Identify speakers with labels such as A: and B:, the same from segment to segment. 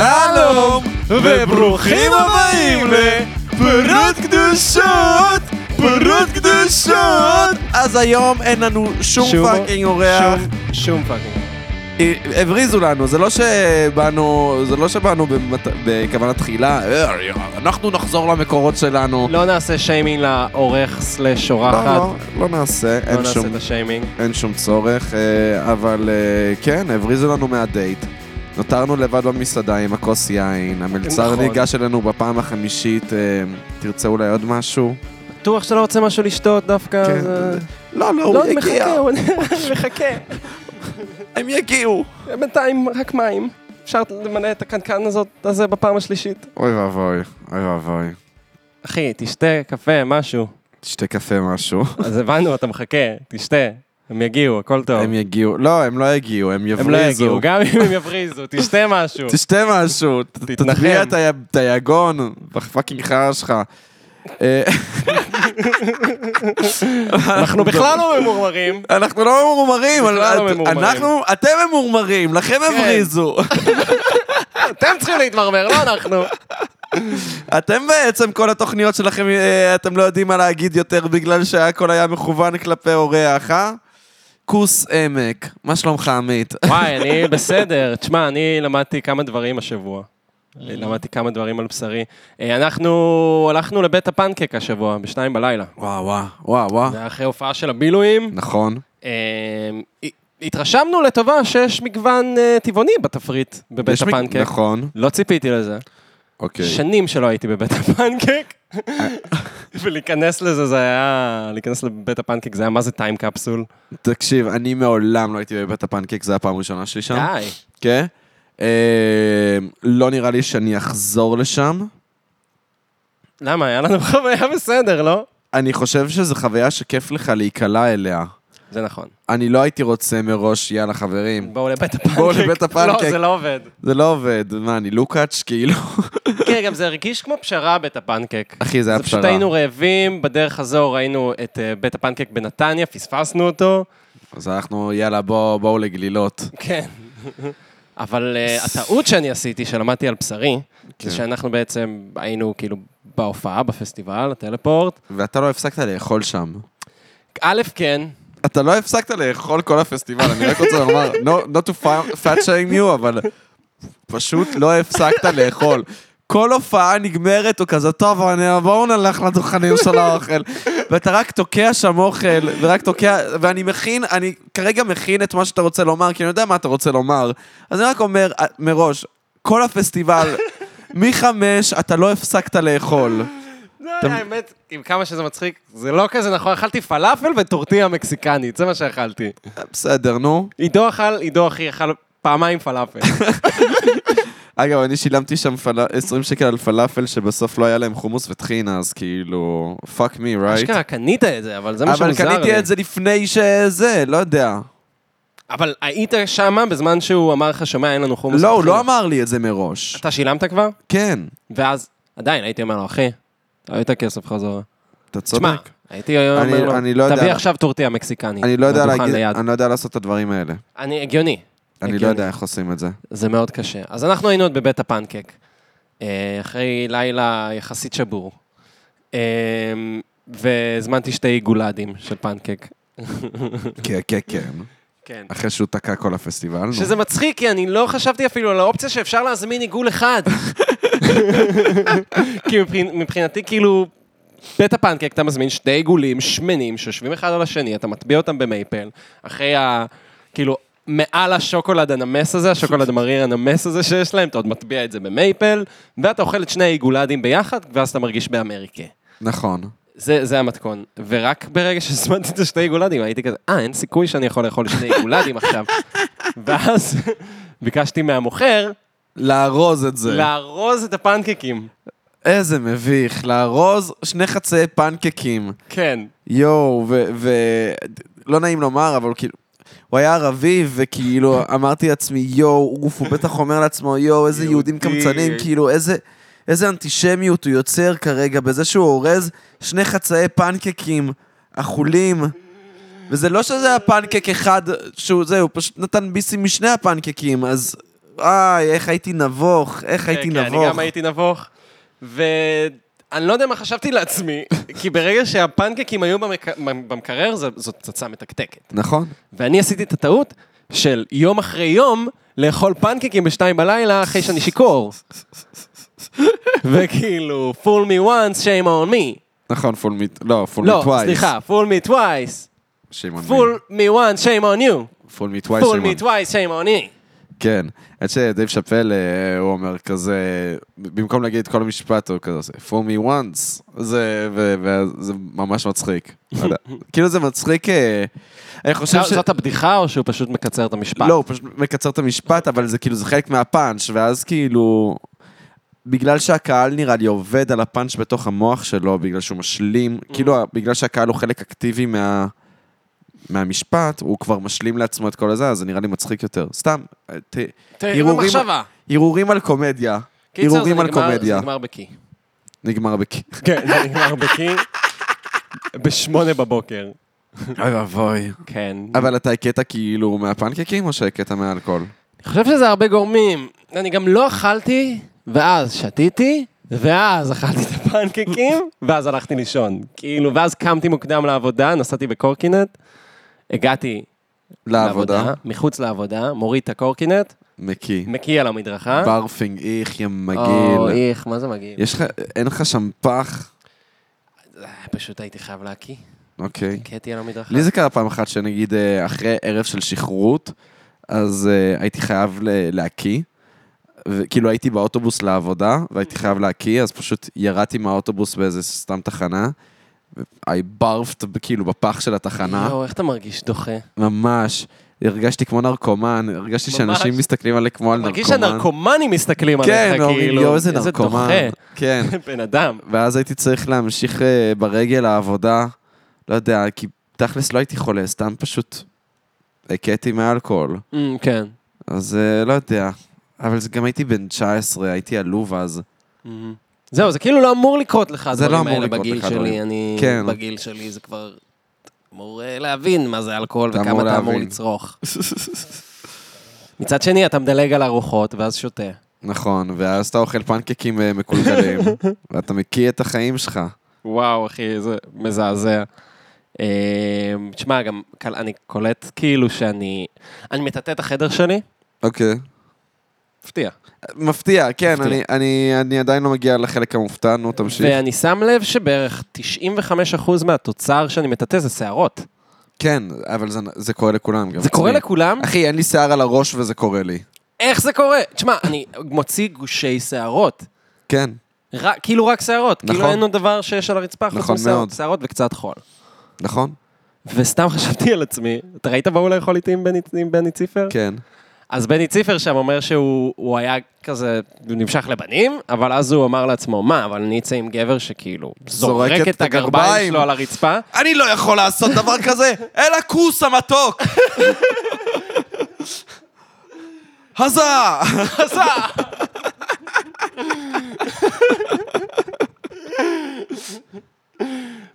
A: שלום, וברוכים הבאים לפרות קדושות, פרות קדושות. אז היום אין לנו שום
B: שום-
A: פאקינג אורח. אה,
B: שום- שום פאקינג.
A: הבריזו לנו, זה לא שבאנו, זה לא שבאנו במת... בכוונה תחילה, "אה, אנחנו נחזור למקורות שלנו.
B: לא נעשה שיימינג לאורך סלאש אורחת.
A: לא, לא נעשה,
B: לא
A: אין
B: נעשה
A: שום,
B: את השיימינג.
A: אין שום צורך, אה, אבל אה, כן, הבריזו לנו מהדייט. נותרנו לבד במסעדה עם הכוס יין, המלצר
B: נכון.
A: ניגש אלינו בפעם החמישית, אה, תרצה אולי עוד משהו?
B: בטוח שאתה לא רוצה משהו לשתות דווקא?
A: כן.
B: זה-
A: לא, לא,
B: לא,
A: הוא יגיע,
B: מחכה, הוא מחכה.
A: הם יגיעו.
B: בינתיים רק מים. אפשר למלא את הקנקן הזאת, הזה בפעם השלישית.
A: אוי ואבוי, אוי ואבוי.
B: אחי, תשתה קפה, משהו.
A: תשתה קפה משהו.
B: אז הבנו, אתה מחכה, תשתה. הם יגיעו, הכל טוב.
A: הם יגיעו, לא, הם לא יגיעו, הם יבריזו.
B: הם לא יגיעו, גם אם הם יבריזו, תשתה משהו.
A: תשתה משהו, ת-
B: תתנחם.
A: תטביע את ה- את היגון, בפאקינג חרא שלך. אה,
B: אנחנו בכלל לא ממורמרים.
A: אנחנו לא ממורמרים,
B: בכלל
A: אבל
B: לא
A: את-
B: ממורמרים.
A: אנחנו, אתם ממורמרים, לכם הבריזו.
B: אתם צריכים להתמרמר, לא אנחנו.
A: אתם בעצם, כל התוכניות שלכם, אה, אתם לא יודעים מה להגיד יותר בגלל שהכל היה מכוון כלפי אורח, אה? כוס עמק, מה שלומך עמית?
B: וואי, אני בסדר. תשמע, אני למדתי כמה דברים השבוע. למדתי כמה דברים על בשרי. אה, אנחנו הלכנו לבית הפנקק השבוע, בשתיים בלילה.
A: וואו וואו, וואו וואו.
B: זה היה אחרי הופעה של הבילויים.
A: נכון.
B: אה, התרשמנו לטובה שיש מגוון אה, טבעוני בתפריט בבית
A: יש מי-
B: הפנקק.
A: נכון,
B: לא ציפיתי לזה.
A: אוקיי.
B: שנים שלא הייתי בבית הפנקק. ולהיכנס לזה זה היה, להיכנס לבית הפנקק זה היה מה זה טיים קפסול.
A: תקשיב, אני מעולם לא הייתי בבית הפנקק, זו הפעם הראשונה שלי שם.
B: די.
A: כן. אה, לא נראה לי שאני אחזור לשם.
B: למה? היה לנו חוויה בסדר, לא?
A: אני חושב שזו חוויה שכיף לך להיקלע אליה.
B: זה נכון.
A: אני לא הייתי רוצה מראש, יאללה חברים.
B: בואו לבית הפנקק.
A: בואו לבית הפנקק.
B: לא, זה לא עובד.
A: זה לא עובד, מה, אני לוקאץ' כאילו?
B: כן, גם זה הרגיש כמו פשרה בית הפנקק.
A: אחי, זה היה
B: זה פשוט
A: פשרה.
B: היינו רעבים, בדרך חזור ראינו את אה, בית הפנקק בנתניה, פספסנו אותו.
A: אז אנחנו, יאללה, בואו בואו לגלילות.
B: כן. אבל אה, הטעות שאני עשיתי, שלמדתי על בשרי,
A: כן.
B: זה שאנחנו בעצם היינו כאילו בהופעה, בפסטיבל, הטלפורט.
A: ואתה לא הפסקת לאכול שם.
B: א', כן,
A: אתה לא הפסקת לאכול כל הפסטיבל, אני רק רוצה לומר, no, not to fa- fat shame you, אבל פשוט לא הפסקת לאכול. כל הופעה נגמרת, הוא כזה, טוב, אני- בואו נלך לדוכנים של האוכל. ואתה רק תוקע שם אוכל, ורק תוקע, ואני מכין, אני כרגע מכין את מה שאתה רוצה לומר, כי אני יודע מה אתה רוצה לומר. אז אני רק אומר אה, מראש, כל הפסטיבל, מחמש אתה לא הפסקת לאכול.
B: לא, האמת, עם כמה שזה מצחיק, זה לא כזה נכון, אכלתי פלאפל וטורטיה מקסיקנית, זה מה שאכלתי.
A: בסדר, נו.
B: עידו אכל, עידו אחי אכל פעמיים פלאפל.
A: אגב, אני שילמתי שם פל... 20 שקל על פלאפל, שבסוף לא היה להם חומוס וטחינה, אז כאילו, fuck me, right?
B: אשכרה קנית את זה, אבל זה מה
A: אבל
B: שמוזר לי.
A: קניתי את זה לפני שזה, לא יודע.
B: אבל היית שמה בזמן שהוא אמר לך, שומע, אין לנו חומוס.
A: לא, הוא
B: מתחיל."
A: לא אמר לי את זה מראש.
B: אתה שילמת כבר?
A: כן,
B: ואז עדיין הייתי אומר לו, אחי, תביא את הכסף חזרה.
A: אתה צודק.
B: תשמע, הייתי אומר
A: אני-
B: לו,
A: אני לא יודע.
B: תביא עכשיו טורטיה מקסיקנית.
A: אני לא יודע
B: מהדוכן
A: להגיד,
B: ליד." כן,
A: אני לא יודע לעשות את הדברים האלה.
B: אני הגיוני.
A: אני לא
B: הגיוני.
A: יודע איך עושים את זה.
B: זה מאוד קשה. אז אנחנו היינו עוד בבית הפנקק, אה, אחרי לילה יחסית שבור, אה, והזמנתי שתי גולדים של פנקק.
A: כן, כן, כן.
B: כן.
A: אחרי שהוא תקע כל הפסטיבל. נו.
B: שזה מצחיק, כי אני לא חשבתי אפילו על האופציה שאפשר להזמין עיגול אחד. כי מבחינ- מבחינתי, כאילו, בית הפנקק אתה מזמין שתי עיגולים שמנים שיושבים אחד על השני, אתה מטביע אותם במייפל, אחרי ה... כאילו, מעל השוקולד הנמס הזה, השוקולד המריר הנמס הזה שיש להם, אתה עוד מטביע את זה במייפל, ואתה אוכל את שני העיגולדים ביחד, ואז אתה מרגיש באמריקה.
A: נכון.
B: זה, זה המתכון, ורק ברגע שהזמנתי את השתי עיגולדים, הייתי כזה, אה, אין סיכוי שאני יכול לאכול שני עיגולדים עכשיו. ואז ביקשתי מהמוכר
A: לארוז את זה.
B: לארוז את הפנקקים.
A: איזה מביך, לארוז שני חצאי פנקקים.
B: כן.
A: יואו, ו... ו- לא נעים לומר, אבל כאילו... הוא היה ערבי, וכאילו, אמרתי לעצמי, יואו, אוף, הוא בטח אומר לעצמו, יואו, איזה יהודים
B: יהודי.
A: קמצנים, כאילו, איזה... איזה אנטישמיות הוא יוצר כרגע בזה שהוא אורז שני חצאי פנקקים אכולים. וזה לא שזה היה פנקק אחד שהוא זה, הוא פשוט נתן ביסים משני הפנקקים, אז איי, איך הייתי נבוך, איך הייתי
B: כן, כן,
A: נבוך.
B: אני גם הייתי נבוך. ואני לא יודע מה חשבתי לעצמי, כי ברגע שהפנקקים היו במק- במקרר, זו- זאת פצצה מתקתקת.
A: נכון.
B: ואני עשיתי את הטעות של יום אחרי יום לאכול פנקקים בשתיים בלילה אחרי שאני שיכור. וכאילו, full me once, shame on me.
A: נכון, פול מיט, לא, פול מיט
B: לא,
A: טווייס.
B: סליחה, full me twice.
A: שמעון מי.
B: full me once, shame on you.
A: פול מיט טווייס,
B: full
A: שמעון.
B: me twice, shame on me.
A: כן. עד שדייב שאפל, אה, הוא אומר כזה, במקום להגיד את כל המשפט, הוא כזה עושה, for me once. זה, ו- וזה ממש מצחיק. לא יודע. כאילו זה מצחיק, אה, אני חושב ש...
B: זאת הבדיחה או שהוא פשוט מקצר את המשפט?
A: לא, הוא פשוט מקצר את המשפט, אבל זה כאילו, זה חלק מהפאנץ', ואז כאילו... בגלל שהקהל נראה לי עובד על הפאנץ' בתוך המוח שלו, בגלל שהוא משלים,
B: Mm.
A: כאילו, בגלל שהקהל הוא חלק אקטיבי מה... מהמשפט, הוא כבר משלים לעצמו את כל הזה, אז זה נראה לי מצחיק יותר. סתם, ת...
B: תהיה
A: הרהורים-
B: במחשבה.
A: הרהורים על קומדיה.
B: קיצר, זה
A: הרהורים על
B: נגמר- זה
A: קומדיה.
B: נגמר בקי.
A: נגמר בק...
B: כן, זה נגמר בקי. בשמונה בבוקר.
A: אוי ואבוי.
B: כן.
A: אבל אתה הקטע כאילו מהפנקקים, או שהקטע מהאלכוהול?
B: אני חושב שזה הרבה גורמים. אני גם לא אכלתי, ואז שתיתי, ואז אכלתי את הפנקקים, ואז הלכתי לישון. כאילו, ואז קמתי מוקדם לעבודה, נסעתי בקורקינט, הגעתי
A: לעבודה.
B: מחוץ לעבודה, מוריד את הקורקינט,
A: מקיא.
B: מקיא על המדרכה.
A: ברפינג איך, יא
B: או,
A: מגעיל.
B: איך, מה זה מגעיל?
A: יש לך, אין לך שם פח?
B: אה, פשוט הייתי חייב להקיא.
A: אוקיי.
B: קטי על המדרכה.
A: לי זה קרה פעם אחת שנגיד אה, אחרי ערב של שכרות, אז אה, הייתי חייב ל- להקיא. כאילו הייתי באוטובוס לעבודה, והייתי חייב להקיא, אז פשוט ירדתי מהאוטובוס באיזה סתם תחנה. I barfed כאילו בפח של התחנה,
B: יואו, לא, איך אתה מרגיש דוחה?
A: ממש. הרגשתי כמו נרקומן, הרגשתי
B: ממש.
A: שאנשים מסתכלים עליי כמו על
B: מרגיש
A: נרקומן.
B: שהנרקומנים מסתכלים עליך,
A: כן,
B: כאילו.
A: אומרים, יואו, איזה נרקומן.
B: דוחה.
A: כן.
B: בן אדם.
A: ואז הייתי צריך להמשיך אה, ברגל העבודה, לא יודע, כי תכלס לא הייתי חולה, סתם פשוט הכיתי מאלכוהול.
B: אמ, כן.
A: אז אה, לא יודע. אבל זה גם הייתי בן 19, הייתי עלוב אז.
B: אמ. זהו, זה כאילו לא אמור לקרות לך,
A: זה לא
B: הדברים
A: אמור
B: האלה
A: לקרות
B: בגיל
A: לך,
B: שלי.
A: דברים.
B: אני...
A: כן.
B: בגיל שלי זה כבר... אמור אה, להבין מה זה אלכוהול
A: אתה
B: וכמה
A: אמור
B: אתה אמור
A: להבין.
B: לצרוך. מצד שני, אתה מדלג על ארוחות, ואז שותה.
A: נכון, ואז אתה אוכל פנקקים אה, מקולקלים, ואתה מקיא את החיים שלך.
B: וואו, אחי, זה מזעזע. אמ, תשמע, גם קל- אני קולט כאילו שאני... אני מטאטא את החדר שלי,
A: אוקיי.
B: מפתיע.
A: מפתיע, כן,
B: מפתיע.
A: אני- אני- אני עדיין לא מגיע לחלק המופתע, נו, תמשיך.
B: ואני שם לב שבערך 95% מהתוצר שאני מטאטא זה שערות.
A: כן, אבל זה- זה קורה לכולם גם.
B: זה קורה
A: אצלי.
B: לכולם?
A: אחי, אין לי שיער על הראש וזה קורה לי.
B: איך זה קורה? תשמע, אני מוציא גושי שערות.
A: כן.
B: רק- כאילו רק שערות.
A: נכון.
B: כאילו אין עוד דבר שיש על הרצפה
A: נכון
B: חוץ
A: מאוד.
B: משערות וקצת חול.
A: נכון?
B: וסתם חשבתי על עצמי, אתה ראית באו לאכול איתי עם בני- עם בני ציפר?
A: כן.
B: אז בני ציפר שם אומר שהוא הוא היה כזה, הוא נמשך לבנים, אבל אז הוא אמר לעצמו, מה, אבל אני אצא עם גבר שכאילו
A: זורק
B: זורק
A: את
B: את הגרביים
A: הגרביים."
B: שלו על הרצפה?
A: אני לא יכול לעשות דבר כזה, אלא כוס המתוק! הזה!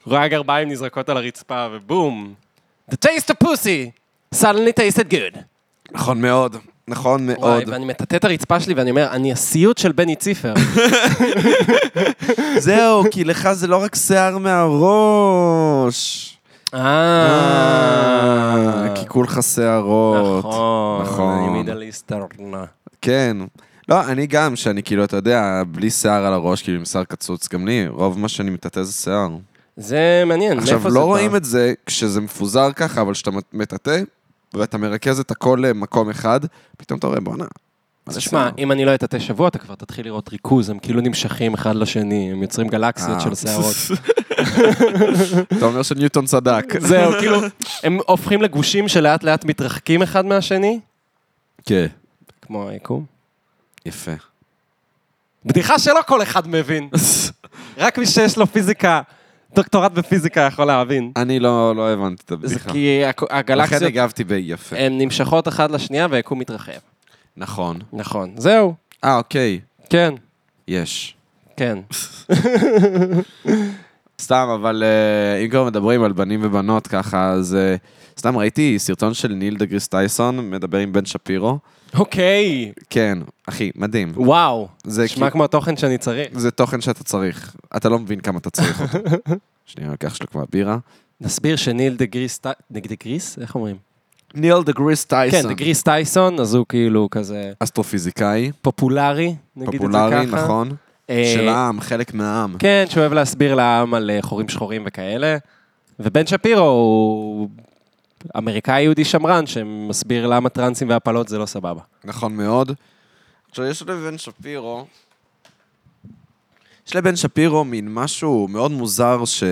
B: רואה גרביים נזרקות על הרצפה, ובום. The taste of pussy suddenly tasted good.
A: נכון מאוד, נכון מאוד.
B: וואי, ואני מטאטא את הרצפה שלי ואני אומר, אני הסיוט של בני ציפר.
A: זהו, כי לך זה לא רק שיער מהראש.
B: אה,
A: כי כולך שערות.
B: נכון,
A: נכון.
B: אני מידליסט ארנה.
A: כן. לא, אני גם, שאני כאילו, אתה יודע, בלי שיער על הראש, כאילו עם שיער קצוץ, גם לי, רוב מה שאני מטאטא זה שיער.
B: זה מעניין, מאיפה זה
A: עכשיו,
B: בא?
A: לא רואים את זה כשזה מפוזר ככה, אבל כשאתה מטאטא ואתה מרכז את הכל למקום אחד, פתאום אתה רואה, בואנה.
B: אז תשמע, אם אני לא אטאטא שבוע, אתה כבר תתחיל לראות ריכוז, הם כאילו נמשכים אחד לשני, הם יוצרים גלקסיות
A: אה.
B: של שערות.
A: אתה אומר שניוטון צדק.
B: זהו, כאילו, הם הופכים לגושים שלאט לאט מתרחקים אחד מהשני,
A: כן.
B: כמו היקום.
A: יפה.
B: בדיחה שלא כל אחד מבין, רק מי שיש לו פיזיקה, דוקטורט בפיזיקה יכול להבין.
A: אני לא לא הבנתי את
B: זה
A: הבדיחה.
B: כי אה, הכ-
A: לכן
B: הגלקסיות
A: הגבתי ביפה.
B: הן נמשכות אחת לשנייה והיקום מתרחב.
A: נכון.
B: נכון. זהו.
A: אה, אוקיי.
B: כן.
A: יש.
B: כן.
A: סתם, אבל אה, אם כבר מדברים על בנים ובנות ככה, אז אה, סתם ראיתי סרטון של ניל דגריס טייסון מדבר עם בן שפירו.
B: אוקיי,
A: כן, אחי, מדהים.
B: וואו.
A: זה
B: נשמע
A: כאילו-
B: כמו התוכן שאני צריך.
A: זה תוכן שאתה צריך. אתה לא מבין כמה אתה צריך אותו. שנייה, אני לוקח שלוק מהבירה.
B: נסביר שניל דה גריס, טי- דה- דה גריס? איך אומרים?
A: ניל דגריס
B: כן,
A: טייסון.
B: דה גריס טייסון, אז הוא כאילו כזה
A: אסטרופיזיקאי,
B: פופולרי, נגיד את זה ככה.
A: פופולרי, נכון?
B: אה,
A: של העם, חלק מהעם.
B: כן, שאוהב להסביר לעם על אה, חורים שחורים וכאלה. ובן שפירו הוא אמריקאי יהודי שמרן שמסביר למה טרנסים והפלות זה לא סבבה.
A: נכון מאוד. עכשיו, יש לבן שפירו... יש לבן שפירו מין משהו מאוד מוזר ש...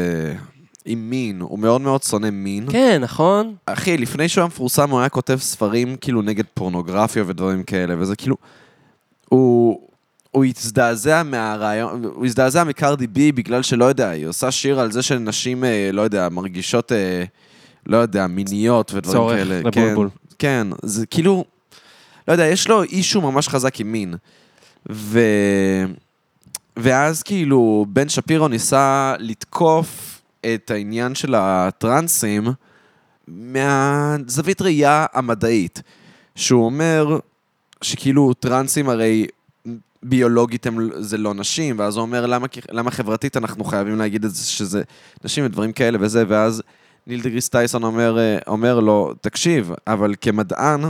A: עם מין, הוא מאוד מאוד שונא מין.
B: כן, נכון?
A: אחי, לפני שהוא היה מפורסם, הוא היה כותב ספרים כאילו נגד פורנוגרפיה ודברים כאלה, וזה כאילו... הוא... הוא הזדעזע מהרעיון, הוא הזדעזע מקרדי בי בגלל שלא יודע, היא עושה שיר על זה שנשים, אה, לא יודע, מרגישות, אה, לא יודע, מיניות ודברים
B: צורך
A: כאלה.
B: לבולבול.
A: כן, כן, זה כאילו, לא יודע, יש לו אישו ממש חזק עם מין. ו... ואז כאילו, בן שפירו ניסה לתקוף את העניין של הטרנסים מהזווית ראייה המדעית. שהוא אומר שכאילו טרנסים הרי ביולוגית הם, זה לא נשים, ואז הוא אומר למה, למה חברתית אנחנו חייבים להגיד את זה שזה נשים ודברים כאלה וזה, ואז ניל דגריס טייסון אומר, אה, אומר לו, תקשיב, אבל כמדען,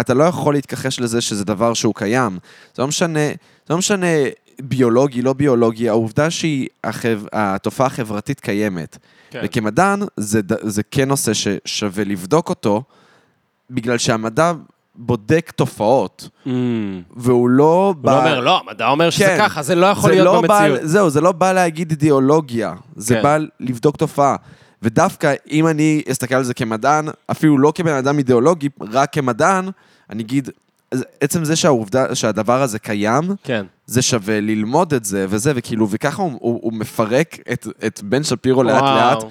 A: אתה לא יכול להתכחש לזה שזה דבר שהוא קיים. זה לא משנה, זה לא משנה ביולוגי, לא ביולוגי, העובדה שהיא, החב, התופעה החברתית קיימת.
B: כן.
A: וכמדען, זה, ד- זה כן נושא ששווה לבדוק אותו, בגלל שהמדע בודק תופעות, והוא לא
B: הוא לא אומר, לא, המדע אומר שזה
A: כן.
B: ככה, זה לא יכול להיות
A: לא בא-
B: במציאות.
A: זהו, זה לא בא להגיד אידיאולוגיה, זה
B: כן.
A: בא לבדוק תופעה. ודווקא אם אני אסתכל על זה כמדען, אפילו לא כבן אדם אידיאולוגי, רק כמדען, אני אגיד, אז עצם זה שהעובדה, שהדבר הזה קיים,
B: כן.
A: זה שווה ללמוד את זה וזה, וכאילו, וככה הוא, הוא, הוא מפרק את, את בן שפירו לאט-לאט,
B: וואו.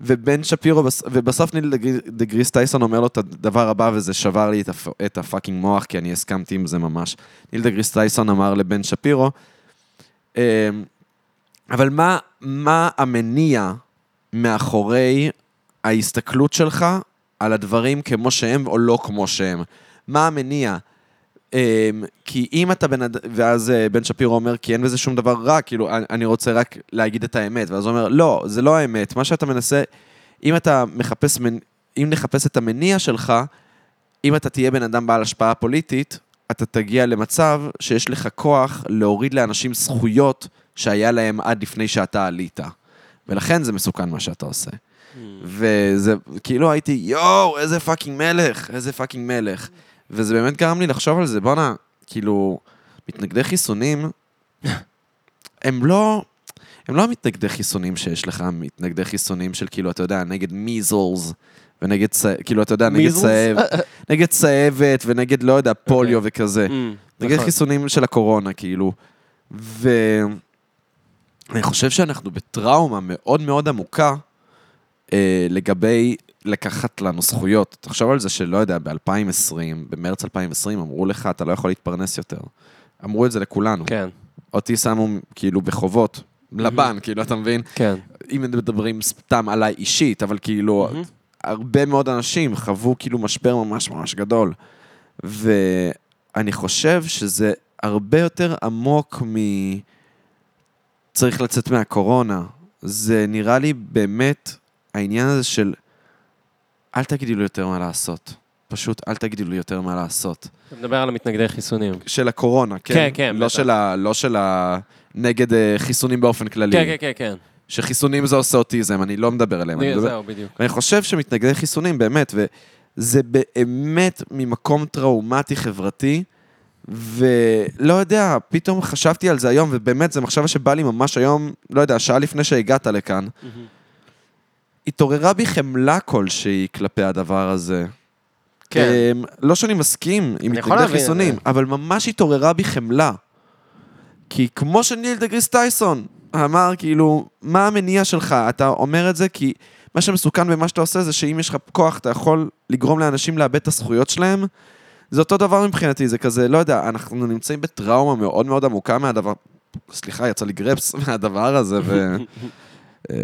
A: ובן שפירו, בס- ובסוף ניל דגרי- דגריס טייסון אומר לו את הדבר הבא, וזה שבר לי את, הפ, את הפאקינג מוח, כי אני הסכמתי עם זה ממש. ניל דגריס טייסון אמר לבן שפירו, "אמ, אבל מה, מה המניע מאחורי ההסתכלות שלך על הדברים כמו שהם או לא כמו שהם? מה המניע? אמ, כי אם אתה בן אדם, ואז אה, בן שפירו אומר, כי אין בזה שום דבר רע, כאילו, אני- אני רוצה רק להגיד את האמת. ואז הוא אומר, לא, זה לא האמת. מה שאתה מנסה, אם אתה מחפש, מנ- אם נחפש את המניע שלך, אם אתה תהיה בן אדם בעל השפעה פוליטית, אתה תגיע למצב שיש לך כוח להוריד לאנשים זכויות שהיה להם עד לפני שאתה עלית. ולכן זה מסוכן מה שאתה עושה.
B: Mm.
A: וזה, כאילו הייתי, יואו, איזה פאקינג מלך, איזה פאקינג מלך. וזה באמת גרם לי לחשוב על זה, בואנה, כאילו, מתנגדי חיסונים, הם לא, הם לא המתנגדי חיסונים שיש לך, מתנגדי חיסונים של כאילו, אתה יודע, נגד מיזלס, ונגד, צ- כאילו, אתה יודע, נגד
B: Measles?
A: צהב,
B: אה,
A: נגד צהבת, ונגד, לא יודע, פוליו וכזה.
B: אמ,
A: נגד
B: נכון.
A: חיסונים של הקורונה, כאילו. ואני חושב שאנחנו בטראומה מאוד מאוד עמוקה אה, לגבי לקחת לנו זכויות. תחשוב על זה שלא יודע, ב-2020, במרץ 2020, אמרו לך, אתה לא יכול להתפרנס יותר. אמרו את זה לכולנו.
B: כן,
A: אותי שמו כאילו בחובות. לבן, כאילו, אתה מבין?
B: כן.
A: אם מדברים סתם עליי אישית, אבל כאילו,
B: מהמם.
A: הרבה מאוד אנשים חוו כאילו משבר ממש ממש גדול. ואני חושב שזה הרבה יותר עמוק מ... צריך לצאת מהקורונה. זה נראה לי באמת העניין הזה של אל תגידו לי יותר מה לעשות. פשוט אל תגידו לי יותר מה לעשות.
B: אתה מדבר על המתנגדי חיסונים.
A: של הקורונה, כן?
B: כן, כן,
A: לא
B: בטח.
A: של ה... לא של ה... נגד אה, חיסונים באופן כללי.
B: כן, כן, כן, כן.
A: שחיסונים זה עושה אוטיזם, אני לא מדבר עליהם. אני
B: נה,
A: מדבר...
B: זהו, בדיוק.
A: ואני חושב שמתנגדי חיסונים, באמת, וזה באמת ממקום טראומטי חברתי, ולא יודע, פתאום חשבתי על זה היום, ובאמת, זו מחשבה שבאה לי ממש היום, לא יודע, שעה לפני שהגעת לכאן. התעוררה בי חמלה כלשהי כלפי הדבר הזה.
B: כן.
A: אמ, לא שאני מסכים עם
B: אני יכול
A: מתנגדי
B: להבין את
A: חיסונים,
B: זה.
A: אבל ממש התעוררה בי חמלה. כי כמו שניל דגריס טייסון אמר, כאילו, מה המניע שלך? אתה אומר את זה כי מה שמסוכן במה שאתה עושה זה שאם יש לך כוח, אתה יכול לגרום לאנשים לאבד את הזכויות שלהם. זה אותו דבר מבחינתי, זה כזה, לא יודע, אנחנו נמצאים בטראומה מאוד מאוד עמוקה מהדבר... סליחה, יצא לי גרפס מהדבר הזה, ו... אה,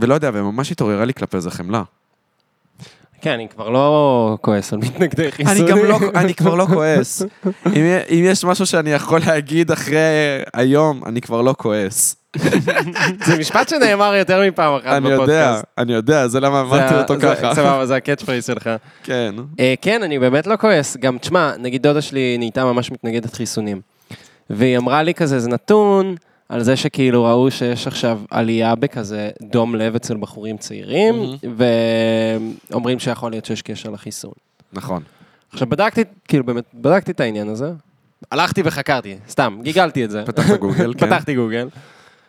A: ולא יודע, וממש התעוררה לי כלפי זה חמלה.
B: כן, אני כבר לא כועס על מתנגדי חיסונים.
A: אני גם לא, אני כבר לא כועס. אם, יה- אם יש משהו שאני יכול להגיד אחרי היום, אני כבר לא כועס.
B: זה משפט שנאמר יותר מפעם אחת
A: אני
B: בפודקאסט.
A: יודע, אני יודע, זה למה
B: זה
A: אמרתי
B: ה-
A: אותו
B: זה-
A: ככה.
B: סבבה, זה הקאץ' פרייס שלך.
A: כן.
B: אה, כן, אני באמת לא כועס. גם, תשמע, נגיד דודה שלי נהייתה ממש מתנגדת חיסונים. והיא אמרה לי כזה, זה נתון על זה שכאילו ראו שיש עכשיו עלייה בכזה דום לב אצל בחורים צעירים, ואומרים שיכול להיות שיש קשר לחיסון.
A: נכון.
B: עכשיו, בדקתי, כאילו באמת, בדקתי את העניין הזה. הלכתי וחקרתי, סתם, גיגלתי את זה.
A: פתחת גוגל, כן.
B: פתחתי גוגל.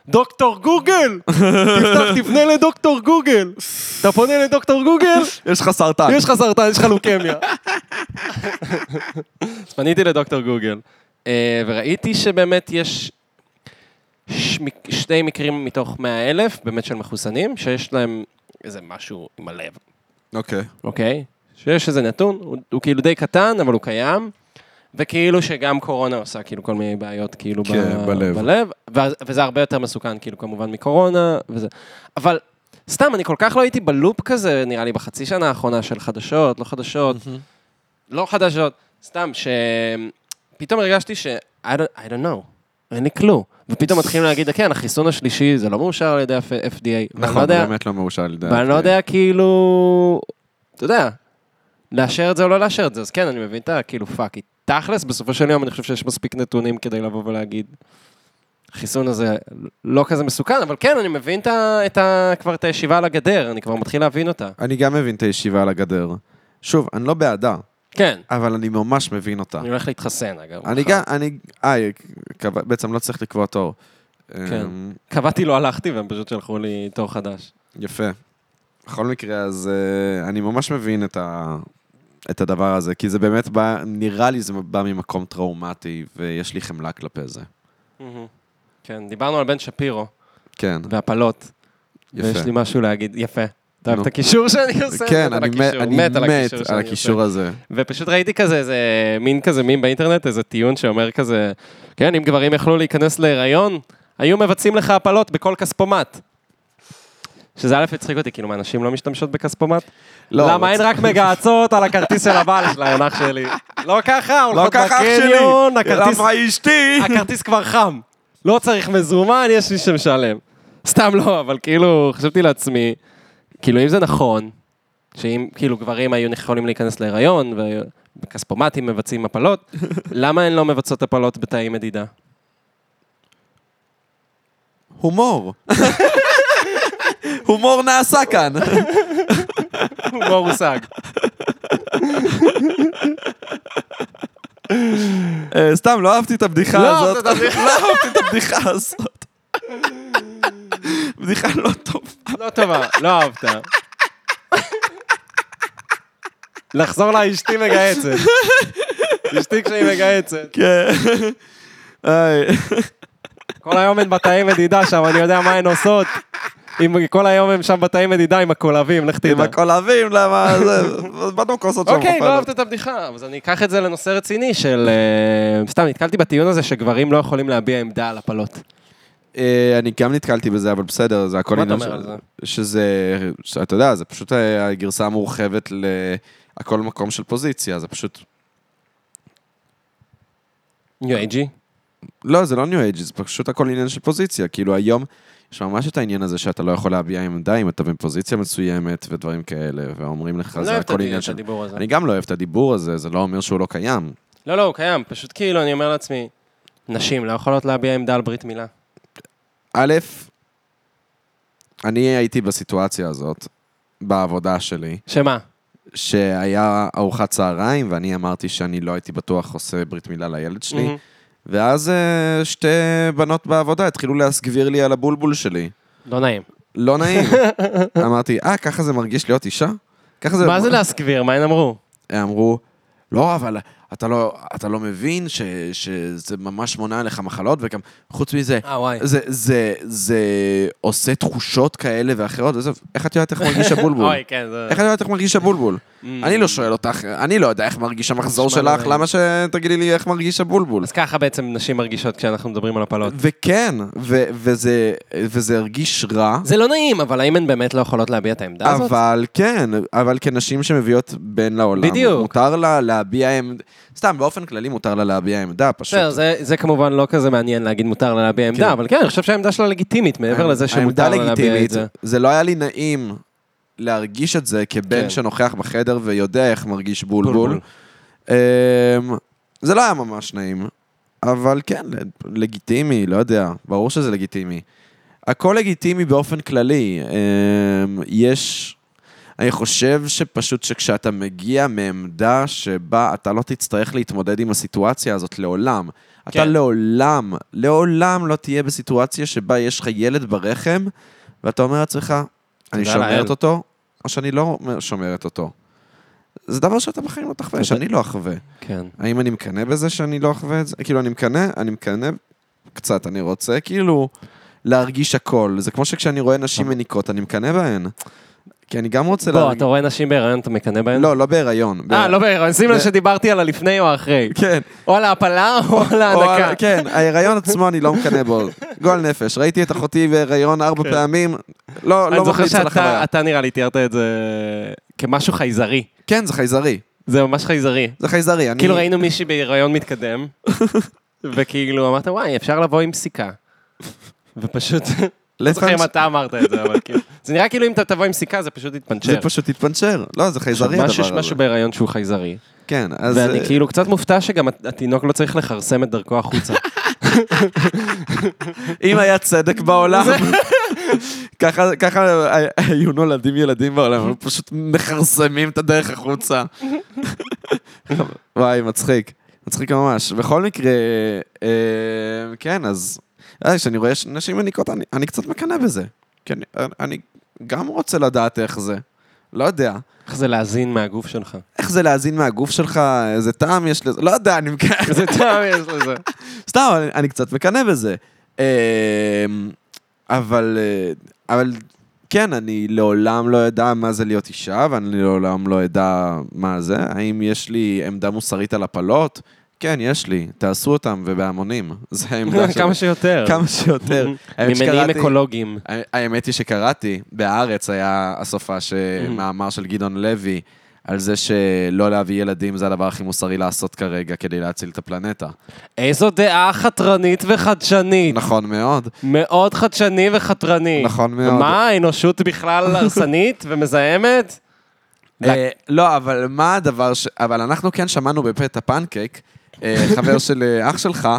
B: דוקטור גוגל! תפתח, תפנה לדוקטור גוגל! אתה פונה לדוקטור גוגל,
A: יש לך סרטן.
B: יש לך סרטן, יש לך לוקמיה. אז פניתי לדוקטור גוגל, אה, וראיתי שבאמת יש ש- מק- שני מקרים מתוך 100 אלף, באמת של מחוסנים, שיש להם איזה משהו עם הלב,
A: אוקיי.
B: אוקיי? שיש איזה נתון, הוא, הוא כאילו די קטן, אבל הוא קיים, וכאילו שגם קורונה עושה כאילו כל מיני בעיות כאילו
A: כן,
B: ב-
A: בלב.
B: בלב ואז- וזה הרבה יותר מסוכן כאילו כמובן מקורונה וזה. אבל סתם, אני כל כך לא הייתי בלופ כזה, נראה לי, בחצי שנה האחרונה של חדשות, לא חדשות, לא חדשות, סתם, שפתאום הרגשתי ש... I don't, I don't know, אין לי כלום. ופתאום מתחילים להגיד, כן, החיסון השלישי, זה לא מאושר על ידי ה-FDA. ואני לא
A: נכון,
B: יודע-
A: באמת לא מאושר על ידי...
B: ואני לא יודע כאילו, אתה יודע, לאשר את זה או לא לאשר את זה, אז כן, אני מבין את ה... כאילו, פאק, היא- תכלס, בסופו של יום אני חושב שיש מספיק נתונים כדי לבוא ולהגיד, החיסון הזה לא כזה מסוכן, אבל כן, אני מבין את ה... את ה... כבר את הישיבה על הגדר, אני כבר מתחיל להבין אותה.
A: אני גם מבין את הישיבה על הגדר. שוב, אני לא בעדה,
B: כן,
A: אבל אני ממש מבין אותה.
B: אני אוקיי. הולך להתחסן, אגב.
A: אני
B: מחר.
A: גם, אני... אה, קבע- בעצם לא צריך לקבוע תור.
B: כן.
A: אמ,
B: קבעתי, לא הלכתי, והם פשוט שלחו לי תור חדש.
A: יפה. בכל מקרה, אז אה, אני ממש מבין את, ה, את הדבר הזה, כי זה באמת בא, נראה לי זה בא ממקום טראומטי, ויש לי חמלה כלפי זה.
B: כן, דיברנו על בן שפירו
A: כן,
B: והפלות.
A: יפה.
B: ויש לי משהו להגיד, יפה. אתה אוהב
A: נו.
B: את הקישור שאני עושה? מת
A: כן,
B: על
A: אני, מת,
B: הקישור,
A: אני
B: מת על הקישור
A: מת
B: שאני
A: על
B: עושה.
A: הקישור הזה.
B: ופשוט ראיתי כזה, איזה מין כזה מים באינטרנט, איזה טיעון שאומר כזה, כן, אם גברים יכלו להיכנס להיריון, היו מבצעים לך הפלות בכל כספומט. שזה א' הצחיק אותי, כאילו, מה, נשים לא משתמשות בכספומט?
A: לא, אבל-
B: למה אין רק מגהצות על הכרטיס של הבעל שלהם, אח שלי? לא ככה,
A: לא
B: הולכות
A: ככה אח שלי!
B: בקניון, הכרטיס
A: למה אשתי?
B: הכרטיס כבר חם. לא צריך מזומן, יש מי שמשלם. סתם לא, אבל כאילו, חשבתי לעצמי, כאילו, אם זה נכון, שאם כאילו גברים היו יכולים להיכנס להיריון, וכספומטים מבצעים הפלות, למה הן לא מבצעות הפלות בתאי מדידה?
A: הומור. הומור נעשה כאן.
B: הומור הושג.
A: אה, סתם, לא אהבתי את הבדיחה
B: לא
A: הזאת.
B: אהבת את הבדיחה.
A: לא אהבתי את הבדיחה הזאת. בדיחה לא טובה.
B: לא טובה, לא אהבת. לחזור לאשתי מגהצת. אשתי כשהיא מגהצת.
A: כן. איי.
B: כל היום הן בתאי מדידה שם, אני יודע מה הן עושות. אם כל היום הן שם בתאי מדידה עם הקולבים, לך
A: עם
B: תדע.
A: הקולבים, למה זה, באנו כוסות שם.
B: אוקיי, לא
A: בפאנל.
B: אהבת את הבדיחה, אז אני אקח את זה לנושא רציני של... אה, סתם, נתקלתי בטיעון הזה שגברים לא יכולים להביע עמדה על הפלות.
A: אה, אני גם נתקלתי בזה, אבל בסדר, זה הכל
B: מה אתה
A: עניין
B: אומר על
A: של-
B: זה?
A: שזה, אתה יודע, זה פשוט אה, הגרסה המורחבת לכל מקום של פוזיציה, זה פשוט...
B: ניו אייג'י?
A: לא, זה לא ניו אייג', זה פשוט הכל עניין של פוזיציה. כאילו היום, יש ממש את העניין הזה שאתה לא יכול להביע עמדה אם אתה בפוזיציה מסוימת ודברים כאלה, ואומרים לך,
B: לא
A: זה
B: אוהב את
A: הכל עניין
B: הדיון- את
A: של...
B: הדיבור הזה.
A: אני גם לא אוהב את הדיבור הזה, זה לא אומר שהוא לא קיים.
B: לא, לא, הוא קיים, פשוט כאילו, אני אומר לעצמי, נשים לא יכולות להביע עמדה על ברית מילה.
A: א', אני הייתי בסיטואציה הזאת, בעבודה שלי,
B: שמה?
A: שהיה ארוחת צהריים, ואני אמרתי שאני לא הייתי בטוח עושה ברית מילה לילד שלי,
B: Mhm.
A: ואז אה, שתי בנות בעבודה התחילו להסגביר לי על הבולבול שלי.
B: לא נעים.
A: לא נעים. אמרתי, אה, ככה זה מרגיש להיות אישה? ככה זה...
B: מה זה להסגביר? מה הן אמרו?
A: הם אמרו, לא, אבל אתה לא, אתה לא מבין ש, שזה ממש מונע לך מחלות, וגם חוץ מזה,
B: אה, וואי.
A: זה, זה, זה עושה תחושות כאלה ואחרות, עזוב, איך את יודעת איך מרגיש הבולבול?
B: אוי, כן, זה...
A: איך את יודעת איך מרגיש הבולבול?
B: Mm.
A: אני לא שואל אותך, אני לא יודע איך מרגיש המחזור
B: נשמע
A: שלך,
B: לא
A: למה שתגידי לי איך מרגיש הבולבול?
B: אז לא. ככה בעצם נשים מרגישות כשאנחנו מדברים על הפלות.
A: וכן, ו- וזה וזה הרגיש רע,
B: זה לא נעים, אבל האם הן באמת לא יכולות להביע את העמדה הזאת?
A: אבל כן, אבל כנשים שמביאות בן לעולם,
B: בדיוק.
A: מותר לה להביע עמדה, סתם, באופן כללי מותר לה להביע עמדה, פשוט.
B: בסדר, זה- זה כמובן לא כזה מעניין להגיד מותר לה להביע עמדה, אבל כן, אני חושב שהעמדה שלה לגיטימית, מעבר לזה שמותר לה
A: העמדה
B: להביע את
A: לגיטימית,
B: זה.
A: זה לא היה לי נעים להרגיש את זה כבן
B: כן.
A: שנוכח בחדר ויודע איך מרגיש
B: בולבול.
A: בולבול. אמ, זה לא היה ממש נעים, אבל כן, ל- לגיטימי, לא יודע, ברור שזה לגיטימי. הכל לגיטימי באופן כללי. אמ, יש... אני חושב שפשוט שכשאתה מגיע מעמדה שבה אתה לא תצטרך להתמודד עם הסיטואציה הזאת לעולם, אתה
B: כן.
A: לעולם, לעולם לא תהיה בסיטואציה שבה יש לך ילד ברחם, ואתה אומר לעצמך, אני
B: תודה לאל."
A: שומרת אותו, או שאני לא שומרת אותו. זה דבר שאתה בחיים לא תחווה,
B: תודה.
A: שאני לא אחווה.
B: כן.
A: האם אני מקנא בזה שאני לא אחווה את זה? כאילו, אני מקנא, אני מקנא קצת, אני רוצה כאילו להרגיש הכל. זה כמו שכשאני רואה נשים מניקות, אני מקנא בהן. כי אני גם רוצה
B: אה. בוא,
A: להרגיש...
B: אתה רואה נשים בהיריון, אתה מקנא בהן?
A: לא, לא בהיריון.
B: אה,
A: בהיר-
B: לא בהיריון, שים לב
A: ב-
B: שדיברתי על הלפני או האחרי.
A: כן.
B: או על ההפלה או על
A: או
B: ההנקה.
A: על- כן, ההיריון עצמו אני לא מקנא בו. גועל נפש. ראיתי את אחותי בהיריון ארבע
B: כן.
A: פעמים, לא
B: אני
A: לא
B: זוכר
A: מחליץ על החוויה.
B: שאתה אתה נראה לי תיארת את זה כמשהו חייזרי.
A: כן, זה חייזרי.
B: זה ממש חייזרי.
A: זה חייזרי. אני-
B: כאילו ראינו מישהי בהיריון מתקדם, וכאילו אמרת, וואי, אפשר לבוא עם סיכה. ופשוט, לא זוכר אם
A: לפעמים-
B: אתה אמרת את זה, אבל כאילו, זה נראה כאילו אם אתה תבוא עם סיכה זה פשוט יתפנצ'ר.
A: זה פשוט התפנצ'ר. לא, זה
B: עכשיו,
A: חייזרי
B: מה
A: הדבר
B: שיש
A: הזה.
B: משהו בהיריון שהוא חייזרי.
A: כן, אז...
B: ואני כאילו קצת מופתע שגם הת- התינוק לא צריך לכרסם את דרכו החוצה.
A: אם היה צדק בעולם, ככה ככה היו נולדים ילדים בעולם, הם פשוט מכרסמים את הדרך החוצה. וואי, מצחיק. מצחיק ממש. בכל מקרה, אה, כן, אז... אה, כשאני רואה ש- נשים מניקות, אני- אני קצת מקנא בזה. כי אני- אני גם רוצה לדעת איך זה. לא יודע.
B: איך זה להזין מהגוף שלך.
A: איך זה להזין מהגוף שלך, איזה טעם יש לזה, לא יודע, אני מקנא.
B: איזה טעם יש לזה.
A: סתם, אני, אני קצת מקנא בזה. אמ, אבל, אה, אבל כן, אני לעולם לא אדע מה זה להיות אישה, ואני לעולם לא אדע מה זה. האם יש לי עמדה מוסרית על הפלות? כן, יש לי. תעשו אותם ובהמונים. זה העמדה שלי.
B: כמה שיותר.
A: כמה שיותר. האמת
B: ממניעים
A: שקראתי-
B: אקולוגיים.
A: האמת היא שקראתי, בהארץ היה הסופה, ש- מאמר של גדעון לוי, על זה שלא להביא ילדים זה הדבר הכי מוסרי לעשות כרגע כדי להציל את הפלנטה.
B: איזו דעה חתרנית וחדשנית.
A: נכון מאוד.
B: מאוד חדשני וחתרני.
A: נכון מאוד.
B: מה, האנושות בכלל הרסנית ומזהמת?
A: אה, לא, אבל מה הדבר ש... אבל אנחנו כן שמענו בפט הפנקייק, אה, חבר של אה, אח שלך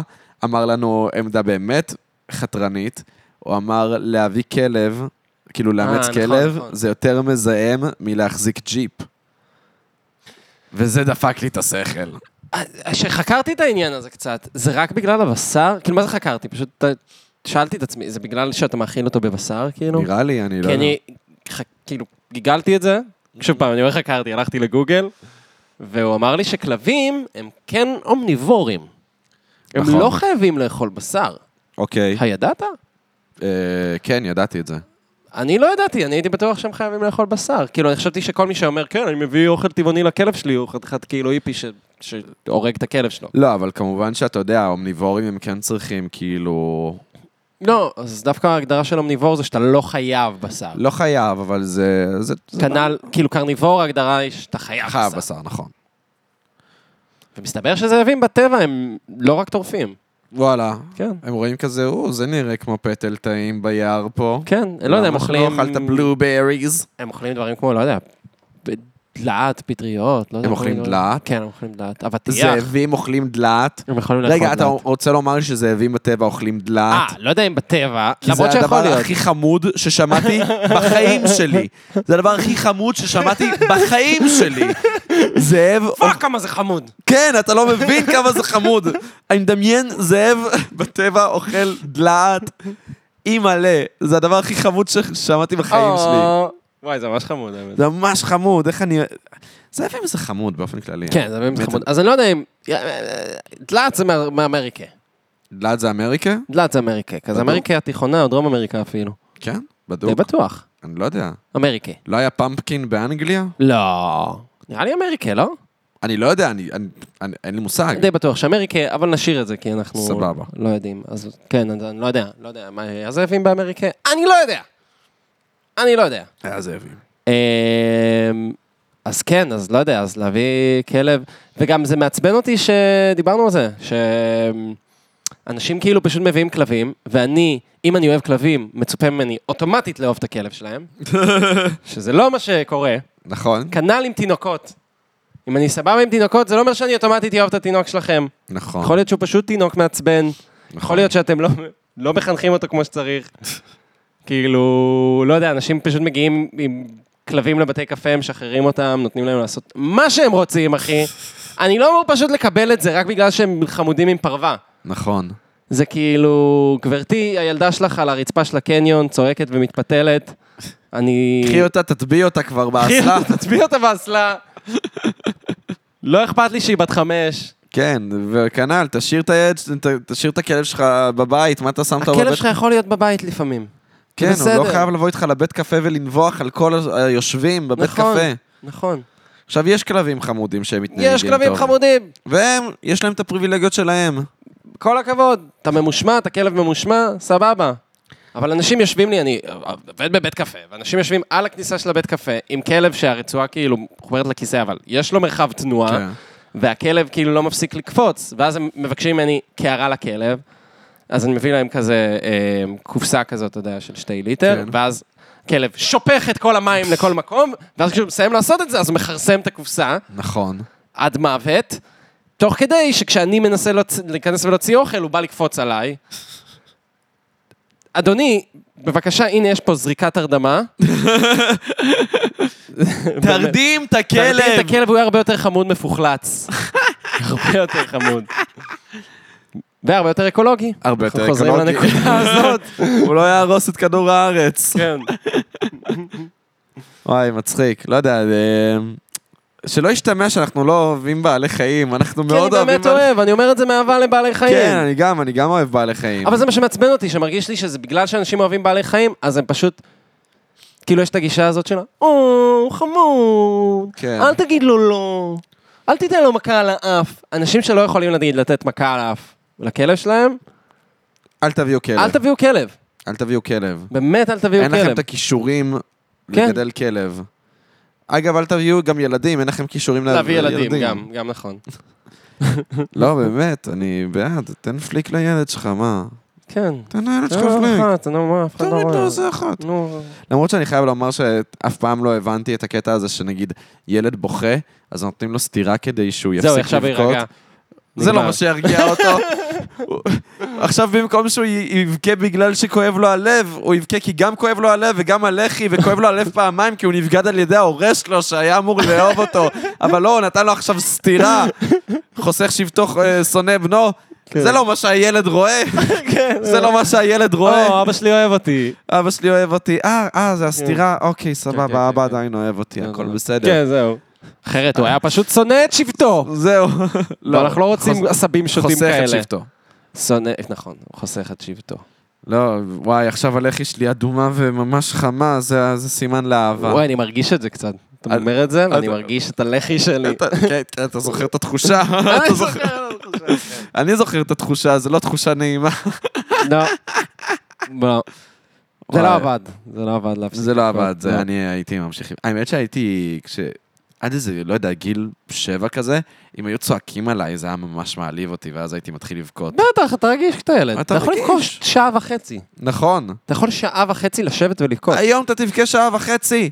A: אמר לנו עמדה באמת חתרנית, הוא אמר להביא כלב, כאילו לאמץ
B: נכון,
A: כלב,
B: נכון.
A: זה יותר מזהם מלהחזיק ג'יפ. וזה דפק לי את השכל.
B: כשחקרתי אה, את העניין הזה קצת, זה רק בגלל הבשר? כאילו, מה זה חקרתי? פשוט ת- שאלתי את עצמי, זה בגלל שאתה מאכיל אותו בבשר, כאילו?
A: נראה לי, אני לא
B: כי
A: יודע.
B: אני, ח- כאילו, גיגלתי את זה. שוב פעם, אני אומר חקרתי, הלכתי לגוגל, והוא אמר לי שכלבים הם כן אומניבורים. הם
A: נכון.
B: לא חייבים לאכול בשר. אה,
A: אוקיי.
B: הידעת?
A: אה, כן, ידעתי את זה.
B: אני לא ידעתי, אני הייתי בטוח שהם חייבים לאכול בשר. כאילו, אני חשבתי שכל מי שאומר, כן, אני מביא אוכל טבעוני לכלב שלי, הוא חתיכת כאילו היפי ש- שהורג את הכלב שלו.
A: לא, אבל כמובן שאתה יודע, האומניבורים הם כן צריכים, כאילו...
B: לא, אז דווקא ההגדרה של אומניבור זה שאתה לא חייב בשר.
A: לא חייב, אבל זה... זה- זה
B: כנ"ל, כאילו קרניבור ההגדרה היא שאתה חייב
A: חייב
B: בשר.
A: בשר, נכון.
B: ומסתבר שזאבים בטבע הם לא רק טורפים.
A: וואלה.
B: כן.
A: הם רואים כזה, או, זה נראה כמו פטל טעים ביער פה.
B: כן, אני לא יודע, הם אוכלים...
A: למה שלא אכלת בלובריז?
B: הם אוכלים דברים כמו, לא יודע, דלעת, פטריות, לא יודע.
A: הם
B: כל
A: אוכלים
B: מיני
A: דלעת?
B: דברים. כן, הם אוכלים דלעת. אבטיח.
A: זאבים אוכלים דלעת.
B: הם יכולים לאכול נכון, דלעת.
A: רגע, אתה רוצה לומר לי שזאבים בטבע אוכלים
B: אה,
A: דלעת?
B: לא יודע אם בטבע,
A: כי
B: למרות
A: זה
B: שיכול
A: הדבר
B: להיות.
A: הכי חמוד ששמעתי בחיים שלי. זה הדבר הכי חמוד ששמעתי בחיים שלי. זאב...
B: פאק, כמה זה חמוד.
A: כן, אתה לא מבין כמה זה חמוד. אני מדמיין זאב בטבע
B: אה,
A: אוכל דלעת. אימא'לה, זה הדבר הכי חמוד ששמעתי בחיים שלי.
B: או, וואי, זה ממש חמוד, האמת.
A: זה ממש חמוד, איך אני... זה לפעמים זה חמוד באופן כללי.
B: כן, זה באמת
A: באמת.
B: חמוד. אז אני לא יודע אם... אה, דלעת זה מה- מאמריקה.
A: דלעת זה אמריקה?
B: דלעת זה אמריקה. כזה
A: בדוק.
B: אמריקה התיכונה, או דרום אמריקה אפילו.
A: כן,
B: די
A: בדוק.
B: בטוח.
A: אני לא יודע.
B: אמריקה.
A: לא היה פמפקין באנגליה?
B: לא. נראה לי אמריקה, לא?
A: אני לא יודע, אני, אני, אני, אין לי מושג.
B: די בטוח שאמריקה, אבל נשאיר את זה, כי אנחנו...
A: סבבה.
B: לא יודעים. אז כן, אז אני לא יודע. לא יודע. מה, הזאבים באמריקה? אני לא יודע. אני לא יודע.
A: היה זאבים.
B: אמ, אז כן, אז לא יודע, אז להביא כלב, וגם זה מעצבן אותי שדיברנו על זה, שאנשים כאילו פשוט מביאים כלבים, ואני, אם אני אוהב כלבים, מצופה ממני אוטומטית לאהוב את הכלב שלהם, שזה לא מה שקורה,
A: נכון,
B: כנ"ל עם תינוקות. אם אני סבבה עם תינוקות, זה לא אומר שאני אוטומטית אוהב את התינוק שלכם.
A: נכון.
B: יכול להיות שהוא פשוט תינוק מעצבן, יכול
A: נכון.
B: להיות שאתם לא, לא מחנכים אותו כמו שצריך. כאילו, לא יודע, אנשים פשוט מגיעים עם כלבים לבתי קפה, משחררים אותם, נותנים להם לעשות מה שהם רוצים, אחי. אני לא אמור פשוט לקבל את זה רק בגלל שהם חמודים עם פרווה.
A: נכון.
B: זה כאילו, גברתי, הילדה שלך על הרצפה של הקניון, צועקת ומתפתלת. אני...
A: קחי אותה, תטביעי אותה כבר
B: קחי
A: באסלה.
B: אותה, תטביע אותה באסלה. לא אכפת לי שהיא בת חמש.
A: כן, וכנ"ל, תשאיר את היד, ת- תשאיר את הכלב שלך בבית, מה לא, אתה שם אותו בבית?
B: הכלב שלך יכול להיות בבית לפעמים.
A: כן,
B: זה
A: הוא לא
B: בסדר.
A: חייב לבוא איתך לבית קפה ולנבוח על כל היושבים בבית
B: נכון.
A: קפה.
B: נכון.
A: עכשיו, יש כלבים חמודים שהם מתנהגים
B: יש כלבים
A: טוב.
B: חמודים.
A: והם, יש להם את הפריבילגיות שלהם.
B: כל הכבוד, אתה ממושמע, אתה כלב ממושמע, סבבה. אבל אנשים יושבים לי, אני עובד בבית קפה, ואנשים יושבים על הכניסה של הבית קפה, עם כלב שהרצועה כאילו מחוברת לכיסא, אבל יש לו מרחב תנועה,
A: כן.
B: והכלב כאילו לא מפסיק לקפוץ, ואז הם מבקשים ממני קערה לכלב, אז אני מביא להם כזה אה, קופסה כזאת, אתה יודע, של שתי ליטר,
A: כן.
B: ואז כלב שופך את כל המים לכל מקום, ואז כשהוא מסיים לעשות את זה, אז הוא מכרסם את הקופסה,
A: נכון.
B: עד מוות, תוך כדי שכשאני מנסה להוצ... להיכנס ולהוציא אוכל, הוא בא לקפוץ עליי. אדוני, בבקשה, הנה יש פה זריקת הרדמה. באמת.
A: תרדים את
B: תרדים
A: הכלב!
B: את הכלב, הוא יהיה הרבה יותר חמוד מפוחלץ. הרבה יותר חמוד. והרבה יותר אקולוגי.
A: הרבה יותר
B: אנחנו חוזרים
A: אקולוגי.
B: לנקודה הזאת.
A: הוא לא יהרוס את כדור הארץ.
B: כן.
A: וואי, מצחיק. לא יודע, אה, שלא ישתמע שאנחנו לא אוהבים בעלי חיים, אנחנו
B: כי אני
A: מאוד אוהבים...
B: באמת אוהב, אני אומר את זה מאהבה לבעלי חיים.
A: כן, אני גם, אני גם אוהב בעלי חיים.
B: אבל זה מה שמעצבן אותי, שמרגיש לי שזה בגלל שאנשים אוהבים בעלי חיים, אז הם פשוט... כאילו, יש את הגישה הזאת שלה, או, חמוד,
A: כן.
B: אל תגיד לו לא, אל תיתן לו מכה על האף. אנשים שלא יכולים, נגיד, לתת מכה על האף לכלב שלהם,
A: אל תביאו כלב.
B: אל תביאו כלב.
A: אל תביאו כלב.
B: באמת, אל
A: כן.
B: תביאו
A: אין לכם
B: כלב.
A: את הכישורים
B: כן.
A: לגדל כלב. אגב, אל תביאו גם ילדים, אין לכם כישורים
B: להביא ילדים, גם, גם נכון.
A: לא, באמת, אני בעד, תן פליק לילד שלך, מה?
B: כן.
A: תן לילד שלך
B: לא,
A: פליק.
B: אחת, נו, מה, אף אחד לא
A: תוריד
B: רואה.
A: לו איזה אחת.
B: נו,
A: למרות שאני חייב לומר שאף פעם לא הבנתי את הקטע הזה שנגיד ילד בוכה, אז נותנים לו סטירה כדי שהוא יפסיק
B: זהו,
A: לבכות.
B: עכשיו יירגע.
A: זה לא
B: נגמר.
A: מה שירגיע אותו. הוא- עכשיו במקום שהוא י- יבכה בגלל שכואב לו הלב, הוא יבכה כי גם כואב לו הלב וגם הלחי, וכואב לו הלב פעמיים כי הוא נבגד על ידי ההורה שלו שהיה אמור לאהוב אותו, אבל לא, הוא נתן לו עכשיו סטירה. חוסך שבטו אה, שונא בנו.
B: כן.
A: זה לא מה שהילד רואה, זה לא מה שהילד רואה.
B: או, כן, אבא שלי אוהב אותי.
A: אבא שלי אוהב אותי, אה, אה, זה הסתירה, אוקיי,
B: כן, כן,
A: סבבה, אבא
B: כן.
A: עדיין אוהב אותי, הכל בסדר.
B: כן, זהו. אחרת הוא היה פשוט שונא את שבטו.
A: זהו.
B: לא, אנחנו לא רוצים עשבים שוטים
A: חוסך
B: כאלה.
A: את שבטו.
B: שונא, נכון, הוא חוסך את שבטו.
A: לא, וואי, עכשיו הלחי שלי אדומה וממש חמה, זה זה סימן לאהבה.
B: וואי, אני מרגיש את זה קצת. אתה
A: אל-
B: אומר את זה, ואני
A: אל-
B: מרגיש את הלחי שלי.
A: אתה- כן, כן, אתה זוכר את התחושה? אתה זוכר-
B: אני זוכר, אני זוכר.
A: אני זוכר את התחושה, זה לא תחושה נעימה.
B: לא. לא. זה לא
A: וואי.
B: עבד, זה לא עבד להפסיק.
A: זה לא
B: לבכות.
A: עבד, זה אני הייתי ממשיך. עם- האמת שהייתי, כש... עד איזה, לא יודע, גיל שבע כזה, אם היו צועקים עליי, זה היה ממש מעליב אותי, ואז הייתי מתחיל לבכות.
B: בטח, אתה רגיש כשאתה ילד.
A: אתה
B: אתה יכול
A: רגיש.
B: לבכות שעה וחצי.
A: נכון.
B: אתה יכול שעה וחצי לשבת ולבכות.
A: היום אתה תבכה שעה וחצי.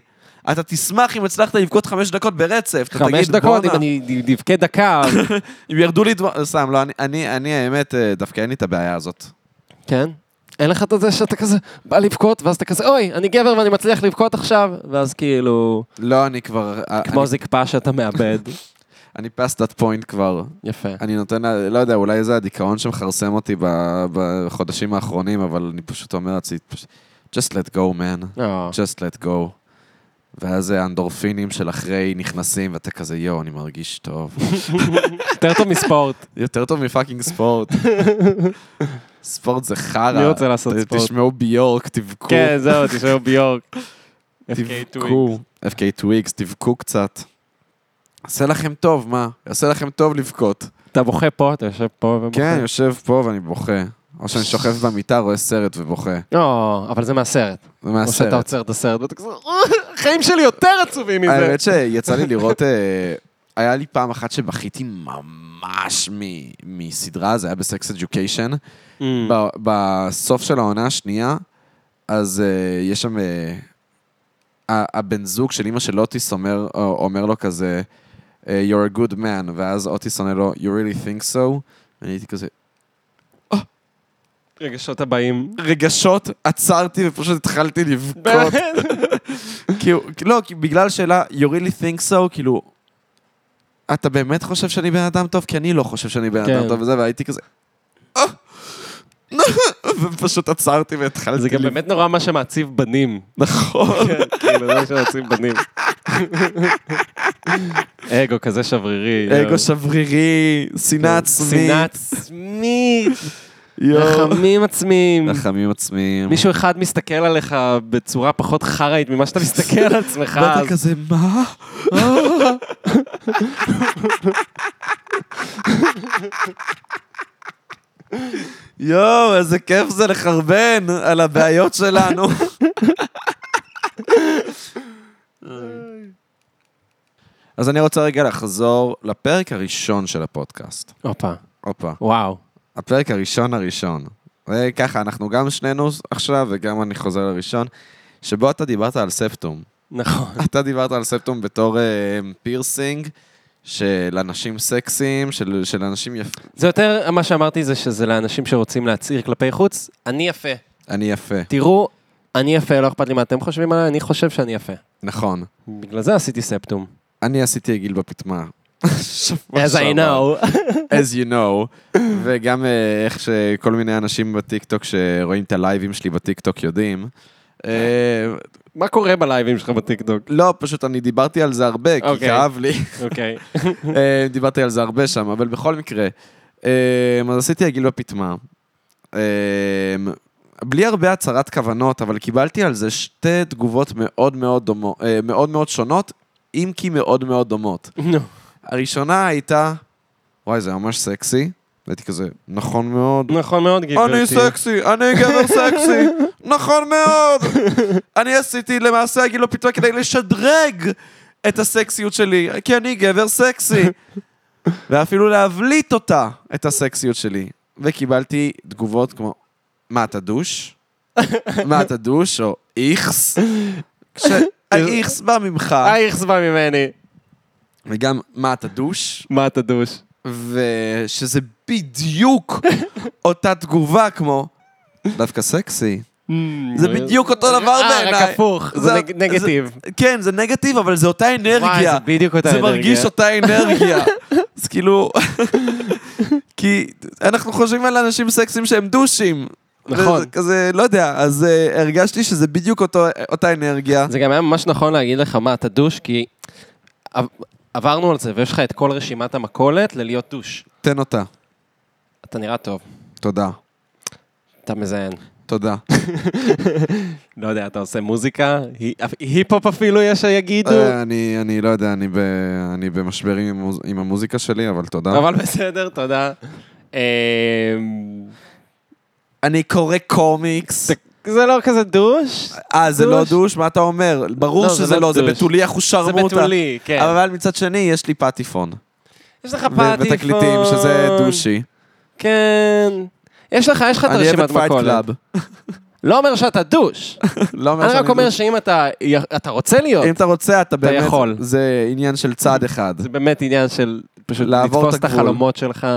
A: אתה תשמח אם הצלחת לבכות חמש דקות ברצף. אתה
B: חמש
A: תגיד,
B: דקות, אם
A: "בואנה,
B: אני דבקה דקה. אז-
A: אם ירדו לי דמעות... סתם, לא, אני- אני, אני האמת, אה, דווקא אין לי את הבעיה הזאת.
B: כן? אין לך את זה שאתה כזה בא לבכות, ואז אתה כזה, אוי, אני גבר ואני מצליח לבכות עכשיו, ואז כאילו,
A: לא, אני כבר... אה,
B: כמו זקפה שאתה מאבד.
A: אני פסט דאט פוינט כבר.
B: יפה.
A: אני נותן, לה- לא יודע, אולי זה הדיכאון שמכרסם אותי ב- בחודשים האחרונים, אבל אני פשוט אומר לעצמי, פש- just let go, man.
B: אה.
A: just let go. ואז האנדורפינים של אחרי נכנסים, ואתה כזה, יואו, אני מרגיש טוב.
B: יותר טוב מספורט.
A: יותר טוב מפאקינג ספורט. ספורט זה חרא.
B: מי רוצה לעשות
A: ת-
B: ספורט?
A: תשמעו ביורק, תבכו.
B: כן, זהו, תשאר ביורק.
A: תבכו. FK טוויקס, תבכו קצת. עשה לכם טוב, מה? עשה לכם טוב לבכות.
B: אתה בוכה פה, אתה יושב פה ובוכה.
A: כן, יושב פה ואני בוכה. או שאני שוכב במיטה, רואה סרט ובוכה.
B: לא, אבל זה מהסרט.
A: זה
B: או שאתה
A: מהסרט.
B: עוצר את הסרט ואתה כזה, החיים שלי יותר עצובים מזה.
A: האמת שיצא לי לראות, אה, היה לי פעם אחת שבכיתי ממש מ- מסדרה, זה היה בסקס אדיוקיישן.
B: Mm.
A: ב- בסוף של העונה השנייה, אז אה, יש שם... אה, ה- הבן זוג של אימא של אוטיס אומר, או- אומר לו כזה, אה, You're a good man, ואז אוטיס עונה לו, You really think so? ואני הייתי כזה,
B: רגשות הבאים.
A: רגשות, עצרתי ופשוט התחלתי לבכות. כאילו, לא, כי בגלל השאלה, you really think so, כאילו, אתה באמת חושב שאני בן אדם טוב? כי אני לא חושב שאני בן אדם
B: כן.
A: טוב וזה, והייתי כזה... "אה." ופשוט עצרתי והתחלתי...
B: זה גם
A: לב-
B: באמת נורא מה שמעציב בנים.
A: נכון.
B: כאילו, זה מה שמעציב בנים. אגו כזה שברירי.
A: אגו שברירי,
B: כן.
A: שנאה עצמית.
B: שנאה עצמית.
A: יואו.
B: רחמים עצמיים.
A: רחמים עצמיים.
B: מישהו אחד מסתכל עליך בצורה פחות חראית ממה שאתה מסתכל על עצמך. אז-
A: ואתה כזה, מה? יואו, איזה כיף זה לחרבן על הבעיות שלנו. אז אני רוצה רגע לחזור לפרק הראשון של הפודקאסט.
B: הופה,
A: הופה.
B: וואו.
A: הפרק הראשון הראשון. זה ככה, אנחנו גם שנינו עכשיו, וגם אני חוזר לראשון, שבו אתה דיברת על ספטום.
B: נכון.
A: אתה דיברת על ספטום בתור אה, פירסינג של אנשים סקסיים, של, של אנשים יפים.
B: זה יותר, מה שאמרתי זה שזה לאנשים שרוצים להצהיר כלפי חוץ, אני יפה.
A: אני יפה.
B: תראו, אני יפה, לא אכפת לי מה אתם חושבים עליי, אני חושב שאני יפה.
A: נכון.
B: בגלל זה עשיתי ספטום.
A: אני עשיתי עגיל בפיטמה. שבוע
B: As I
A: שעבר.
B: know.
A: as you know, וגם אה, איך שכל מיני אנשים בטיקטוק שרואים את הלייבים שלי בטיקטוק יודעים. אה,
B: מה קורה בלייבים שלך בטיקטוק?
A: לא, פשוט אני דיברתי על זה הרבה, כי
B: אוקיי.
A: כאב לי.
B: אוקיי.
A: אה, דיברתי על זה הרבה שם, אבל בכל מקרה. אה, אז עשיתי עגיל בפטמה. אה, בלי הרבה הצהרת כוונות, אבל קיבלתי על זה שתי תגובות מאוד מאוד, דומו, אה, מאוד, מאוד שונות, אם כי מאוד מאוד דומות.
B: נו.
A: הראשונה הייתה, וואי, זה ממש סקסי. הייתי כזה, נכון מאוד.
B: נכון מאוד, גברתי.
A: אני סקסי, אני גבר סקסי, נכון מאוד. אני עשיתי למעשה עגיל בפטמה כדי לשדרג את הסקסיות שלי, כי אני גבר סקסי. ואפילו להבליט אותה, את הסקסיות שלי. וקיבלתי תגובות כמו, מה, אתה דוש? מה, אתה דוש? או איכס? כשהאיכס בא ממך,
B: אייכס בא ממני.
A: וגם מה, אתה דוש?
B: מה אתה דוש?
A: ושזה בדיוק אותה תגובה כמו, דווקא סקסי. זה בדיוק אותו דבר בעיניי.
B: Mm. אה, רק הפוך, זה נג- נגטיב.
A: כן, זה נגטיב, אבל זה אותה
B: וואי,
A: אנרגיה.
B: זה בדיוק אותה
A: זה
B: אנרגיה.
A: מרגיש אותה אנרגיה. אז כאילו... כי אנחנו חושבים על אנשים סקסים שהם דושים.
B: נכון.
A: וזה כזה, לא יודע, אז אה, הרגשתי שזה בדיוק אותו- אותה אנרגיה.
B: זה גם היה ממש נכון להגיד לך, מה, אתה דוש, כי עב- עברנו על זה, ויש לך את כל רשימת המכולת ללהיות דוש.
A: תן אותה.
B: אתה נראה טוב,
A: תודה.
B: אתה מזיין.
A: תודה.
B: לא יודע, אתה עושה מוזיקה, הי- היפ-הופ אפילו יש שיגידו,
A: אה, אני אני לא יודע, אני ב- אני במשברים עם המוז- עם המוזיקה שלי, אבל תודה.
B: אבל בסדר, תודה. אמ,
A: אני קורא קומיקס.
B: זה לא כזה דוש,
A: אה, זה לא
B: דוש?
A: דוש? מה אתה אומר? ברור
B: לא, זה
A: שזה
B: לא
A: לא, זה
B: דוש.
A: בתולי
B: זה
A: אחושרמוטה.
B: בתולי, כן.
A: אבל מצד שני, יש לי פטיפון.
B: יש לך
A: ו-
B: פטיפון.
A: ותקליטים, שזה דושי.
B: כן. יש לך, יש לך את
A: אני אוהב
B: הרשימת
A: את פייט
B: מכולת.
A: קלאב.
B: לא אומר שאתה דוש.
A: לא אומר
B: אני
A: שאני
B: רק אומר
A: דוש.
B: שאם אתה אתה רוצה להיות,
A: אם אתה רוצה, אתה באמת...
B: יכול.
A: זה עניין של צעד אחד.
B: זה באמת עניין של פשוט
A: לעבור
B: לתפוס
A: את
B: את
A: הגבול.
B: החלומות שלך.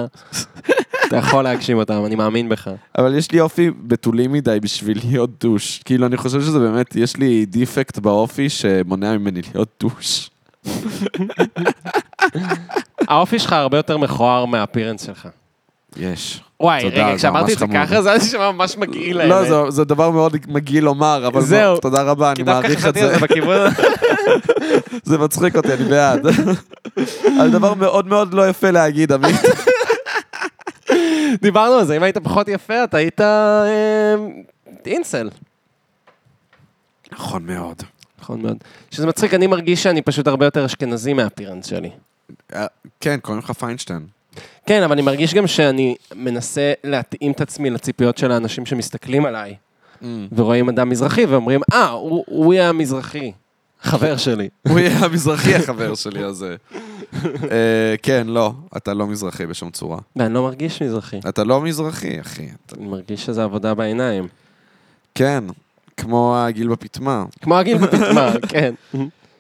B: אתה יכול להגשים אותם, אני מאמין בך.
A: אבל יש לי אופי בתולי מדי בשביל להיות דוש. כאילו, אני חושב שזה באמת, יש לי דיפקט באופי שמונע ממני להיות דוש.
B: האופי שלך הרבה יותר מכוער מהאפירנס שלך.
A: יש.
B: וואי,
A: תודה,
B: רגע,
A: זה
B: כשאמרתי את
A: ממש
B: זה
A: חמוד.
B: ככה, זה היה נשמע ממש מגעיל האלה.
A: לא, זה- זה דבר מאוד מגעיל לומר, אבל
B: זהו.
A: בוא, תודה רבה, אני
B: אה. כי דווקא
A: מעריך את
B: חשבתי
A: זה.
B: על זה בכיוון...
A: זה מצחיק אותי, אני בעד. על דבר מאוד מאוד לא יפה להגיד, עמית.
B: דיברנו על זה, אם היית פחות יפה, אתה היית אה, אינסל.
A: נכון מאוד.
B: נכון מאוד. שזה מצחיק, אני מרגיש שאני פשוט הרבה יותר אשכנזי מהפירנס שלי.
A: כן, קוראים לך פיינשטיין.
B: כן, אבל אני מרגיש גם שאני מנסה להתאים את עצמי לציפיות של האנשים שמסתכלים עליי, ורואים אדם מזרחי ואומרים, אה, הוא, הוא יהיה המזרחי, חבר שלי.
A: הוא יהיה המזרחי החבר שלי הזה. אה, כן, לא, אתה לא מזרחי בשום צורה.
B: ואני לא מרגיש מזרחי.
A: אתה לא מזרחי, אחי. אתה-
B: אני מרגיש שזה עבודה בעיניים.
A: כן, כמו הגיל בפטמה.
B: כמו הגיל בפטמה, כן.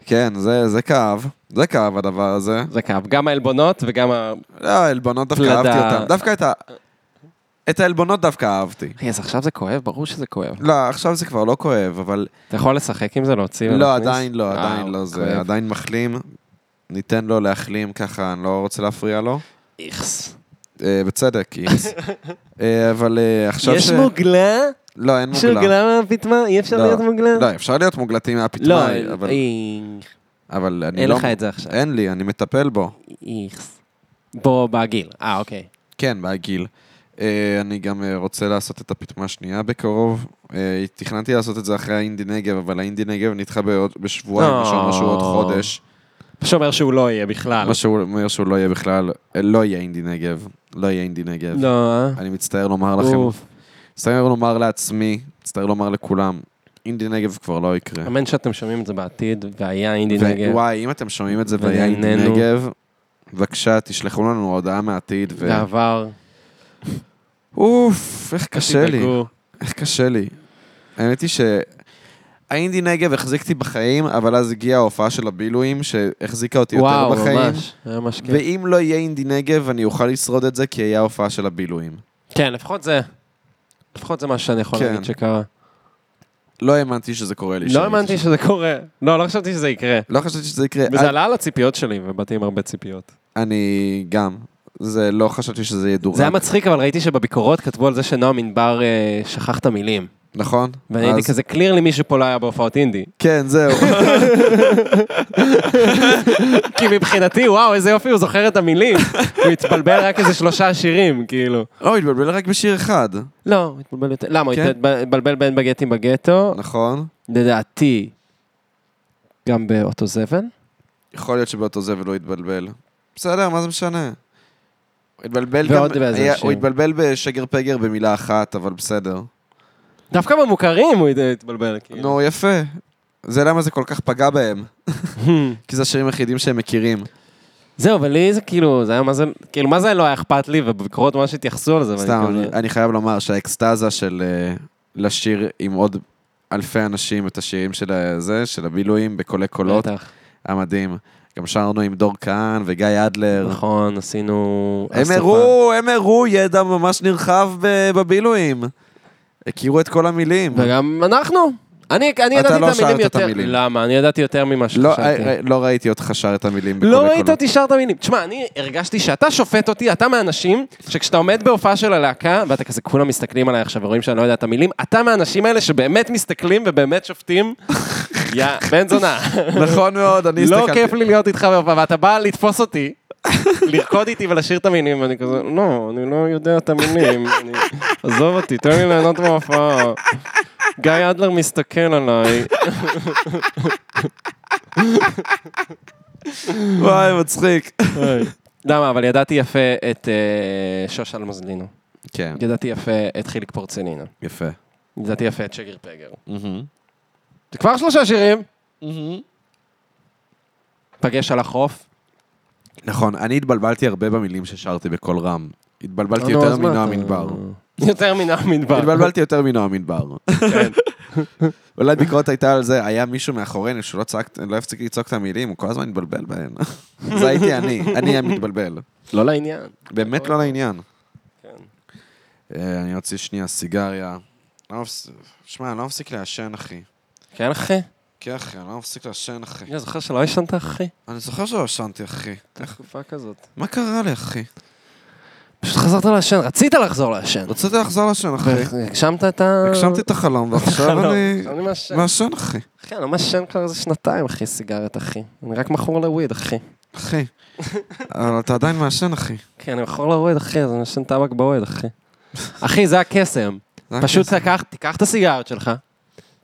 A: כן, זה, זה כאב. זה כאב הדבר הזה.
B: זה כאב, גם העלבונות וגם ה...
A: לא, העלבונות דווקא
B: פלדה.
A: אהבתי אותם. דווקא את ה... את העלבונות דווקא אהבתי.
B: אחי, אז עכשיו זה כואב? ברור שזה כואב.
A: לא, עכשיו זה כבר לא כואב, אבל...
B: אתה יכול לשחק עם זה, להוציא
A: לא,
B: ולהכניס?
A: עדיין לא,
B: וואו,
A: עדיין לא
B: אה, כואב.
A: זה. עדיין מחלים. ניתן לו להחלים ככה, אני לא רוצה להפריע לו.
B: איכס.
A: אה, בצדק, איץ. אה, אבל אה, עכשיו ש...
B: יש מוגלה?
A: לא, אין מוגלה.
B: שהוגלה מהפטמה? אי אפשר
A: לא.
B: להיות מוגלה?
A: לא, אפשר להיות מוגלתי
B: לא,
A: מהפטמה, אבל-
B: אי-
A: אבל אני
B: אין
A: לא...
B: לך את זה עכשיו.
A: אין לי, אני מטפל בו.
B: איכס. בוא, בגיל. אה, אוקיי.
A: כן, מהגיל. אה, אני גם אה, רוצה לעשות את הפטמה השנייה בקרוב. אה, תכננתי לעשות את זה אחרי האינדי נגב, אבל האינדי נגב נדחה בעוד- בשבועיים, מה שאומר שהוא עוד
B: אה.
A: חודש.
B: שאומר שהוא לא יהיה בכלל.
A: מה שהוא אומר שהוא לא יהיה בכלל, אה, לא יהיה אינדי נגב. לא יהיה אינדי נגב.
B: לא, אה?
A: אני מצטער לומר לכם,
B: אוף.
A: מצטער לומר לעצמי, מצטער לומר לכולם, אינדי נגב כבר לא יקרה.
B: אמן שאתם שומעים את זה בעתיד, והיה אינדי
A: ו-
B: נגב.
A: וואי, אם אתם שומעים את זה והיה אינדי
B: ונהנינו.
A: נגב, בבקשה, תשלחו לנו הודעה מהעתיד. ו-
B: ועבר.
A: אוף, איך קשה לי.
B: תדאגו.
A: איך קשה לי. האמת היא שהאינדי נגב החזיקתי בחיים, אבל אז הגיעה ההופעה של הבילויים שהחזיקה אותי יותר
B: וואו,
A: בחיים.
B: ממש. כן. היה ממש כיף.
A: ואם לא יהיה אינדי נגב, אני אוכל לשרוד את זה, כי היה הופעה של הבילויים.
B: כן, לפחות זה. לפחות זה מה שאני יכול
A: כן.
B: להגיד שקרה.
A: לא האמנתי שזה קורה לי.
B: לא
A: שאני-
B: האמנתי שזה קורה. לא, לא חשבתי שזה יקרה.
A: לא חשבתי שזה יקרה.
B: וזה עלה על הציפיות שלי, ובאתי עם הרבה ציפיות.
A: אני גם. זה לא חשבתי שזה יהיה דורג.
B: זה היה מצחיק, אבל ראיתי שבביקורות כתבו על זה שנועם ענבר אה, שכח את המילים.
A: נכון?
B: ואני הייתי
A: אז-
B: כזה, קליר לי מישהו פה לא היה בהופעות אינדי.
A: כן, זהו.
B: כי מבחינתי, וואו, איזה יופי, הוא זוכר את המילים. הוא התבלבל רק איזה שלושה שירים, כאילו.
A: לא, הוא התבלבל רק בשיר אחד,
B: לא, הוא התבלבל יותר. למה, הוא
A: כן?
B: התבלבל בין בגטים בגטו,
A: נכון?
B: לדעתי, גם באותו זבל.
A: יכול להיות שבאותו זבל הוא התבלבל. בסדר, מה זה משנה? הוא התבלבל גם...
B: ועוד באיזה
A: היה-
B: שיר.
A: הוא התבלבל בשגר פגר במילה אחת, אבל בסדר.
B: דווקא במוכרים הוא התבלבל, כאילו.
A: נו, יפה. זה למה זה כל כך פגע בהם. כי זה השירים היחידים שהם מכירים.
B: זהו, אבל לי זה כאילו, זה היה מה זה, כאילו, מה זה לא היה אכפת לי, ובביקורות ממש התייחסו על זה. ואני
A: סתם,
B: כזה-
A: אני- אני חייב לומר שהאקסטזה של אה, לשיר עם עוד אלפי אנשים את השירים של ה- זה, של הבילויים בקולי קולות,
B: בטח.
A: היה מדהים. גם שרנו עם דור כהן וגיא אדלר.
B: נכון, עשינו...
A: הם
B: אסטרופן.
A: הראו, הם הראו ידע ממש נרחב ב- בבילויים. הכירו את כל המילים.
B: וגם אנחנו. אני, אני ידעתי
A: לא
B: את המילים
A: שרת את
B: יותר.
A: המילים.
B: למה? אני ידעתי יותר ממה
A: לא,
B: שחשבתי.
A: אה, לא ראיתי אותך שר את המילים בקולי
B: לא
A: קולות.
B: ראית אותי שר את המילים. תשמע, אני הרגשתי שאתה שופט אותי, אתה מהאנשים שכשאתה עומד בהופעה של הלהקה, ואתה כזה, כולם מסתכלים עליי עכשיו ורואים שאני לא יודע את המילים, אתה מהאנשים האלה שבאמת מסתכלים ובאמת שופטים. יא, בן זונה.
A: נכון מאוד, אני
B: לא
A: הסתכלתי.
B: כיף לי להיות איתך בהופעה, ואתה בא לתפוס אותי, לרקוד איתי ולשיר את המילים, ואני כזה, לא, אני לא יודע את המילים, אני- עזוב אותי, תן לי ליהנות מההופעה. גיא אדלר מסתכל עליי,
A: וואי, מצחיק.
B: למה, אבל ידעתי יפה את אה, שוש אלמזלינו,
A: כן,
B: ידעתי יפה את חיליק פורצלינו,
A: יפה.
B: ידעתי יפה את שגר פגר. זה כבר שלושה שירים. פגש על החוף.
A: נכון, אני התבלבלתי הרבה במילים ששרתי בקול רם. התבלבלתי
B: נו,
A: יותר
B: אז מה אה.
A: מנועם
B: אתה-
A: מדבר.
B: יותר מנועם מדבר.
A: התבלבלתי יותר מנועם מדבר.
B: כן.
A: אולי ביקורת הייתה על זה, היה מישהו מאחורינו שלא צעק, לא הפסיק לצעוק את המילים, הוא כל הזמן התבלבל בהן. זה הייתי אני, אני המתבלבל.
B: לא לעניין.
A: באמת לא לעניין.
B: נכון. כן.
A: אה, אני אוציא שנייה סיגריה. לא מפס- שמע, אני לא מפסיק לעשן, אחי.
B: כן, אחי?
A: כן, אחי, אני לא מפסיק לעשן, אחי.
B: אני זוכר שלא ישנת, אחי?
A: אני זוכר שלא עשנתי, אחי.
B: תקופה כזאת.
A: מה קרה לי, אחי?
B: פשוט חזרת לעשן, רצית לחזור לעשן.
A: רציתי לחזור לעשן, אחי.
B: הגשמת את ה...
A: הגשמתי את החלום, ועכשיו
B: החלום.
A: אני...
B: עכשיו אני מעשן.
A: מעשן, אחי.
B: אחי, אני לא מעשן כבר איזה שנתיים, אחי, סיגרת, אחי. אני רק מכור לוויד, אחי.
A: אחי. אבל אתה עדיין מעשן, אחי.
B: כן, אני מכור לאוהד, אחי, אז אני ישן טבק באוהד, אחי. אחי, זה הקסם.
A: זה היה
B: פשוט
A: כיף.
B: תיקח, תיקח את הסיגרת שלך,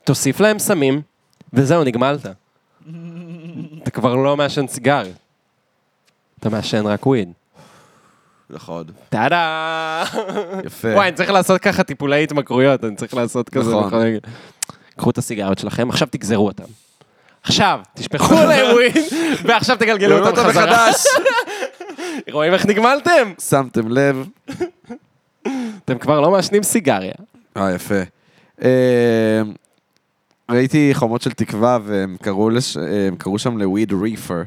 B: תוסיף להם סמים, וזהו, נגמלת. אתה כבר לא מעשן סיגר. אתה מעשן רק וויד.
A: נכון.
B: טאדה!
A: יפה.
B: וואי, אני צריך לעשות ככה טיפולי התמכרויות, אני צריך לעשות כזה.
A: נכון.
B: נכון. קחו את הסיגריות שלכם, עכשיו תגזרו אותם. עכשיו, תשפכו עליהם וויד, ועכשיו תגלגלו
A: גילו אותם
B: אותם חזרה.
A: מחדש.
B: רואים איך נגמלתם?
A: שמתם לב.
B: אתם כבר לא מעשנים סיגריה.
A: אה, יפה. אה, ראיתי חומות של תקווה, והם קראו, לש... אה, הם קראו שם לוויד ריפר,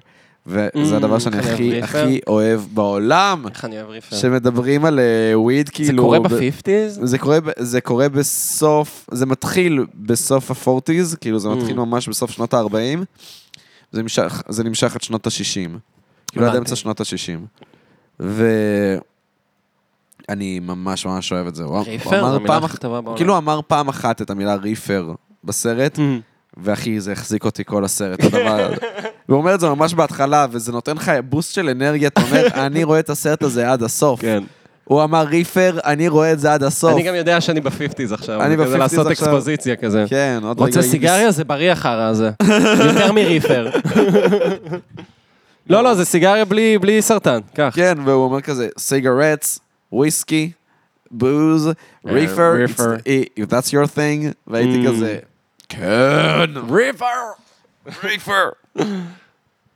A: וזה
B: Mm,
A: הדבר שאני
B: חייב
A: הכי,
B: reefer.
A: הכי אוהב בעולם,
B: איך אני אוהב ריפר.
A: שמדברים על אה, וויד
B: זה
A: כאילו...
B: קורה
A: ב-
B: בפיפטיז?
A: זה קורה, ב- זה קורה בסוף, זה מתחיל בסוף הפורטיז, כאילו זה
B: Mm.
A: מתחיל ממש בסוף שנות ה-40, זה נמשך, זה נמשך עד שנות ה-60. כאילו עד
B: הבנתי.
A: אמצע שנות ה-60. ואני ממש ממש אוהב את זה. הוא- הוא
B: ריפר?
A: אמר
B: זו המילה
A: פעם
B: הכי טובה בעולם.
A: כאילו אמר פעם אחת את המילה ריפר בסרט, ואחי, זה החזיק אותי כל הסרט, הדבר הזה. והוא אומר את זה ממש בהתחלה, וזה נותן לך בוסט של אנרגיה, אתה אומר, אני רואה את הסרט הזה עד הסוף.
B: כן.
A: הוא אמר ריפר, אני רואה את זה עד הסוף.
B: אני גם יודע שאני בפיפטיז עכשיו.
A: אני
B: אני כזה
A: ב-50s
B: לעשות
A: עכשיו.
B: אקספוזיציה כזה.
A: כן, עוד רגע...
B: רוצה
A: יגיש-
B: סיגריה? זה בריא החרא הזה. יותר מריפר. לא, לא, זה סיגריה בלי בלי סרטן. קח.
A: כן, והוא אומר כזה, סיגרטס, וויסקי, בוז, ריפר,
B: ריפר.
A: if that's your thing, והייתי
B: Mm.
A: כזה, כן,
B: ריפר!
A: ריפר.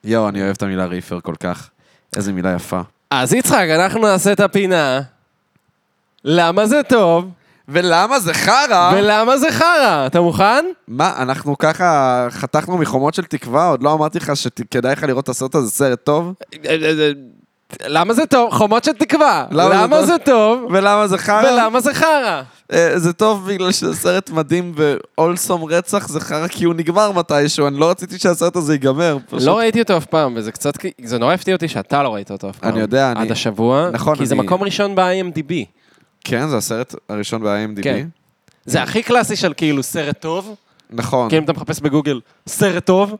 A: יואו, אני אוהב את המילה ריפר כל כך. איזה מילה יפה.
B: אז יצחק, אנחנו נעשה את הפינה. למה זה טוב?
A: ולמה זה חרא?
B: ולמה זה חרא? אתה מוכן?
A: מה, אנחנו ככה חתכנו מחומות של תקווה, עוד לא אמרתי לך שכדאי לך לראות את הסרט הזה, סרט טוב?
B: למה זה טוב? חומות של תקווה.
A: למה זה טוב? אה?
B: למה זה טוב?
A: ולמה זה חרא?
B: ולמה זה חרא?
A: אה, זה טוב בגלל שזה סרט מדהים ואולסום רצח זה חרא כי הוא נגמר מתישהו, אני לא רציתי שהסרט הזה ייגמר. פשוט.
B: לא ראיתי אותו אף פעם, וזה קצת, כי- זה נורא הפתיע אותי שאתה לא ראית אותו אף פעם.
A: אני יודע, אני-
B: עד השבוע,
A: נכון,
B: כי זה
A: אני-
B: מקום ראשון ב-IMDb.
A: כן, זה הסרט הראשון ב-IMDb.
B: כן. זה הכי קלאסי של כאילו סרט טוב,
A: נכון.
B: כי אם אתה מחפש בגוגל סרט טוב,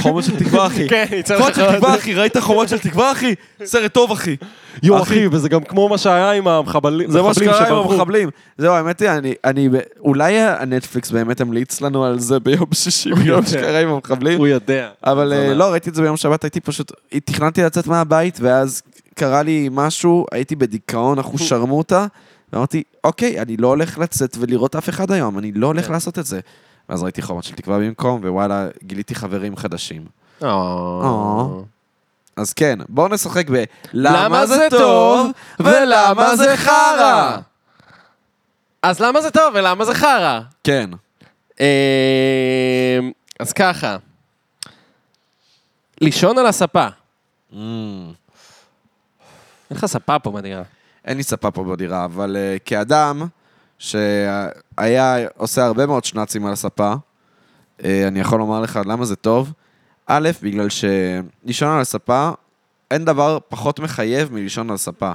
A: חומות של תקווה, אחי.
B: כן, יצא
A: חומות
B: לך
A: של תקווה, אחי, ראית חומות של תקווה, אחי? סרט טוב, אחי.
B: יו אחי, וזה גם כמו מה שהיה עם המחבלים
A: זה מה
B: מחבלים
A: שקרה עם
B: שברחו.
A: המחבלים. זהו, האמת היא, אני- אני... אולי הנטפליקס באמת המליץ לנו על זה ביום שישי, ביום
B: יודע.
A: שקרה עם המחבלים.
B: הוא יודע.
A: אבל
B: זה
A: אה,
B: אומר.
A: לא, ראיתי את זה ביום שבת, הייתי פשוט, תכננתי לצאת מהבית, ואז קרה לי משהו, הייתי בדיכאון, אחושרמוטה, ואמרתי, אוקיי, אני לא הולך לצאת ולראות אף אחד היום, אני לא הולך
B: כן.
A: לעשות את זה. ואז ראיתי חומות של תקווה במקום, ווואלה, גיליתי חברים חדשים.
B: או.
A: אז כן, בואו נשחק ב...
B: אה. למה זה טוב ולמה זה חרא? אז למה זה טוב ולמה זה חרא?
A: כן.
B: אה, אז ככה, לישון על הספה. אין לך ספה Mm. פה בדירה.
A: אין לי ספה פה בדירה, אבל אה, כאדם שהיה עושה הרבה מאוד שנאצים על הספה, אה, אני יכול לומר לך למה זה טוב. א', בגלל שלישון על הספה, אין דבר פחות מחייב מלישון על ספה.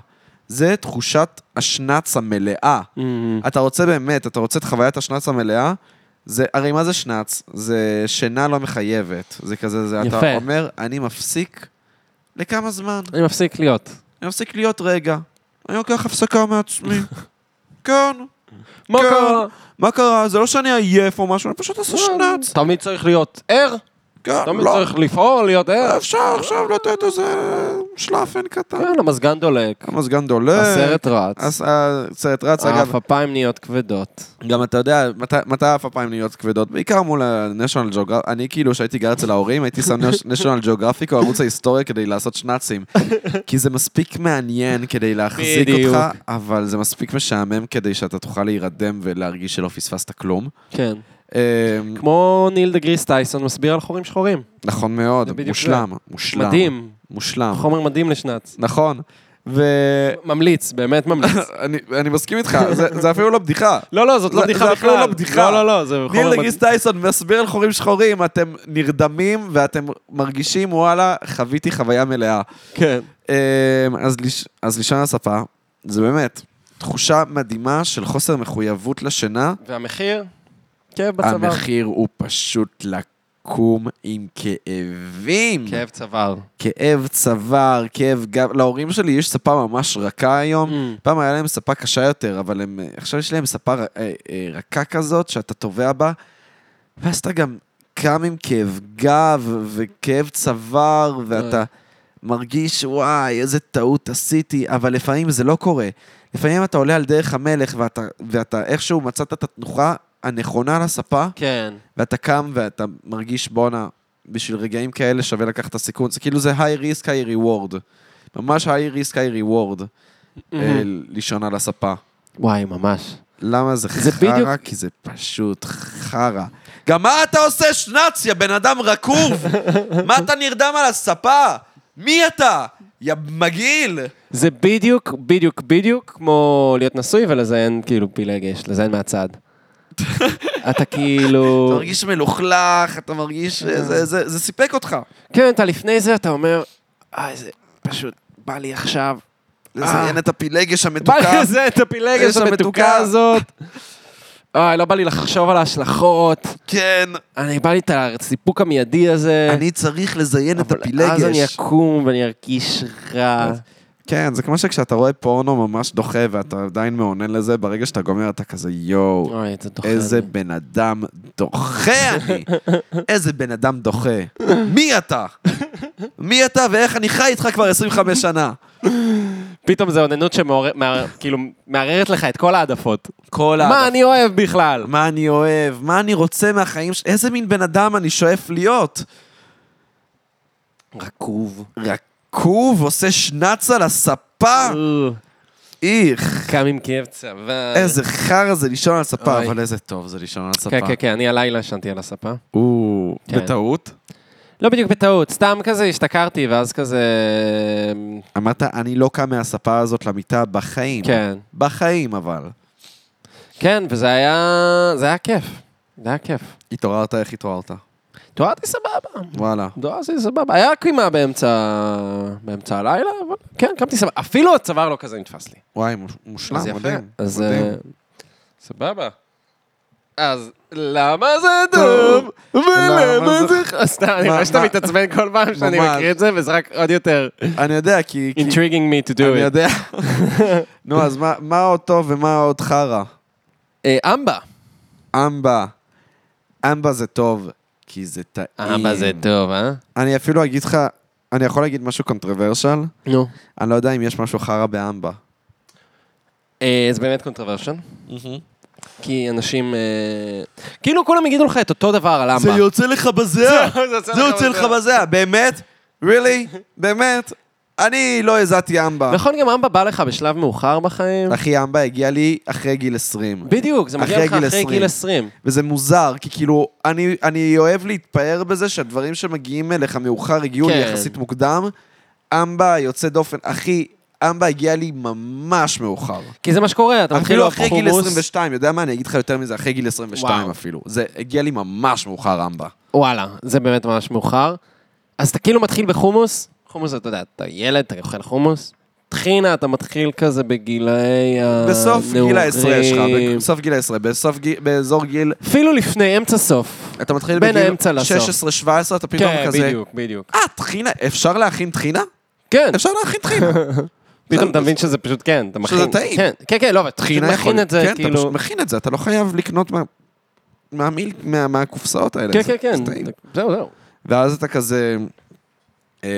A: זה תחושת השנץ המלאה.
B: Mm.
A: אתה רוצה באמת, אתה רוצה את חוויית השנץ המלאה, זה, הרי מה זה שנץ? זה שינה לא מחייבת. זה כזה, זה,
B: יפה.
A: אתה אומר, אני מפסיק לכמה זמן.
B: אני מפסיק להיות.
A: אני מפסיק להיות רגע. אני לוקח הפסקה מעצמי. כן,
B: מה
A: כן.
B: קרה? לא,
A: מה קרה? זה לא שאני עייף או משהו, אני פשוט עושה שנץ.
B: כן. תמיד צריך להיות ער,
A: כן,
B: תמיד
A: לא.
B: צריך לפעול, להיות ער.
A: אפשר עכשיו לתת איזה שלאפן קטן.
B: כן, המזגן דולק.
A: המזגן דולק.
B: הסרט רץ.
A: הס- אה, הסרט רץ, אגב.
B: העפפיים נהיות כבדות.
A: גם אתה יודע, מתי- מתי העפפיים נהיות כבדות? בעיקר מול ה-National Geographic. אני כאילו, כשהייתי גר אצל ההורים, הייתי שם national geographic או ערוץ ההיסטוריה כדי לעשות שנאצים. כי זה מספיק מעניין כדי להחזיק
B: בדיוק.
A: אותך, אבל זה מספיק משעמם כדי שאתה תוכל להירדם ולהרגיש שלא פספסת כלום.
B: כן.
A: אמ,
B: כמו ניל דה גריס טייסון מסביר על חורים שחורים.
A: נכון
B: זה
A: מאוד,
B: בדיוק
A: מושלם, מושלם.
B: מדהים.
A: מושלם,
B: חומר מדהים לשנץ.
A: נכון. ואני
B: ממליץ, באמת ממליץ.
A: אני מסכים איתך, זה- זה אפילו לא בדיחה.
B: לא, לא, זאת לא
A: זה-
B: בדיחה
A: זה
B: בכלל.
A: אפילו לא בדיחה.
B: לא, לא, לא, זה
A: ניל
B: חומר
A: דגיס
B: מדהים.
A: טייסון מסביר על חורים שחורים, אתם נרדמים ואתם מרגישים, וואלה, חוויתי חוויה מלאה.
B: כן.
A: אמ, אז ליש- אז לישון על הספה, זה באמת תחושה מדהימה של חוסר מחויבות לשינה.
B: והמחיר? כאב בצוואר.
A: המחיר הוא פשוט לקום עם כאבים.
B: כאב צוואר.
A: כאב צוואר, כאב גב. להורים שלי יש ספה ממש רכה היום.
B: Mm.
A: פעם היה להם ספה קשה יותר, אבל הם, אה, עכשיו יש להם ספה ר- אה, אה, רכה כזאת, שאתה טובע בה, ואז אתה גם קם עם כאב גב וכאב צוואר, ואתה מרגיש, וואי, איזה טעות עשיתי, אבל לפעמים זה לא קורה. לפעמים אתה עולה על דרך המלך, ואתה, ואתה איכשהו מצאת את התנוחה הנכונה לספה,
B: כן.
A: ואתה קם ואתה מרגיש בואנה, בשביל רגעים כאלה שווה לקחת את הסיכון. זה כאילו זה high risk, high reward. ממש high risk, high reward,
B: Mm-hmm.
A: אה, לישון על הספה.
B: וואי, ממש.
A: למה זה
B: זה
A: חרא?
B: בדיוק-
A: כי זה פשוט חרא. גם מה אתה עושה שנץ, יא בן אדם רקוב? מה אתה נרדם על הספה? מי אתה? יא מגעיל!
B: זה בדיוק, בדיוק, בדיוק כמו להיות נשוי ולזיין כאילו פילגש, לזיין מהצד. אתה
A: אתה
B: כאילו...
A: מרגיש מלוכלך, אתה מרגיש... אה, זה- זה זה סיפק אותך.
B: כן, אתה לפני זה, אתה אומר, אה, זה פשוט בא לי עכשיו.
A: לזיין את הפילגש
B: בא לי
A: המתוקה.
B: לזה את הפילגש
A: יש המתוקה.
B: המתוקה הזאת. אוי, לא בא לי לחשוב על ההשלכות.
A: כן.
B: אני בא לי את הסיפוק המיידי הזה.
A: אני צריך לזיין את
B: אבל
A: הפילגש.
B: אז אני אקום ואני ארגיש רע.
A: כן, זה כמו שכשאתה רואה פורנו ממש דוחה ואתה עדיין מעונן לזה, ברגע שאתה גומר אתה כזה יואו,
B: אוי, זה אה, דוחה.
A: איזה
B: אותי.
A: בן אדם דוחה אני! איזה בן אדם דוחה. מי אתה? מי אתה ואיך אני חי איתך כבר 25 שנה?
B: פתאום זו אוננות שמערערת כאילו, לך את כל העדפות.
A: כל
B: מה אני אוהב בכלל?
A: מה אני אוהב, מה אני רוצה מהחיים שלי, איזה מין בן אדם אני שואף להיות.
B: רקוב.
A: רקוב, עושה שנץ על הספה, איך.
B: קם עם כאב צוואר.
A: איזה חרא זה לישון על ספה,
B: אוי.
A: אבל איזה טוב זה לישון על ספה.
B: כן, כן, כן, אני הלילה ישנתי על הספה.
A: או,
B: כן.
A: בטעות?
B: לא בדיוק בטעות, סתם כזה השתכרתי, ואז כזה...
A: אמרת, אני לא קם מהספה הזאת למיטה בחיים.
B: כן.
A: בחיים אבל.
B: כן, וזה היה... זה היה כיף. זה היה כיף.
A: התעוררת, איך התעוררת?
B: תוארתי סבבה.
A: וואלה.
B: תוארתי סבבה. היה קימה באמצע... באמצע הלילה, אבל כן, קמתי סבבה. אפילו הצוואר לא כזה נתפס לי.
A: וואי, מוש- מושלם,
B: אז יפה.
A: מדהים.
B: אז...
A: מדהים.
B: אה, סבבה. אז למה זה אדום?
A: למה
B: ולמה
A: זה-
B: זה... ח- אה, סתם, אני
A: מה-
B: רואה שאתה
A: מה-
B: מתעצבן כל פעם שאני
A: ממש.
B: מקריא את זה, וזה רק עוד יותר...
A: אני יודע, כי... כי-
B: intriguing me to do
A: אני
B: it.
A: יודע. נו, אז מה- מה עוד טוב ומה עוד חרא?
B: אה, אמבה.
A: אמבה. אמבה זה טוב, כי זה טעים.
B: אמבה זה טוב, אה?
A: אני אפילו אגיד לך, אני יכול להגיד משהו קונטרוברשל?
B: נו.
A: אני לא יודע אם יש משהו חרא באמבה.
B: אה, זה באמת קונטרוורשן. כי אנשים... אה, כאילו כולם יגידו לך את אותו דבר על אמבה.
A: יוצא לך בזיעה. זה יוצא לך
B: בזה.
A: בזיעה, באמת? really? באמת? אני לא הזעתי אמבה.
B: נכון, גם אמבה בא לך בשלב מאוחר בחיים.
A: אחי, אמבה הגיע לי אחרי גיל 20.
B: בדיוק, זה מגיע
A: אחרי
B: לך
A: גיל
B: אחרי
A: 20.
B: גיל 20.
A: וזה מוזר, כי כאילו, אני, אני אוהב להתפאר בזה שהדברים שמגיעים אליך מאוחר הגיעו לי
B: כן.
A: יחסית מוקדם. אמבה יוצא דופן, אחי, אמבה הגיע לי ממש מאוחר.
B: כי זה מה שקורה, אתה מתחיל
A: אפילו
B: לאהוב
A: אחרי גיל
B: חומוס.
A: 22, יודע מה, אני אגיד לך יותר מזה, אחרי גיל 22
B: וואו.
A: אפילו. זה הגיע לי ממש מאוחר, אמבה.
B: וואלה, זה באמת ממש מאוחר. אז אתה כאילו מתחיל בחומוס, חומוס, אתה יודע, אתה ילד, אתה אוכל חומוס. טחינה, אתה מתחיל כזה בגילאי הנעורים.
A: בסוף גיל העשרה שלך, בסוף גיל העשרה, בסוף גיל- באזור גיל
B: אפילו לפני, אמצע סוף.
A: אתה מתחיל
B: בין
A: בגיל
B: האמצע לסוף.
A: 16-17, אתה פתאום
B: כן,
A: כזה,
B: בדיוק, בדיוק.
A: אה, טחינה, אפשר להכין טחינה?
B: כן,
A: אפשר להכין טחינה.
B: פתאום אתה מבין שזה פשוט כן, אתה מכין.
A: טעים.
B: כן, כן, כן, לא, אבל פשוט
A: טחינה יכול-
B: מכין את זה,
A: כן, אתה
B: כאילו...
A: פשוט מכין את זה, אתה לא חייב לקנות מה- מהמיל, מה- מהקופסאות האלה.
B: כן,
A: זה-
B: כן, כן,
A: זה טעים.
B: זהו, זהו.
A: ואז אתה כזה... אה,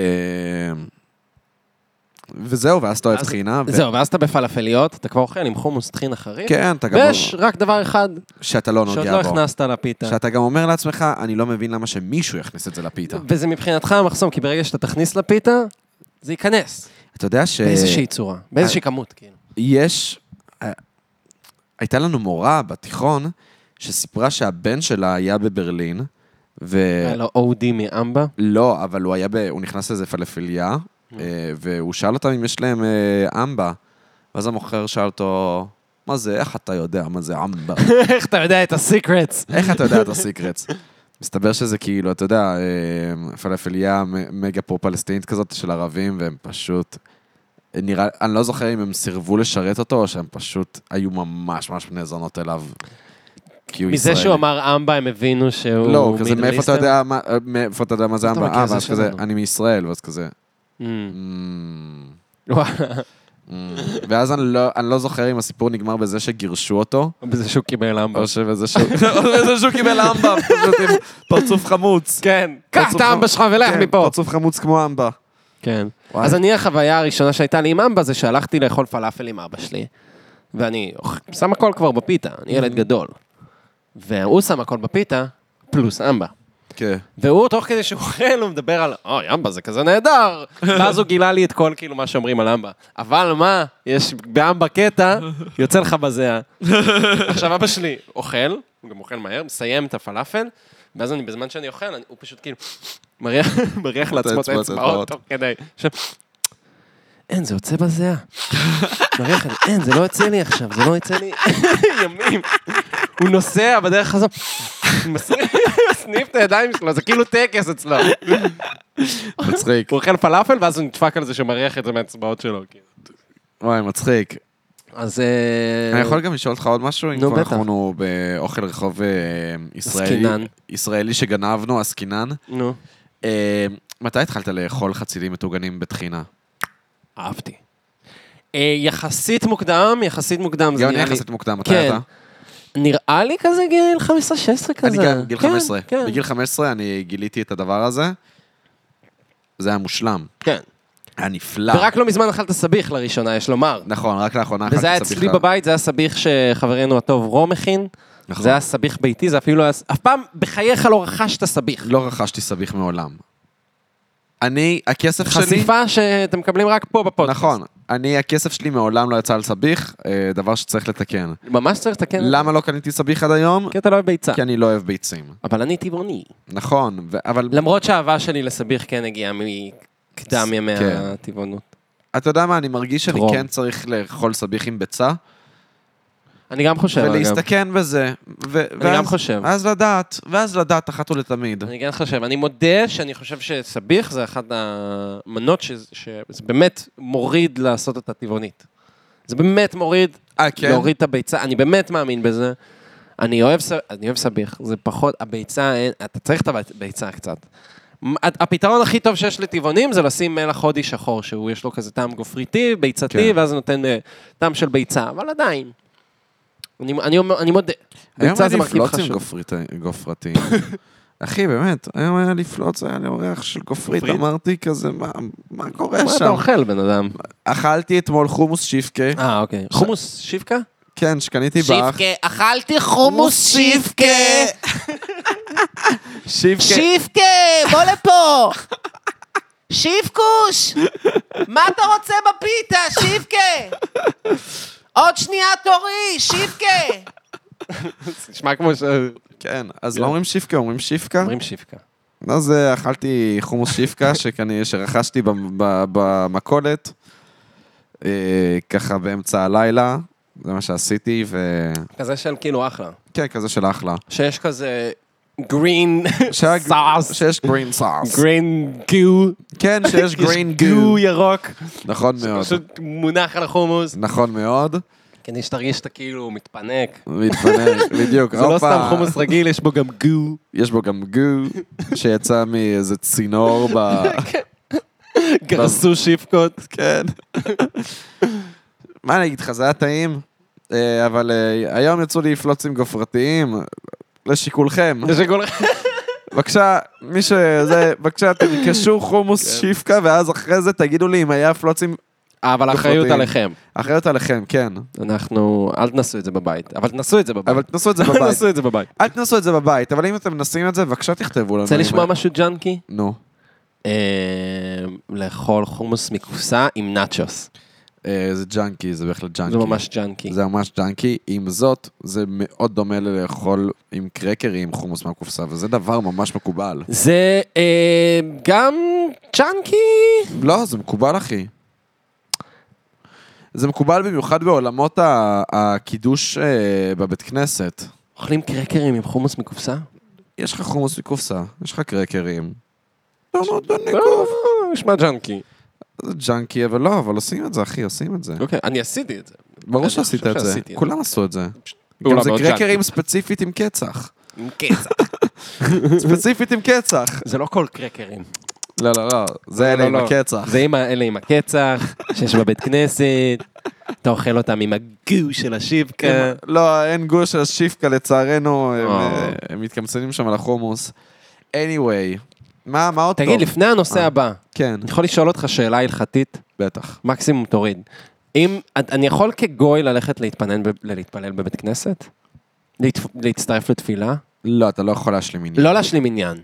A: וזהו, ואז אתה אוהב
B: אז-
A: טחינה. ו-
B: זהו, ואז אתה בפלאפליות, אתה כבר אוכל עם חומוס טחין אחרי.
A: אוקיי. כן, אתה גם...
B: ויש רק דבר אחד
A: שאתה לא
B: שעוד
A: נוגע
B: לא
A: בו.
B: הכנסת לפיתה.
A: שאתה גם אומר לעצמך, אני לא מבין למה שמישהו יכניס את זה לפיתה.
B: וזה מבחינתך המחסום, כי ברגע שאתה תכניס לפיתה, זה ייכנס.
A: אתה יודע ש...
B: באיזושהי צורה,
A: אה,
B: באיזושהי כמות, כאילו.
A: יש... אה, הייתה לנו מורה בתיכון שסיפרה שהבן שלה היה בברלין, ו...
B: היה לו OD מאמבה.
A: לא, אבל הוא היה ב... הוא נכנס לאיזה פלאפליה,
B: Mm.
A: אה, והוא שאל אותם אם יש להם אה, אמבה, ואז המוכר שאל אותו, מה זה, איך אתה יודע מה זה אמבה?
B: איך אתה יודע את הסיקרטס?
A: איך אתה יודע את הסיקרטס? מסתבר שזה כאילו, אתה יודע, אה, פלאפליה מ- מגה פרו-פלסטינית כזאת של ערבים, והם פשוט... אה, נראה, אני לא זוכר אם הם סירבו לשרת אותו, או שהם פשוט היו ממש ממש בני זונות אליו. כי הוא
B: מזה
A: ישראלי.
B: שהוא אמר אמבה, הם הבינו שהוא...
A: לא, כזה
B: מידל
A: מאיפה אתה
B: איסטרן?
A: יודע מה- אה, מאיפה אתה יודע מה זה
B: אתה
A: אמבה?
B: מכיר
A: אה,
B: זה
A: ואז כזה,
B: שלנו.
A: אני מישראל, ואז כזה...
B: Mm.
A: "אמ,
B: וואלה,
A: אמ." ואז אני לא- אני לא זוכר אם הסיפור נגמר בזה שגירשו אותו,
B: בזה שהוא קיבל אמבה.
A: או שבזה שהוא או שבזה שהוא קיבל אמבה, פשוט עם פרצוף חמוץ.
B: כן, קח את
A: פרצוף
B: האמבה
A: חמ-
B: שלך ולך
A: כן,
B: מפה.
A: פרצוף חמוץ כמו אמבה.
B: כן.
A: וואי.
B: אז אני, החוויה הראשונה שהייתה לי עם אמבה זה שהלכתי לאכול פלאפל עם אבא שלי, ואני אוכ- שם הכל כבר בפיתה, אני ילד
A: Mm.
B: גדול. והוא שם הכל בפיתה, פלוס אמבה.
A: כן.
B: והוא, תוך כדי שהוא אוכל, הוא מדבר על, אוי, אמבה זה כזה נהדר. ואז הוא גילה לי את כל, כאילו, מה שאומרים על אמבה. אבל מה, יש באמבה קטע, יוצא לך בזיעה. עכשיו, אבא שלי אוכל, הוא גם אוכל מהר, מסיים את הפלאפל, ואז אני, בזמן שאני אוכל, אני, הוא פשוט כאילו מריח, מריח לעצמו את
A: האצבעות,
B: האצבעות
A: האצבעות.
B: תוך כדי. עכשיו, אין, זה יוצא בזיעה. מריח, אני, אין, זה לא יוצא לי עכשיו, זה לא יוצא לי ימים. הוא נוסע בדרך הזאת, מסניף- מסניף את הידיים שלו, זה כאילו טקס אצלו.
A: מצחיק.
B: הוא אוכל פלאפל, ואז הוא נדפק על זה שמריח את זה מהאצבעות שלו. כאילו.
A: וואי, מצחיק.
B: אז... אה,
A: אני יכול גם לשאול אותך עוד משהו? אם
B: נו,
A: כבר
B: בטח.
A: אנחנו באוכל רחוב אה, ישראלי,
B: עסקינן.
A: ישראלי שגנבנו, עסקינן.
B: נו.
A: אה, מתי התחלת לאכול חצילים מטוגנים בטחינה?
B: אהבתי. אה, יחסית מוקדם, יחסית מוקדם. זה
A: גם אני
B: נראה לי-
A: יחסית מוקדם, מתי
B: כן.
A: אתה?
B: נראה לי כזה גיל 15-16 כזה.
A: אני גם, גיל
B: כן,
A: 15.
B: כן,
A: בגיל 15 אני גיליתי את הדבר הזה. זה היה מושלם.
B: כן.
A: היה נפלא.
B: ורק לא מזמן אכלת סביח לראשונה, יש לומר.
A: נכון, רק לאחרונה
B: וזה היה
A: אכלתי לא.
B: אצלי
A: סביחה.
B: בבית, זה היה סביח שחברנו הטוב רום הכין.
A: נכון.
B: זה היה סביח ביתי, זה אפילו לא היה... אף פעם בחייך לא רכשת סביח.
A: לא רכשתי סביח מעולם. אני, הכסף שלי...
B: חשיפה שאתם מקבלים רק פה בפודקאסט.
A: נכון. אני, הכסף שלי מעולם לא יצא על סביח, אה, דבר שצריך לתקן.
B: ממש צריך לתקן.
A: למה לא קניתי סביח עד היום?
B: כי אתה לא אוהב ביצה.
A: כי אני לא אוהב ביצים.
B: אבל אני טבעוני.
A: נכון, ו- אבל
B: למרות שהאהבה שלי לסביח כן הגיעה מקדם ימי
A: כן.
B: הטבעונות.
A: אתה יודע מה, אני מרגיש שאני
B: טרום.
A: כן צריך לאכול סביח עם ביצה,
B: אני גם חושב, אגב.
A: ולהסתכן בזה. ו- ואז-
B: גם חושב.
A: אז לדעת, ואז לדעת אחת ולתמיד.
B: אני כן חושב, אני מודה שאני חושב שסביח זה אחת המנות ש- שזה באמת מוריד לעשות אותה טבעונית. זה באמת מוריד
A: אה, כן?
B: להוריד את הביצה, אני באמת מאמין בזה. אני אוהב, ס- אני אוהב סביח, זה פחות, הביצה, אין- אתה צריך את הביצה קצת. מ- הת- הפתרון הכי טוב שיש לטבעונים זה לשים מלח הודי שחור, שהוא יש לו כזה טעם גופריתי, ביצתי,
A: כן.
B: ואז נותן אה, טעם של ביצה, אבל עדיין. אני, אני, אומר- אני מודה,
A: היום
B: ביצה
A: היה
B: זה
A: לי
B: מרכיב
A: פלוץ עם
B: חשוב.
A: גופרית- גופרתי. אחי, באמת, היום היה לי פלוץ, היה לי אורח של גופרית,
B: גופרית?
A: אמרתי כזה, "מה- מה קורה
B: מה אתה
A: אה, שם?
B: אוכל, בן אדם?
A: אכלתי אתמול חומוס שיפקה,
B: אה, אוקיי. חומוס שיפקה?
A: כן, שקניתי באח.
B: אכלתי
A: חומוס שיפקה. שיפקה,
B: שיפקה, בוא לפה! שיפקוש! מה אתה רוצה בפיתה, שיפקה? עוד שנייה תורי, שיפקה! נשמע כמו ש...
A: כן, אז לא אומרים שיפקה, אומרים שיפקה.
B: אומרים שיפקה.
A: אז אה, אכלתי חומוס שיפקה שכני, שרכשתי במ- ב- במכולת, אה, ככה באמצע הלילה, זה מה שעשיתי, ו...
B: כזה של כאילו אחלה.
A: כן, כזה של אחלה.
B: שיש כזה גרין
A: שהיה-
B: סאס,
A: שיש גרין סאס.
B: גרין גו,
A: כן, שיש גרין גו.
B: גו ירוק,
A: נכון מאוד.
B: פשוט מונח על החומוס,
A: נכון מאוד.
B: כדי שתרגיש שאתה כאילו מתפנק.
A: מתפנק, בדיוק.
B: זה לא
A: הופה.
B: סתם חומוס רגיל, יש בו גם גו.
A: יש בו גם גו, שיצא מאיזה צינור ב...
B: גרסו שיפקות.
A: כן. מה אני אגיד לך, זה היה טעים, אה, אבל אה, היום יצאו לי פלוצים גופרתיים, לשיקולכם.
B: זה שכל-
A: בבקשה, מי שזה, בבקשה, תרכשו חומוס
B: כן.
A: שיפקה, ואז אחרי זה תגידו לי אם היה פלוצים
B: אבל האחריות
A: לחלוטין.
B: עליכם.
A: אחרת עליכם, כן.
B: אנחנו, אל תנסו את זה בבית. אבל תנסו את זה בבית.
A: אבל תנסו את זה
B: אל
A: בבית.
B: תנסו את זה בבית.
A: אל תנסו את זה בבית, אבל אם אתם מנסים את זה, בבקשה תכתבו לנו.
B: רוצה
A: אם-
B: לשמוע משהו ג'אנקי?
A: נו.
B: אה, לאכול חומוס מכוסה עם נאצ'וס.
A: אה, זה ג'אנקי, זה בהחלט ג'אנקי.
B: זה ממש ג'אנקי.
A: זה ממש ג'אנקי. עם זאת, זה מאוד דומה ללאכול עם קרקרים חומוס מהקופסה, וזה דבר ממש מקובל.
B: זה אה, גם ג'אנקי.
A: לא, זה מקובל, אחי. זה מקובל במיוחד בעולמות ה- הקידוש אה, בבית כנסת.
B: אוכלים קרקרים עם חומוס מכובסה?
A: יש לך חומוס מקופסה, יש לך קרקרים. לא, לא, לא,
B: נשמע אה, ג'אנקי.
A: זה ג'אנקי, אבל לא, אבל עושים את זה, אחי, עושים את זה.
B: אוקיי, אני עשיתי את זה.
A: ברור
B: אני
A: שעשית
B: חושב
A: את זה.
B: שעשיתי את
A: כולם עשו את זה. גם
B: פעולה
A: זה
B: מאוד
A: קרקרים ספציפית עם קצח.
B: עם קצע.
A: ספציפית עם קצח.
B: זה לא כל קרקרים.
A: לא, לא, לא, זה אלה עם
B: לא, לא.
A: הקצח.
B: זה עם ה- אלה עם הקצח, שיש בבית כנסת, אתה אוכל אותם עם הגו של השיבקה.
A: לא, אין גוש של שיפקה לצערנו, הם,
B: אה.
A: אה, הם מתקמצנים שם על החומוס. anyway, מה מה עוד טוב?
B: תגיד, לפני הנושא הבא,
A: כן,
B: אני יכול לשאול אותך שאלה הלכתית?
A: בטח.
B: מקסימום תוריד. אם, את- אני יכול כגוי ללכת להתפנן ב- להתפלל בבית כנסת? להתפ- להצטרף לתפילה?
A: לא, אתה לא יכול להשלים עניין.
B: לא להשלים עניין,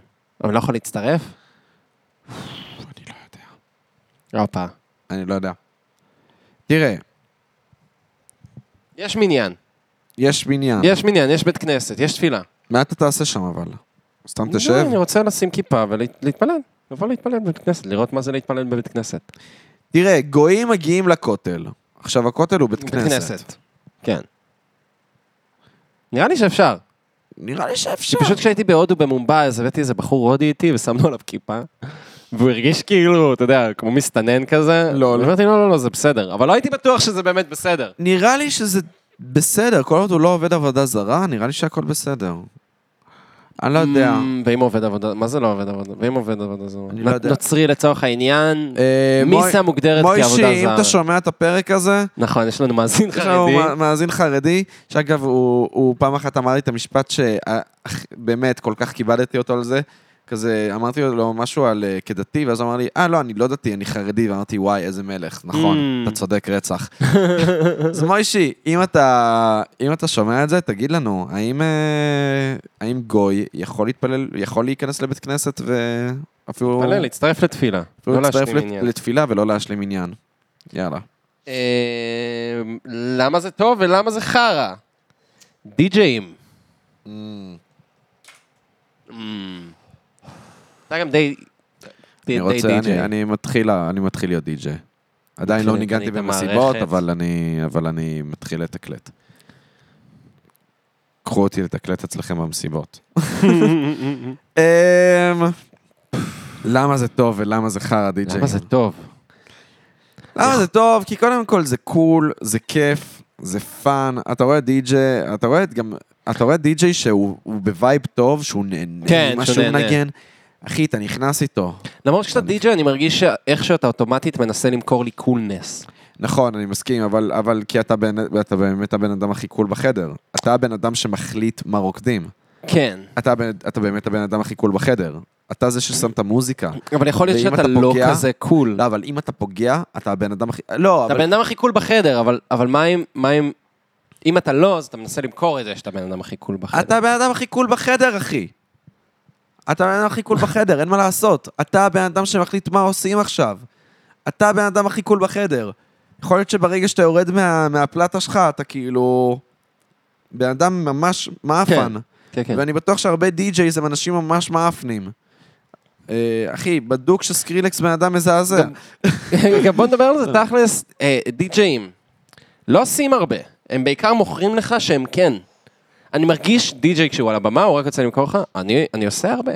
B: אבל לא יכול להצטרף?
A: אני לא יודע.
B: הופה.
A: אני לא יודע. תראה,
B: יש מניין,
A: יש בניין.
B: יש מניין, יש בית כנסת, יש תפילה.
A: מה אתה תעשה שם אבל? סתם
B: לא,
A: תשב?
B: אני רוצה לשים כיפה ולהתפלל. לבוא להתפלל בבית כנסת, לראות מה זה להתפלל בבית כנסת.
A: תראה, גויים מגיעים לכותל. עכשיו, הכותל הוא בית כנסת.
B: כן. נראה לי שאפשר.
A: נראה לי שאפשר.
B: כי פשוט כשהייתי בהודו במומבאי, אז הבאתי איזה בחור הודי איתי ושמנו עליו כיפה. והוא הרגיש כאילו, אתה יודע, כמו מסתנן כזה.
A: לא, לא.
B: אמרתי, לא, לא, לא, זה בסדר. אבל לא הייתי בטוח שזה באמת בסדר.
A: נראה לי שזה בסדר, כל עוד הוא לא עובד עבודה זרה, נראה לי שהכל בסדר. אני לא יודע.
B: אמ, ואם עובד עבודה, מה זה לא עובד עבודה? ואם עובד עבודה זו...
A: אני לא יודע.
B: נוצרי לצורך העניין,
A: אה, מוי-
B: מיסה מוגדרת כעבודה
A: מוישי, אם אתה
B: זרה.
A: שומע את הפרק הזה,
B: נכון, יש לנו מאזין
A: יש לנו
B: חרדי.
A: מא- מאזין חרדי, שאגב, הוא הוא פעם אחת אמר לי את המשפט שבאמת כל כך כיבדתי אותו על זה. כזה, אמרתי לו משהו על אה, כדתי, ואז הוא אמר לי, אה, לא, אני לא דתי, אני חרדי, ואמרתי, וואי, איזה מלך, נכון,
B: Mm.
A: אתה צודק רצח. אז מוישי, אם אתה, אם אתה שומע את זה, תגיד לנו, האם, אה, האם גוי יכול להתפלל, יכול להיכנס לבית כנסת ואפילו
B: תעלה, להצטרף לתפילה.
A: אפילו
B: לא
A: להצטרף
B: להשלים
A: לת-
B: לא עניין.
A: לתפילה ולא להשלים עניין? יאללה.
B: אה, למה זה טוב ולמה זה חרא? די-ג'אים. אמ. אתה גם די... די
A: אני רוצה,
B: די
A: אני-
B: די-ג'יי.
A: אני מתחיל, אני מתחיל להיות די-ג'יי. עדיין לא
B: מתחיל
A: ניגנתי
B: להתקנית
A: במסיבות,
B: המערכת.
A: אבל אני, אבל אני מתחיל לתקלט. קחו אותי לתקלט אצלכם במסיבות. אמ, למה זה טוב ולמה זה חרא די-ג'יי?
B: למה זה טוב?
A: למה זה טוב? כי קודם כל זה קול, זה כיף, זה פאן. אתה רואה די-ג'יי, אתה רואה את גם, אתה רואה די-ג'יי שהוא הוא בווייב טוב, שהוא נהנה
B: כן,
A: ממה
B: שהוא
A: שהוא
B: נהנה.
A: מנגן. אחי, אתה נכנס איתו.
B: למרות שאתה די-ג'יי, אני מרגיש שאיך שאתה אוטומטית מנסה למכור לי קולנס.
A: נכון, אני מסכים, אבל, אבל כי אתה, בן, אתה באמת הבן אדם הכי קול בחדר. אתה הבן אדם שמחליט מה רוקדים.
B: כן.
A: אתה, הבן- אתה באמת הבן אדם הכי קול בחדר. אתה זה ששם את המוזיקה.
B: אבל יכול להיות
A: ואם
B: שאתה
A: אתה
B: לא
A: פוגע-
B: כזה קול.
A: לא, אבל אם אתה פוגע, אתה הבן אדם הכי... לא,
B: אתה
A: אבל...
B: הבן אדם הכי קול בחדר, אבל- אבל מה אם... מה אם... אם אתה לא, אז אתה מנסה למכור את זה שאתה הבן אדם הכי קול בחדר.
A: אתה הבן אדם הכי קול בחדר, אחי. אתה הבן אדם הכי קול בחדר, אין מה לעשות. אתה הבן אדם שמחליט מה עושים עכשיו. אתה הבן אדם הכי קול בחדר. יכול להיות שברגע שאתה יורד מה, מהפלטה שלך, אתה כאילו... בן אדם ממש מאפן.
B: כן, כן.
A: ואני בטוח שהרבה די-ג'ייז הם אנשים ממש מאפנים. אה, אחי, בדוק שסקרילקס בן אדם מזעזע.
B: גם בוא נדבר על זה תכלס, אה, די-ג'אים, לא עושים הרבה, הם בעיקר מוכרים לך שהם כן. אני מרגיש די-ג'יי כשהוא על הבמה, הוא רק רוצה למכור לך, אני אני עושה הרבה.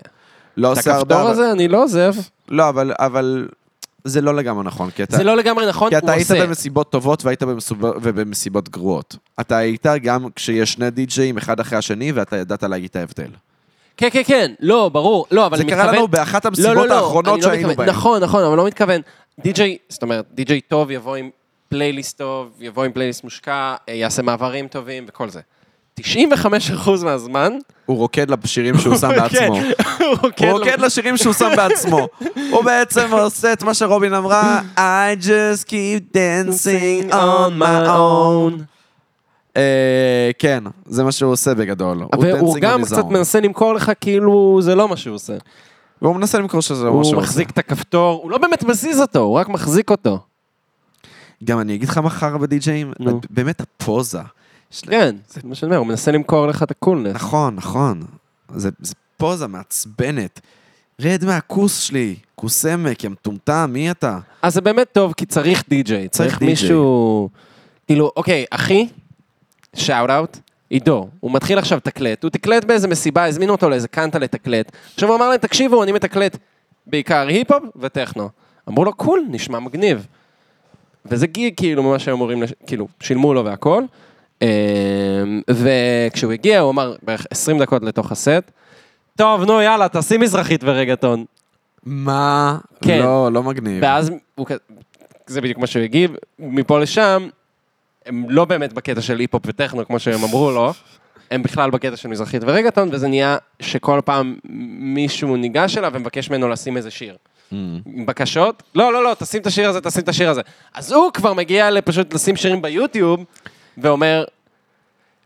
A: לא
B: את
A: עושה הרבה...
B: הכפתור
A: אבל-
B: הזה אני לא עוזב.
A: לא, אבל- אבל זה לא לגמרי נכון, כי אתה...
B: זה לא לגמרי נכון,
A: כי
B: הוא
A: אתה היית
B: עושה.
A: במסיבות טובות והיית במסיבות, ובמסיבות גרועות. אתה היית גם כשיש שני די-ג'אים אחד אחרי השני, ואתה ידעת להגיד את ההבדל.
B: כן, כן, כן, לא, ברור, לא, אבל
A: זה
B: אני מתכוון...
A: קרה לנו באחת המסיבות האחרונות
B: אני לא
A: שהיינו
B: מתכוון.
A: בהן.
B: נכון, נכון, אבל לא מתכוון. די-ג'יי, זאת אומרת, די-ג'יי טוב יבוא עם פלייליסט טוב, יבוא עם פלייליסט מושקע, אה, יעשה מעברים טובים וכל זה. 95% מהזמן,
A: הוא רוקד לשירים שהוא שם
B: הוא כן
A: בעצמו.
B: רוקד- הוא
A: הוא כן
B: רוקד
A: רוקד לשירים שהוא שם בעצמו. הוא בעצם עושה את מה שרובין אמרה, I just keep dancing on my own. אה, כן, זה מה שהוא עושה בגדול. הוא
B: והוא
A: dancing
B: גם
A: on his
B: קצת
A: own.
B: מנסה למכור לך כאילו זה לא מה שהוא עושה.
A: והוא מנסה למכור שזה לא מה
B: הוא
A: שהוא עושה.
B: מחזיק את הכפתור, הוא לא באמת מזיז אותו, הוא רק מחזיק אותו.
A: גם אני אגיד לך מחר בדי-ג'אים,
B: נו.
A: באמת הפוזה. יש לה-
B: כן, זה מה שאני אומר, הוא מנסה למכור לך את הקולנס.
A: נכון, נכון. זה, זה פוזה מעצבנת. רד מהכוס שלי, כוס עמק, יא מטומטם, מי אתה?
B: אז זה באמת טוב, כי צריך די-ג'יי, צריך
A: די-ג'יי.
B: מישהו... כאילו, אוקיי, אחי, שאוט אאוט, עידו, הוא מתחיל עכשיו לתקלט, הוא תקלט באיזה מסיבה, הזמינו אותו לאיזה קאנטה לתקלט, עכשיו הוא אמר להם, תקשיבו, אני מתקלט בעיקר היפ-הופ וטכנו. אמרו לו, קול, נשמע מגניב. וזה גיג, כאילו, ממש היו אמורים, לש... כאילו, שילמו לו והכל. אמ, וכשהוא הגיע, הוא אמר, בערך 20 דקות לתוך הסט, טוב, נו, יאללה, תשים מזרחית ורגטון.
A: מה?
B: כן.
A: לא, לא מגניב.
B: ואז הוא כ- זה בדיוק מה שהוא הגיב, מפה לשם, הם לא באמת בקטע של היפ-הופ וטכנו, כמו שהם אמרו לו, הם בכלל בקטע של מזרחית ורגטון, וזה נהיה שכל פעם מישהו ניגש אליו ומבקש ממנו לשים איזה שיר. עם בקשות? לא, לא, לא, תשים את השיר הזה, תשים את השיר הזה. אז הוא כבר מגיע לפשוט לשים שירים ביוטיוב, ואומר,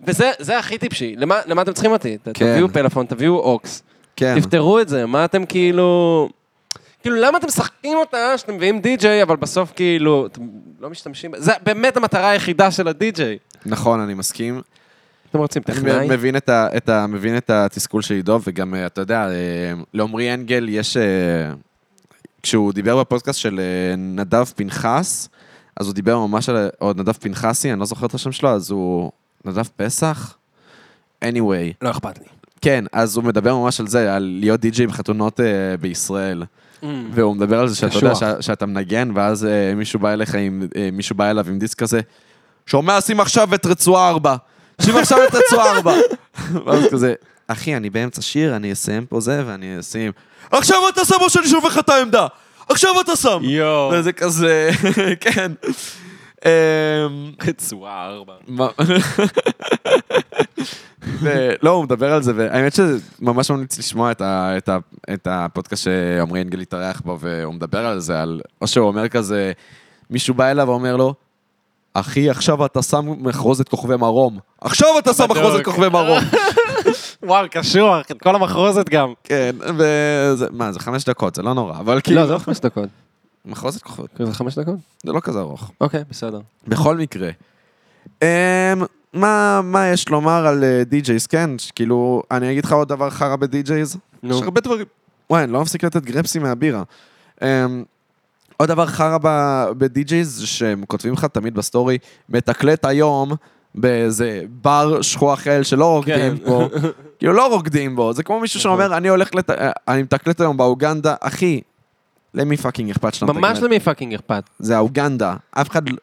B: וזה זה הכי טיפשי, למה, למה אתם צריכים אותי? כן.
A: כן.
B: תביאו פלאפון, תביאו אוקס,
A: כן.
B: תפתרו את זה, מה אתם כאילו... כאילו, למה אתם משחקים אותה שאתם מביאים די-ג'יי, אבל בסוף כאילו, אתם לא משתמשים... ב- זה באמת המטרה היחידה של הדי-ג'יי.
A: נכון, אני מסכים.
B: אתם רוצים
A: אני
B: טכנאי?
A: מבין את, ה, את ה, מבין את התסכול של עידו, וגם, אה, אתה יודע, אה, לעומרי אנגל יש... אה, כשהוא דיבר בפודקאסט של אה, נדב פנחס, אז הוא דיבר ממש על... או נדב פנחסי, אני לא זוכר את השם שלו, אז הוא... נדב פסח? anyway.
B: לא אכפת לי.
A: כן, אז הוא מדבר ממש על זה, על להיות די-ג'יי בחתונות אה, בישראל. והוא מדבר על זה שאתה יודע
B: קשוח.
A: ש- שאתה מנגן, ואז אה, מישהו בא אליך עם, אה, מישהו בא אליו עם דיסק כזה, שומע, שים עכשיו את רצועה ארבע. שים עכשיו את רצועה ארבע. ואז כזה, אחי, אני באמצע שיר, אני אסיים פה זה ואני אשים. עכשיו אתה שם או שאני שופך לך את העמדה. עכשיו אתה שם.
B: יואו,
A: וזה כזה, כן. אמ,
B: רצועה ארבע.
A: מה- ו- לא, הוא מדבר על זה, והאמת שזה ממש ממליץ לשמוע את, ה, את, ה, את הפודקאסט שעמרי אנגל התארח בו, והוא מדבר על זה, על, או שהוא אומר כזה, מישהו בא אליו ואומר לו, אחי, עכשיו אתה שם מחרוזת כוכבי מרום. עכשיו אתה שם
B: בדוק.
A: מחרוזת כוכבי מרום.
B: וואו, קשוח, את כל המחרוזת גם.
A: כן, וזה, מה, זה חמש דקות, זה לא נורא, אבל כאילו,
B: לא, זה לא חמש דקות.
A: מחרוזת כוכבי,
B: כאילו, זה חמש דקות?
A: זה לא כזה ארוך.
B: אוקיי, בסדר.
A: בכל מקרה. אמ, מה, מה יש לומר על אה, די-ג'ייז, כן? ש- כאילו, אני אגיד לך עוד דבר חרא בדי-ג'ייז.
B: נו.
A: יש הרבה דברים. וואי, אני לא מפסיק לתת גרפסים מהבירה. אמ, עוד דבר חרא ב- בדי-ג'ייז, זה שהם כותבים לך תמיד בסטורי, מתקלט היום באיזה בר שכוח אל שלא רוקדים
B: כן. נכון.
A: פה. כאילו, לא רוקדים בו. זה כמו מישהו שאומר, אני הולך לת... אה, אני מתקלט היום באוגנדה, אחי. למי פאקינג אכפת שאתה
B: ממש למי פאקינג אכפת.
A: זה האוגנדה. אף אחד... לא-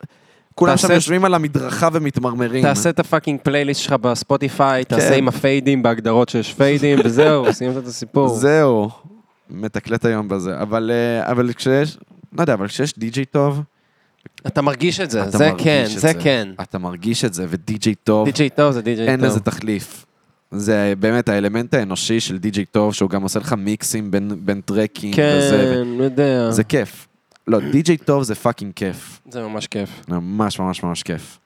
A: כולם
B: תעשה-
A: שם יושבים על המדרכה ומתמרמרים.
B: תעשה את הפאקינג פלייליסט שלך בספוטיפיי, תעשה
A: כן.
B: עם הפיידים בהגדרות שיש פיידים, וזהו, סיימת את הסיפור.
A: זהו. מתקלט היום בזה. אבל, אה, אבל כשיש... לא יודע, אבל כשיש די-ג'יי טוב...
B: אתה מרגיש את זה,
A: אתה
B: זה
A: מרגיש
B: כן,
A: את
B: זה כן.
A: אתה מרגיש את זה, ודי-ג'יי טוב,
B: די.ג'יי טוב זה די.ג'יי
A: אין
B: טוב.
A: לזה תחליף. זה באמת האלמנט האנושי של די-ג'יי טוב, שהוא גם עושה לך מיקסים בין, בין טרקים וזה.
B: כן, לא יודע.
A: ו- זה כיף. לא, די-ג'יי טוב זה פאקינג כיף.
B: זה ממש כיף.
A: ממש ממש ממש כיף.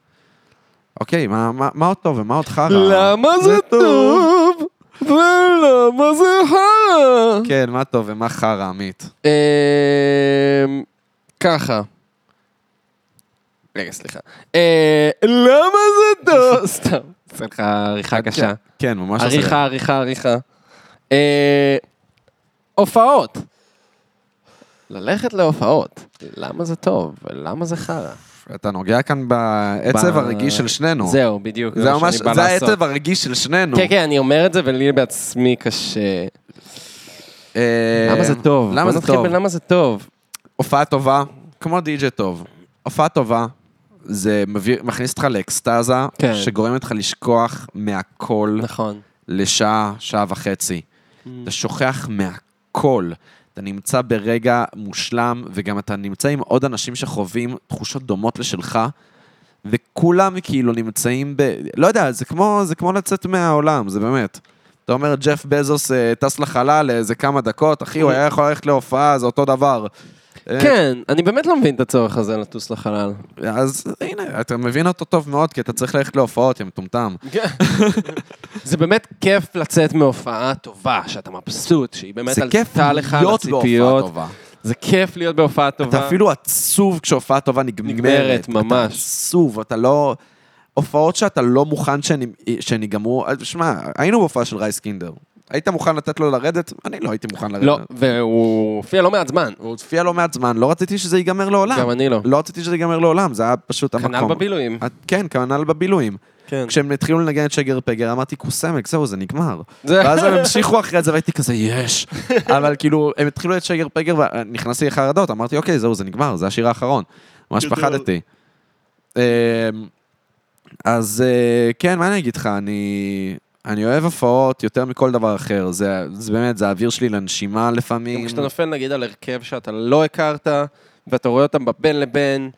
A: אוקיי, מה, מה, מה עוד טוב ומה עוד חרא?
B: למה אה, זה טוב? ולמה זה חרא?
A: כן, מה טוב ומה חרא, עמית.
B: אמ, ככה. רגע, סליחה. אה, למה זה טוב? סתם. עושה לך עריכה קשה.
A: כן, ממש עושה.
B: עריכה, עריכה, עריכה. אה, הופעות. ללכת להופעות. למה זה טוב? למה זה חרא?
A: אתה נוגע כאן בעצב
B: ב-
A: הרגיש של שנינו.
B: זהו, בדיוק.
A: זה
B: מה
A: ממש,
B: שאני בא
A: זה
B: לעשות.
A: העצב הרגיש של שנינו.
B: כן, כן, אני אומר את זה, ולי בעצמי קשה.
A: אה,
B: למה זה טוב?
A: למה
B: בוא
A: זה
B: נתחיל
A: טוב?
B: בלמה זה טוב.
A: הופעה טובה, כמו די.ג'י טוב. הופעה טובה, זה מביא- מכניס אותך לאקסטזה,
B: כן.
A: שגורמת לך לשכוח מהכל
B: נכון.
A: לשעה, שעה וחצי.
B: Mm.
A: אתה שוכח מהכל. אתה נמצא ברגע מושלם, וגם אתה נמצא עם עוד אנשים שחווים תחושות דומות לשלך, וכולם כאילו נמצאים ב... לא יודע, זה כמו, זה כמו לצאת מהעולם, זה באמת. אתה אומר, ג'ף בזוס אה, טס לחלל לאיזה כמה דקות, אחי, הוא
B: Mm.
A: היה יכול ללכת להופעה, זה אותו דבר. אה,
B: כן, אני באמת לא מבין את הצורך הזה לטוס לחלל.
A: אז הנה, אתה מבין אותו טוב מאוד, כי אתה צריך ללכת להופעות, יא מטומטם.
B: זה באמת כיף לצאת מהופעה טובה, שאתה מבסוט, שהיא באמת
A: זה כיף
B: עלתה לך על
A: להיות בהופעה
B: הציפיות.
A: טובה.
B: זה כיף להיות בהופעה טובה.
A: אתה אפילו עצוב כשהופעה טובה נגמרת.
B: נגמרת,
A: אתה
B: ממש.
A: עצוב, אתה לא... הופעות שאתה לא מוכן שהן- שהן ייגמרו... שמע, היינו אה, בהופעה של רייס קינדר. היית מוכן לתת לו לרדת? אני לא הייתי מוכן לרדת.
B: לא, והוא הופיע לא מעט זמן.
A: הוא הופיע לא מעט זמן, לא רציתי שזה ייגמר לעולם.
B: גם אני לא.
A: לא רציתי שזה ייגמר לעולם, זה היה פשוט המקום.
B: כנ"ל בבילויים.
A: את- כן, כנ"ל בבילויים.
B: כן.
A: כשהם התחילו לנגן את שגר פגר, אמרתי, קוסמק, זהו, זה נגמר.
B: זה-
A: ואז הם המשיכו אחרי זה, והייתי כזה, יש. אבל כאילו, הם התחילו את שגר פגר, ונכנסתי לחרדות, אמרתי, אוקיי, זהו, זה נגמר, זה השיר האחרון. ממש
B: גדול.
A: פחדתי. אה, אז אה, כן, מה אני אגיד לך, אני... אני אוהב הופעות יותר מכל דבר אחר, זה, זה באמת, זה האוויר שלי לנשימה
B: גם
A: לפעמים.
B: כשאתה נופל נגיד על הרכב שאתה לא הכרת, ואתה רואה אותם בבין לבין,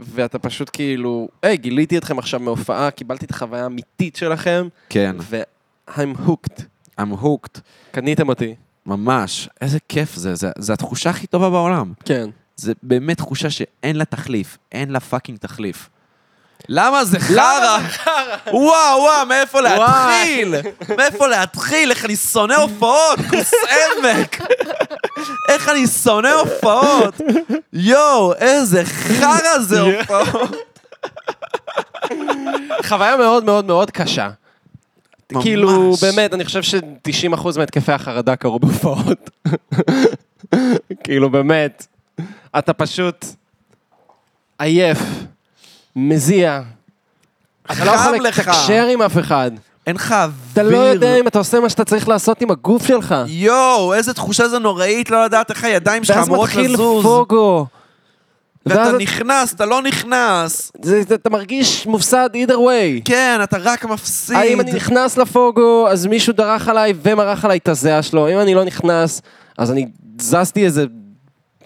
B: ואתה פשוט כאילו, היי, גיליתי אתכם עכשיו מהופעה, קיבלתי את החוויה האמיתית שלכם,
A: כן,
B: ו-I'm hooked.
A: I'm hooked,
B: קניתם אותי.
A: ממש. איזה כיף זה, זה, זה התחושה הכי טובה בעולם.
B: כן.
A: זה באמת תחושה שאין לה תחליף, אין לה פאקינג תחליף. למה זה
B: למה
A: חרא? וואו, וואו, מאיפה
B: וואי.
A: להתחיל? מאיפה להתחיל? איך אני שונא הופעות, כוס עמק. איך אני שונא הופעות. יואו, איזה חרא זה הופעות.
B: חוויה מאוד מאוד מאוד קשה.
A: ממש.
B: כאילו, באמת, אני חושב ש-90% מהתקפי החרדה קרו בהופעות. כאילו, באמת, אתה פשוט עייף, מזיע. אתה לא יכול
A: חם לך.
B: לתקשר עם אף אחד.
A: אין לך אוויר.
B: אתה לא יודע אם אתה עושה מה שאתה צריך לעשות עם הגוף שלך.
A: יואו, איזה תחושה זה נוראית לא לדעת איך הידיים שלך
B: ואז
A: אמורות
B: מתחיל
A: לזוז.
B: פוגו. ואז
A: ואתה נכנס, אתה לא נכנס.
B: זה- זה- אתה מרגיש מופסד either way.
A: כן, אתה רק מפסיד.
B: האם אני נכנס לפוגו, אז מישהו דרך עליי ומרח עליי את הזיעה שלו. אם אני לא נכנס, אז אני זזתי איזה...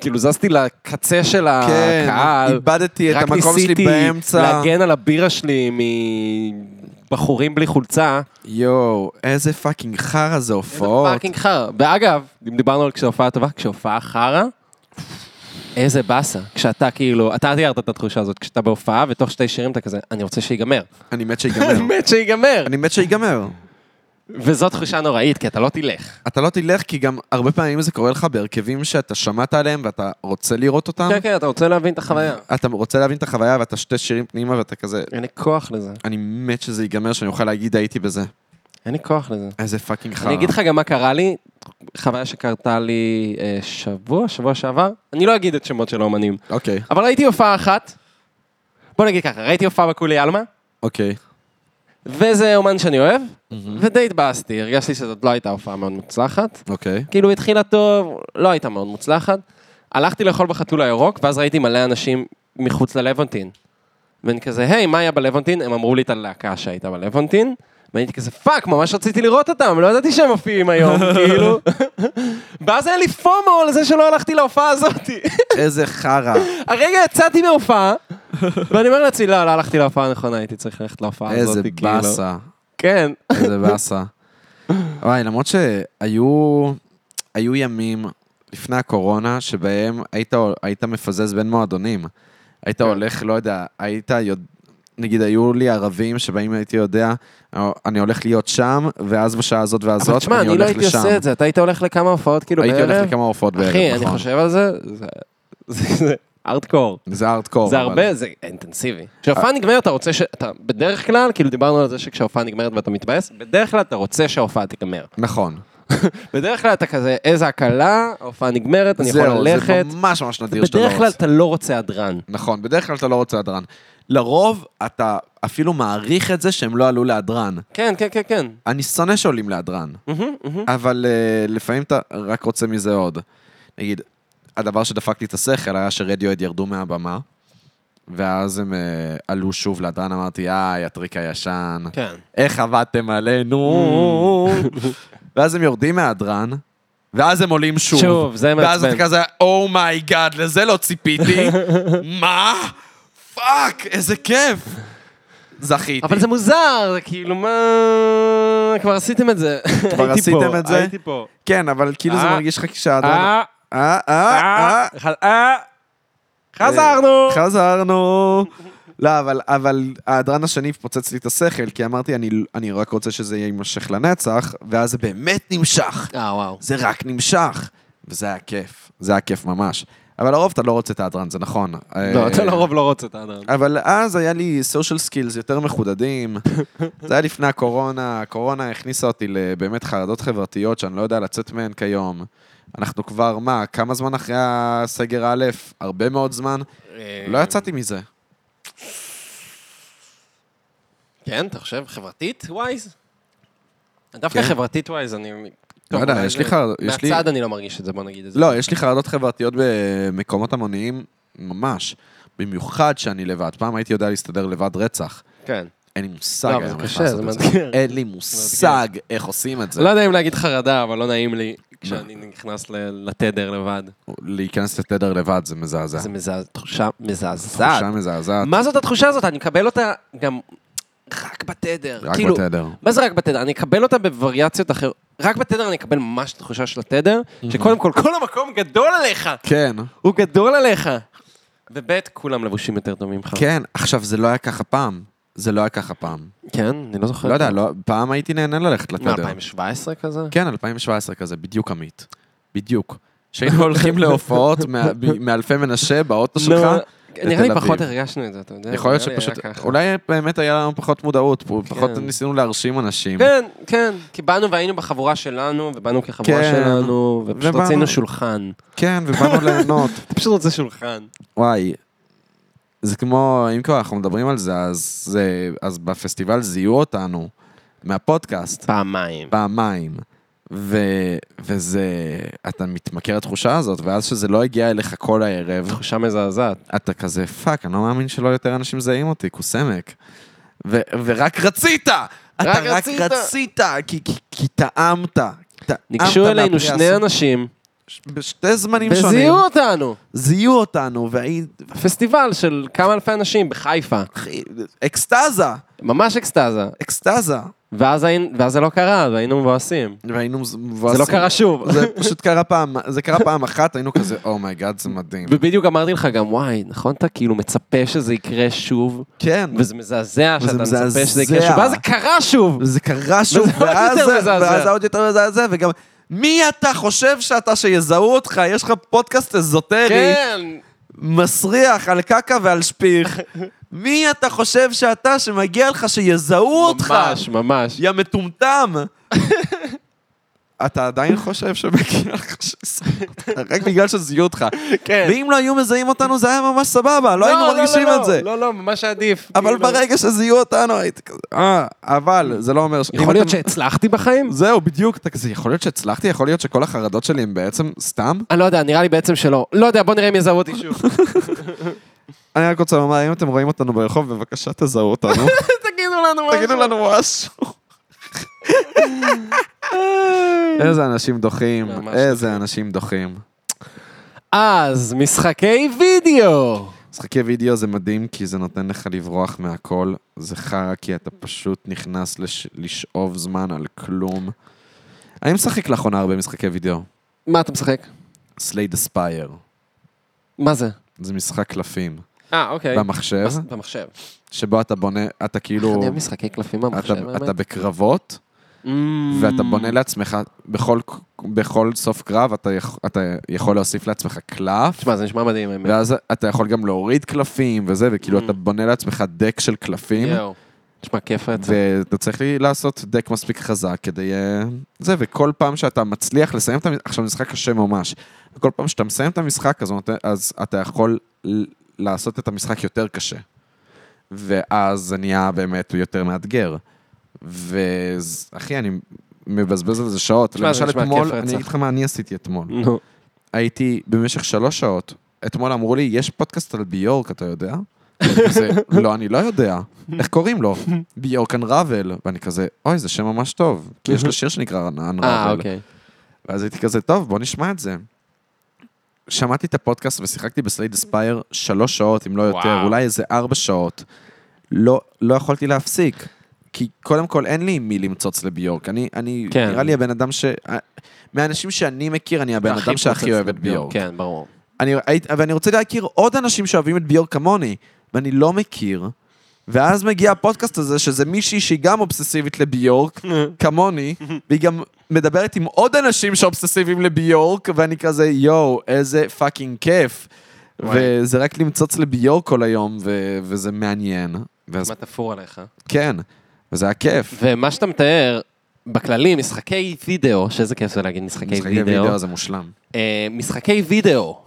B: כאילו, זזתי לקצה של
A: כן,
B: הקהל.
A: איבדתי את
B: רק
A: המקום שלי
B: ניסיתי
A: באמצע.
B: להגן על הבירה שלי מבחורים בלי חולצה.
A: יואו, איזה פאקינג חרא זה
B: איזה
A: הופעות.
B: פאקינג חרא. ואגב, אם דיברנו על כשהופעה טובה, כשהופעה חרא, איזה באסה. כשאתה כאילו, אתה תיארת את התחושה הזאת, כשאתה בהופעה ותוך שתי שירים אתה כזה, אני רוצה שיגמר.
A: אני מת שיגמר.
B: מת שיגמר.
A: כן. אני מת שיגמר.
B: וזאת תחושה נוראית, כי אתה לא תלך.
A: אתה לא תלך, כי גם הרבה פעמים זה קורה לך בהרכבים שאתה שמעת עליהם ואתה רוצה לראות אותם.
B: כן, כן, אתה רוצה להבין את החוויה.
A: אתה רוצה להבין את החוויה ואתה שתי שירים פנימה ואתה כזה,
B: אין לי כוח לזה.
A: אני מת שזה ייגמר, שאני אוכל להגיד הייתי בזה.
B: אין לי כוח לזה.
A: איזה פאקינג חרא.
B: אני אגיד לך גם מה קרה לי, חוויה שקרתה לי אה, שבוע, שבוע שעבר. אני לא אגיד את שמות של האומנים,
A: אוקיי,
B: אבל ראיתי הופעה אחת. בוא נגיד ככה, ראיתי הופעה בקולי עלמה,
A: אוקיי.
B: וזה אומן שאני אוהב, ודי התבאסתי, הרגשתי שזאת לא הייתה הופעה מאוד מוצלחת.
A: אוקיי.
B: כאילו התחילה טוב, לא הייתה מאוד מוצלחת. הלכתי לאכול בחתול הירוק, ואז ראיתי מלא אנשים מחוץ ללוונטין. ואני כזה, היי, מה היה בלוונטין? הם אמרו לי את הלהקה שהייתה בלוונטין. ואני הייתי כזה, פאק, ממש רציתי לראות אותם, לא ידעתי שהם מופיעים היום, כאילו. ואז היה לי פומו על זה שלא הלכתי להופעה הזאת.
A: איזה חרא.
B: הרגע יצאתי מההופעה, ואני אומר לעצמי, לא, לא הלכתי להופעה הנכונה, הייתי צריך ללכת להופעה הזאת,
A: איזה
B: כאילו.
A: באסה.
B: כן.
A: איזה באסה. וואי, למרות שהיו היו ימים לפני הקורונה שבהם היית, היית מפזז בין מועדונים. היית
B: כן.
A: הולך, לא יודע, היית, יודע, נגיד היו לי ערבים שבהם הייתי יודע, "אה, אני הולך להיות שם, ואז בשעה הזאת
B: אבל
A: והזאת,
B: תשמע,
A: אני
B: אני לא
A: הולך
B: הייתי
A: לשם.
B: עושה את זה, אתה היית הולך לכמה הופעות כאילו בערב?
A: הייתי הולך לכמה הופעות בערב,
B: אחי,
A: נכון.
B: אני חושב על זה, זה- זה זה ארטקור.
A: זה הארדקור.
B: זה
A: אבל-
B: הרבה, זה אינטנסיבי. כשההופעה נגמרת, אתה רוצה ש... אתה בדרך כלל, כאילו דיברנו על זה שכשההופעה נגמרת ואתה מתבאס, בדרך כלל אתה רוצה שההופעה תיגמר.
A: נכון.
B: בדרך כלל אתה כזה, איזה הקלה, ההופעה נגמרת, אני יכול
A: זהו, זה
B: ללכת.
A: ממש ממש נדיר שאתה לא
B: בדרך כלל
A: רוצה.
B: אתה לא רוצה הדרן.
A: נכון, בדרך כלל אתה לא רוצה הדרן. לרוב, אתה אפילו מעריך את זה שהם לא עלו להדרן.
B: כן, כן, כן, כן.
A: אני שונא שעולים להדרן,
B: מהמם, מהמם.
A: אבל uh, לפעמים אתה רק רוצה מזה עוד. נגיד, הדבר שדפק לי את השכל היה שרדיואד ירדו מהבמה, ואז הם uh, עלו שוב להדרן, אמרתי, איי, הטריק הישן,
B: כן. Mm.
A: איך עבדתם עלינו? ואז הם יורדים מההדרן, ואז הם עולים שוב.
B: שוב, זה
A: ואז
B: מעצבן.
A: אתה כזה, אומייגאד, לזה לא ציפיתי. מה? פאק, איזה כיף. זכיתי.
B: אבל זה מוזר, זה כאילו, מה... כבר עשיתם את זה.
A: כבר
B: הייתי פה,
A: עשיתם את זה?
B: הייתי פה.
A: כן, אבל כאילו זה
B: אה,
A: מרגיש לך כשהאדרן...
B: אה,
A: אה, אה, אה,
B: אה, חזרנו.
A: חזרנו. לא, אבל, אבל ההדרן השני פוצץ לי את השכל, כי אמרתי, אני, אני רק רוצה שזה יימשך לנצח, ואז זה באמת נמשך.
B: אה, וואו.
A: זה רק נמשך. וזה היה כיף, זה היה כיף ממש. אבל לרוב אתה לא רוצה תיאטרן, זה נכון.
B: לא, אתה לרוב לא רוצה את האדם.
A: אבל אז היה לי סושיאל סקילס יותר מחודדים. זה היה לפני הקורונה, הקורונה הכניסה אותי לבאמת חרדות חברתיות שאני לא יודע לצאת מהן כיום. אנחנו כבר, מה, כמה זמן אחרי הסגר א'? הרבה מאוד זמן. לא יצאתי מזה.
B: כן, אתה חושב? חברתית ווייז? דווקא
A: כן.
B: חברתית ווייז, אני...
A: לא יודע,
B: אולי
A: יש
B: זה-
A: לי חר- יש לי-
B: מהצד אני לא מרגיש את זה, בוא נגיד את זה.
A: לא, יש לי חרדות חברתיות במקומות המוניים, ממש. במיוחד שאני לבד. פעם הייתי יודע להסתדר לבד רצח.
B: כן.
A: אין לי מושג
B: לא,
A: היום
B: אבל זה
A: איך
B: קשה,
A: לעשות
B: זה
A: את זה.
B: מאתגר.
A: אין לי מושג איך עושים את זה.
B: לא יודע אם להגיד חרדה, אבל לא נעים לי כשאני נכנס ל- לתדר לבד.
A: להיכנס לתדר לבד זה מזעזע.
B: זה מזעזע, תחושה מזעזעת.
A: תחושה מזעזעת.
B: מה זאת התחושה הזאת? אני מקבל אותה גם רק בתדר.
A: רק
B: כאילו,
A: בתדר.
B: מה זה רק בתדר? אני אקבל אותה בווריאציות אחרות. רק בתדר אני אקבל ממש את התחושה של התדר, שקודם כל, כל המקום גדול עליך.
A: כן,
B: הוא גדול עליך. ובית, כולם לבושים יותר טובים ממך.
A: כן. עכשיו, זה לא היה ככה פעם. זה לא היה ככה פעם.
B: כן, אני לא לא. זוכר.
A: לא יודע, לא- פעם הייתי נהנה ללכת לתדר.
B: מ-2017 כזה?
A: כן, 2017 כזה, בדיוק עמית. בדיוק. שהיינו הולכים להופעות מה- ב- מאלפי מנשה באוטו
B: נו,
A: שלך.
B: נראה לי
A: לתל
B: פחות
A: אביב.
B: הרגשנו את זה, אתה יודע?
A: יכול להיות
B: לא, נראה לי היה
A: שפשוט,
B: ככה.
A: אולי באמת היה לנו פחות מודעות, פו- פחות
B: כן.
A: ניסינו להרשים אנשים.
B: כן, כן, כי באנו והיינו בחבורה שלנו, ובאנו כחבורה
A: כן.
B: שלנו, ופשוט
A: ובאנו-
B: רצינו שולחן.
A: כן, ובאנו ליהנות.
B: אתה פשוט רוצה שולחן.
A: וואי, זה כמו, אם כבר אנחנו מדברים על זה, אז, זה, אז בפסטיבל זיהו אותנו מהפודקאסט
B: פעמיים.
A: פעמיים. ו, וזה, אתה מתמכר לתחושה הזאת, ואז שזה לא הגיע אליך כל הערב,
B: תחושה מזעזעת.
A: אתה כזה, פאק, אני לא מאמין שלא יותר אנשים זהים אותי, כוסמק. ו, ורק רצית! אתה רק
B: רצית.
A: רצית, כי, כי, כי טעמת. טעמת
B: ניגשו אלינו
A: מהפרי
B: שני
A: הסוג-
B: אנשים,
A: בשתי זמנים שונים,
B: וזיהו אותנו.
A: זיהו אותנו, והי...
B: פסטיבל של כמה אלפי אנשים בחיפה.
A: אחי, אקסטזה,
B: ממש אקסטזה.
A: אקסטזה.
B: ואז היינו- ואז זה לא קרה, והיינו מבואסים.
A: והיינו
B: זה
A: מבואסים.
B: לא קרה שוב.
A: זה פשוט קרה פעם, זה קרה פעם אחת, היינו כזה, אומייגאד, זה מדהים.
B: ובדיוק אמרתי לך גם, וואי, נכון אתה כאילו מצפה שזה יקרה שוב,
A: כן,
B: וזה מזעזע
A: וזה
B: שאתה מצפה שזה
A: מזעזע.
B: יקרה שוב, ואז זה קרה שוב!
A: וזה קרה שוב,
B: וזה עוד
A: ואז
B: יותר
A: זה-
B: מזעזע.
A: ואז זה עוד יותר מזעזע, וגם מי אתה חושב שאתה שיזהו אותך? יש לך פודקאסט אזוטרי,
B: כן!
A: מסריח על קקה ועל שפיך. מי אתה חושב שאתה שמגיע לך שיזהו אותך?
B: ממש, ממש.
A: יא מטומטם! אתה עדיין חושב שמגיע לך שיזהו אותך, רק בגלל שזיהו אותך.
B: כן.
A: ואם לא היו מזהים אותנו זה היה ממש סבבה, לא היינו מרגישים את זה.
B: לא, לא, ממש עדיף.
A: אבל
B: כאילו.
A: ברגע שזיהו אותנו הייתי כזה, אה, אבל זה לא אומר ש... אם
B: יכול להיות
A: אתה-
B: שהצלחתי בחיים?
A: זהו, בדיוק, אתה כזה, יכול להיות שהצלחתי, יכול להיות שכל החרדות שלי הם בעצם סתם?
B: אני לא יודע, נראה לי בעצם שלא. לא יודע, בוא נראה אם יזהו אותי שוב.
A: אני רק רוצה לומר, אם אתם רואים אותנו ברחוב, בבקשה תזהו אותנו,
B: תגידו לנו משהו.
A: תגידו לנו משהו. איזה אנשים דוחים,
B: ממש
A: איזה אנשים דוחים.
B: אז, משחקי וידאו.
A: משחקי וידאו זה מדהים, כי זה נותן לך לברוח מהכל. זה חרא, כי אתה פשוט נכנס לש... לשאוב זמן על כלום. אני משחק לאחרונה הרבה משחקי וידאו.
B: מה אתה משחק?
A: סלייד אספייר.
B: מה זה?
A: זה משחק קלפים
B: אה, אוקיי.
A: במחשב,
B: בס- במחשב.
A: שבו אתה בונה, אתה כאילו,
B: אני אוהב משחקי קלפים
A: אתה,
B: במחשב, האמת. Mm.
A: אתה בקרבות, ואתה בונה לעצמך, בכל, בכל סוף קרב אתה, יכ, אתה יכול להוסיף לעצמך קלף,
B: תשמע, זה נשמע מדהים, האמת.
A: ואז אתה יכול גם להוריד קלפים וזה, וכאילו
B: Mm.
A: אתה בונה לעצמך דק של קלפים.
B: יואו. נשמע כיף רצח.
A: ואתה צריך לי לעשות דק מספיק חזק כדי... אה, זה, וכל פעם שאתה מצליח לסיים את המשחק, עכשיו זה משחק קשה ממש, כל פעם שאתה מסיים את המשחק, אז, הוא נותן- אז אתה יכול ל- לעשות את המשחק יותר קשה. ואז זה נהיה באמת יותר מאתגר. ואחי, אני מבזבז על זה שעות.
B: תשמע, זה
A: למשל
B: נשמע
A: אתמול,
B: כיף רצח.
A: אני אגיד לך מה אני עשיתי אתמול.
B: נו.
A: הייתי במשך שלוש שעות, אתמול אמרו לי, יש פודקאסט על ביורק, אתה יודע? אני כזה, לא, אני לא יודע. איך קוראים לו? ביורק אנראבל. ואני כזה, אוי, זה שם ממש טוב. כי יש לו שיר שנקרא
B: אה,
A: אנראבל.
B: אוקיי.
A: ואז הייתי כזה, טוב, בוא נשמע את זה. שמעתי את הפודקאסט ושיחקתי בסלייד אספייר שלוש שעות, אם לא יותר,
B: וואו.
A: אולי איזה ארבע שעות. לא, לא יכולתי להפסיק. כי קודם כל, אין לי עם מי למצוץ לביורק. אני, אני,
B: כן.
A: נראה לי הבן אדם ש... מהאנשים שאני מכיר, אני הבן אדם שהכי אוהב את ביורק.
B: כן, ברור.
A: אני, הייתי- ואני רוצה להכיר עוד אנשים שאוהבים את ביורק כמוני, ואני לא מכיר, ואז מגיע הפודקאסט הזה, שזה מישהי שהיא גם אובססיבית לביורק, כמוני, והיא גם מדברת עם עוד אנשים שאובססיביים לביורק, ואני כזה, יואו, איזה פאקינג כיף.
B: וואי.
A: וזה רק למצוץ לביורק כל היום, ו- וזה מעניין. ואז
B: מה תפור עליך?
A: כן, וזה היה כיף.
B: ומה שאתה מתאר, בכללי, משחקי וידאו, שזה כיף זה להגיד משחקי
A: משחקי וידאו
B: אוקיי, וידאו,
A: זה מושלם.
B: אה, משחקי וידאו,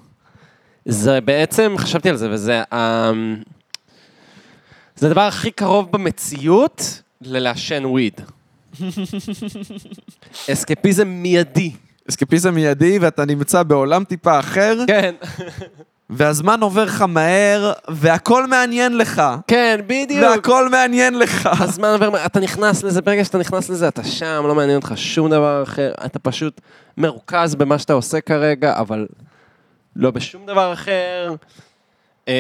B: זה בעצם, חשבתי על זה, וזה ה... זה הדבר הכי קרוב במציאות ללעשן וויד. אסקפיזם מיידי.
A: אסקפיזם מיידי, ואתה נמצא בעולם טיפה אחר,
B: כן,
A: והזמן עובר לך מהר, והכל מעניין לך.
B: כן, בדיוק.
A: והכל מעניין לך.
B: הזמן עובר, מה- אתה נכנס לזה, ברגע שאתה נכנס לזה, אתה שם, לא מעניין אותך שום דבר אחר, אתה פשוט מרוכז במה שאתה עושה כרגע, אבל לא בשום דבר אחר. אמ,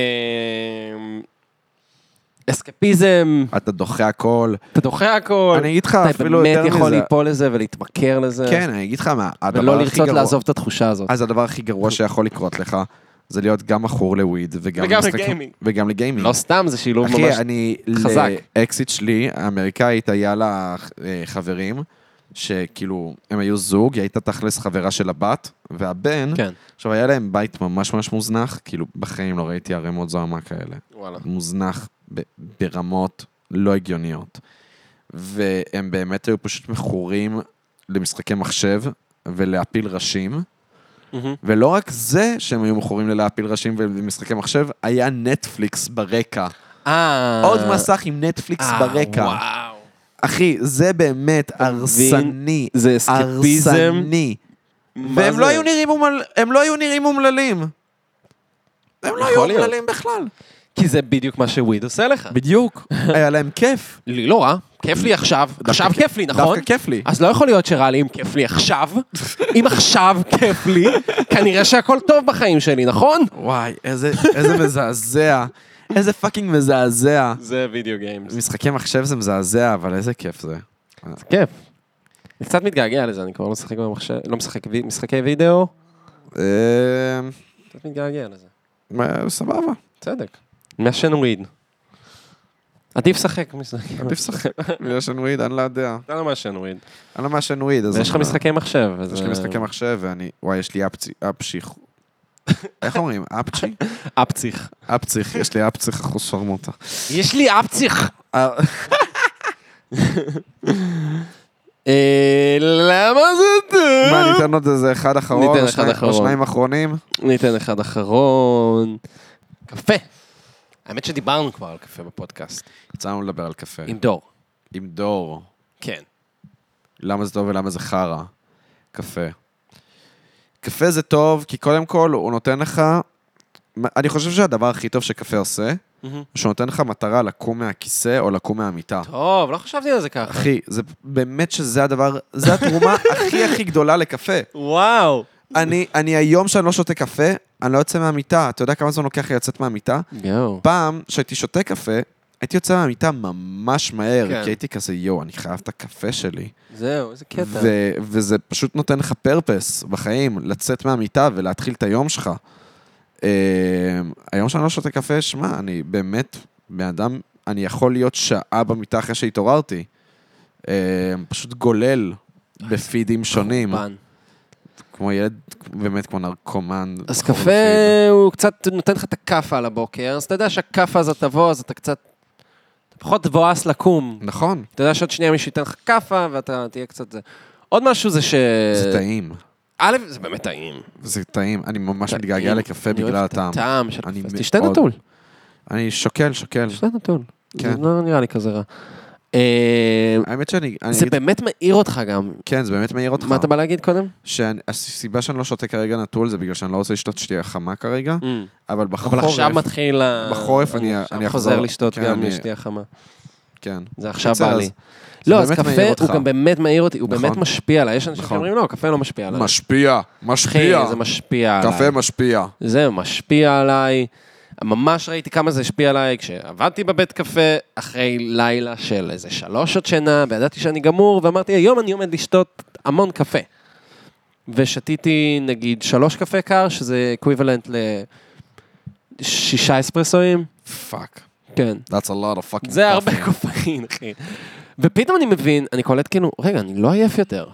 B: אסקפיזם,
A: אתה דוחה הכל.
B: אתה דוחה הכל.
A: אני אגיד לך
B: אתה
A: אפילו
B: באמת
A: יותר
B: יכול
A: מזה.
B: ליפול לזה ולהתמכר לזה.
A: כן, אני אגיד לך מה, הדבר
B: ולא
A: הכי
B: לרצות
A: גרוע.
B: לעזוב את התחושה הזאת.
A: אז הדבר הכי גרוע שיכול לקרות לך, זה להיות גם מכור לוויד, וגם
B: וגם
A: למשחקים-
B: לגיימינג.
A: וגם לגיימינג.
B: לא סתם, זה שילוב
A: אחי,
B: ממש...
A: אני...
B: חזק.
A: לאקסיט שלי, האמריקאית, היה לה אה, חברים, שכאילו, הם היו זוג, היא הייתה תכלס חברה של הבת, והבן,
B: כן,
A: עכשיו, היה להם בית ממש ממש מוזנח, כאילו, בחיים לא ראיתי ערימות זוהמה כאלה.
B: וואלה.
A: מוזנח ב- ברמות לא הגיוניות. והם באמת היו פשוט מכורים למשחקי מחשב ולהפיל ראשים.
B: מהמם.
A: ולא רק זה שהם היו מכורים ללהפיל ראשים ולמשחקי מחשב, היה נטפליקס ברקע.
B: אה...
A: עוד מסך עם נטפליקס
B: אה,
A: ברקע.
B: וואו.
A: אחי, זה באמת
B: מבין?
A: הרסני.
B: זה אסקפיזם.
A: הרסני.
B: מה
A: והם
B: זה?
A: לא היו נראים אומל- הם לא היו נראים אומללים. הם לא היו
B: יכול להיות.
A: אומללים בכלל.
B: כי זה בדיוק מה שוויד עושה לך.
A: בדיוק. היה להם כיף.
B: לי לא רע, כיף לי עכשיו, עכשיו
A: דווקא-
B: כיף לי, נכון?
A: דווקא כיף לי.
B: אז לא יכול להיות שרע לי אם כיף לי עכשיו. אם עכשיו כיף לי, כנראה שהכל טוב בחיים שלי, נכון?
A: וואי, איזה איזה מזעזע. איזה פאקינג מזעזע.
B: זה וידאו גיימס.
A: משחקי מחשב זה מזעזע, אבל איזה כיף זה.
B: זה כיף. אני קצת מתגעגע לזה, אני כבר לא משחק במחשב, לא משחק וי- משחקי וידאו,
A: אה,
B: קצת מתגעגע לזה.
A: מה, סבבה,
B: צדק. מעשן וויד. עדיף לשחק משחקים.
A: עדיף לשחק. יש לנו וויד, אני לא יודע.
B: אתה לא מעשן וויד.
A: אני לא מעשן וויד, אז...
B: ויש לך
A: אני-
B: משחקי מחשב. אז- אה,
A: יש לי משחקי מחשב, ואני... וואי, יש לי אפצי... אפשיך. איך אומרים? אפצ'י?
B: אפציך.
A: אפציך, יש לי אפציך אחוז שרמוטה.
B: יש לי אפציך!
A: אה,
B: אה, למה זה טוב?
A: מה, ניתן עוד איזה אחד אחרון?
B: ניתן
A: או
B: אחד
A: שניים-
B: אחרון.
A: או שניים אחרונים?
B: ניתן אחד אחרון. קפה. האמת שדיברנו כבר על קפה בפודקאסט.
A: יצאנו לדבר על קפה.
B: עם דור.
A: עם דור.
B: כן.
A: למה זה טוב ולמה זה חרא. קפה. קפה זה טוב, כי קודם כל הוא נותן לך... אני חושב שהדבר הכי טוב שקפה עושה, שהוא נותן לך מטרה לקום מהכיסא או לקום מהמיטה.
B: טוב, לא חשבתי על זה ככה.
A: אחי, זה באמת שזה הדבר, זה התרומה הכי הכי גדולה לקפה.
B: וואו.
A: אני, אני היום שאני לא שותה קפה, אני לא יוצא מהמיטה. אתה יודע כמה זמן לוקח לי לצאת מהמיטה?
B: יואו.
A: פעם, כשהייתי שותה קפה, הייתי יוצא מהמיטה ממש מהר,
B: כן.
A: כי הייתי כזה, יואו, אני חייב את הקפה שלי.
B: זהו, איזה קטע.
A: ו- וזה פשוט נותן לך פרפס בחיים, לצאת מהמיטה ולהתחיל את היום שלך. אה, היום שאני לא שותה קפה, שמע, אני באמת בן אדם, אני יכול להיות שעה במיטה אחרי שהתעוררתי. אה, פשוט גולל בפידים שונים,
B: פן.
A: כמו ילד, באמת כמו נרקומן.
B: אז
A: בכל
B: קפה
A: פיד.
B: הוא קצת נותן לך את הכאפה על הבוקר, אז אתה יודע שהכאפה הזאת תבוא, אז אתה קצת... אתה פחות מבואס לקום.
A: נכון,
B: אתה יודע שעוד שנייה מישהו ייתן לך כאפה ואתה תהיה קצת זה. עוד משהו זה ש...
A: זה טעים.
B: א', זה באמת טעים.
A: זה טעים, אני ממש
B: טעים.
A: מתגעגע לקפה
B: אני
A: בגלל
B: אוהב את
A: הטעם.
B: הטעם של
A: אני
B: קפה. אז תשתה
A: מאוד-
B: נטול.
A: אני שוקל, שוקל.
B: שתי נתון.
A: כן.
B: זה לא נראה לי כזה רע. אה,
A: האמת שאני, אני
B: זה
A: אגיד-
B: באמת מאיר אותך גם.
A: כן, זה באמת מעיר אותך.
B: מה אתה בא להגיד קודם?
A: שהסיבה שאני לא שותה כרגע נטול זה בגלל שאני לא רוצה לשתות שתייה חמה כרגע, אבל בחורף...
B: אבל עכשיו מתחיל ה...
A: בחורף אני- אני
B: עכשיו
A: אחזור-
B: חוזר לשתות
A: כן,
B: גם
A: אני-
B: שתייה חמה.
A: כן.
B: זה עכשיו
A: בסדר,
B: בא
A: אז-
B: לי.
A: זה
B: לא, אז
A: באמת מעיר
B: קפה
A: אותך.
B: הוא גם באמת מאיר אותי, הוא
A: נכון.
B: באמת משפיע עליי. יש אנשים
A: נכון.
B: שאומרים, לא, קפה לא משפיע עליי.
A: משפיע,
B: אחי,
A: משפיע.
B: זה משפיע עליי.
A: קפה משפיע.
B: זה משפיע עליי. ממש ראיתי כמה זה השפיע עליי כשעבדתי בבית קפה, אחרי לילה של איזה שלוש שעות שינה, וידעתי שאני גמור, ואמרתי, היום אני עומד לשתות המון קפה. ושתיתי נגיד שלוש קפה קר, שזה אקוויוולנט לשישה אספרסואים,
A: פאק.
B: כן.
A: That's a lot of fucking
B: זה הרבה
A: coffee.
B: קופאין, אחי. ופתאום אני מבין, אני קולט כאילו, רגע, אני לא עייף יותר.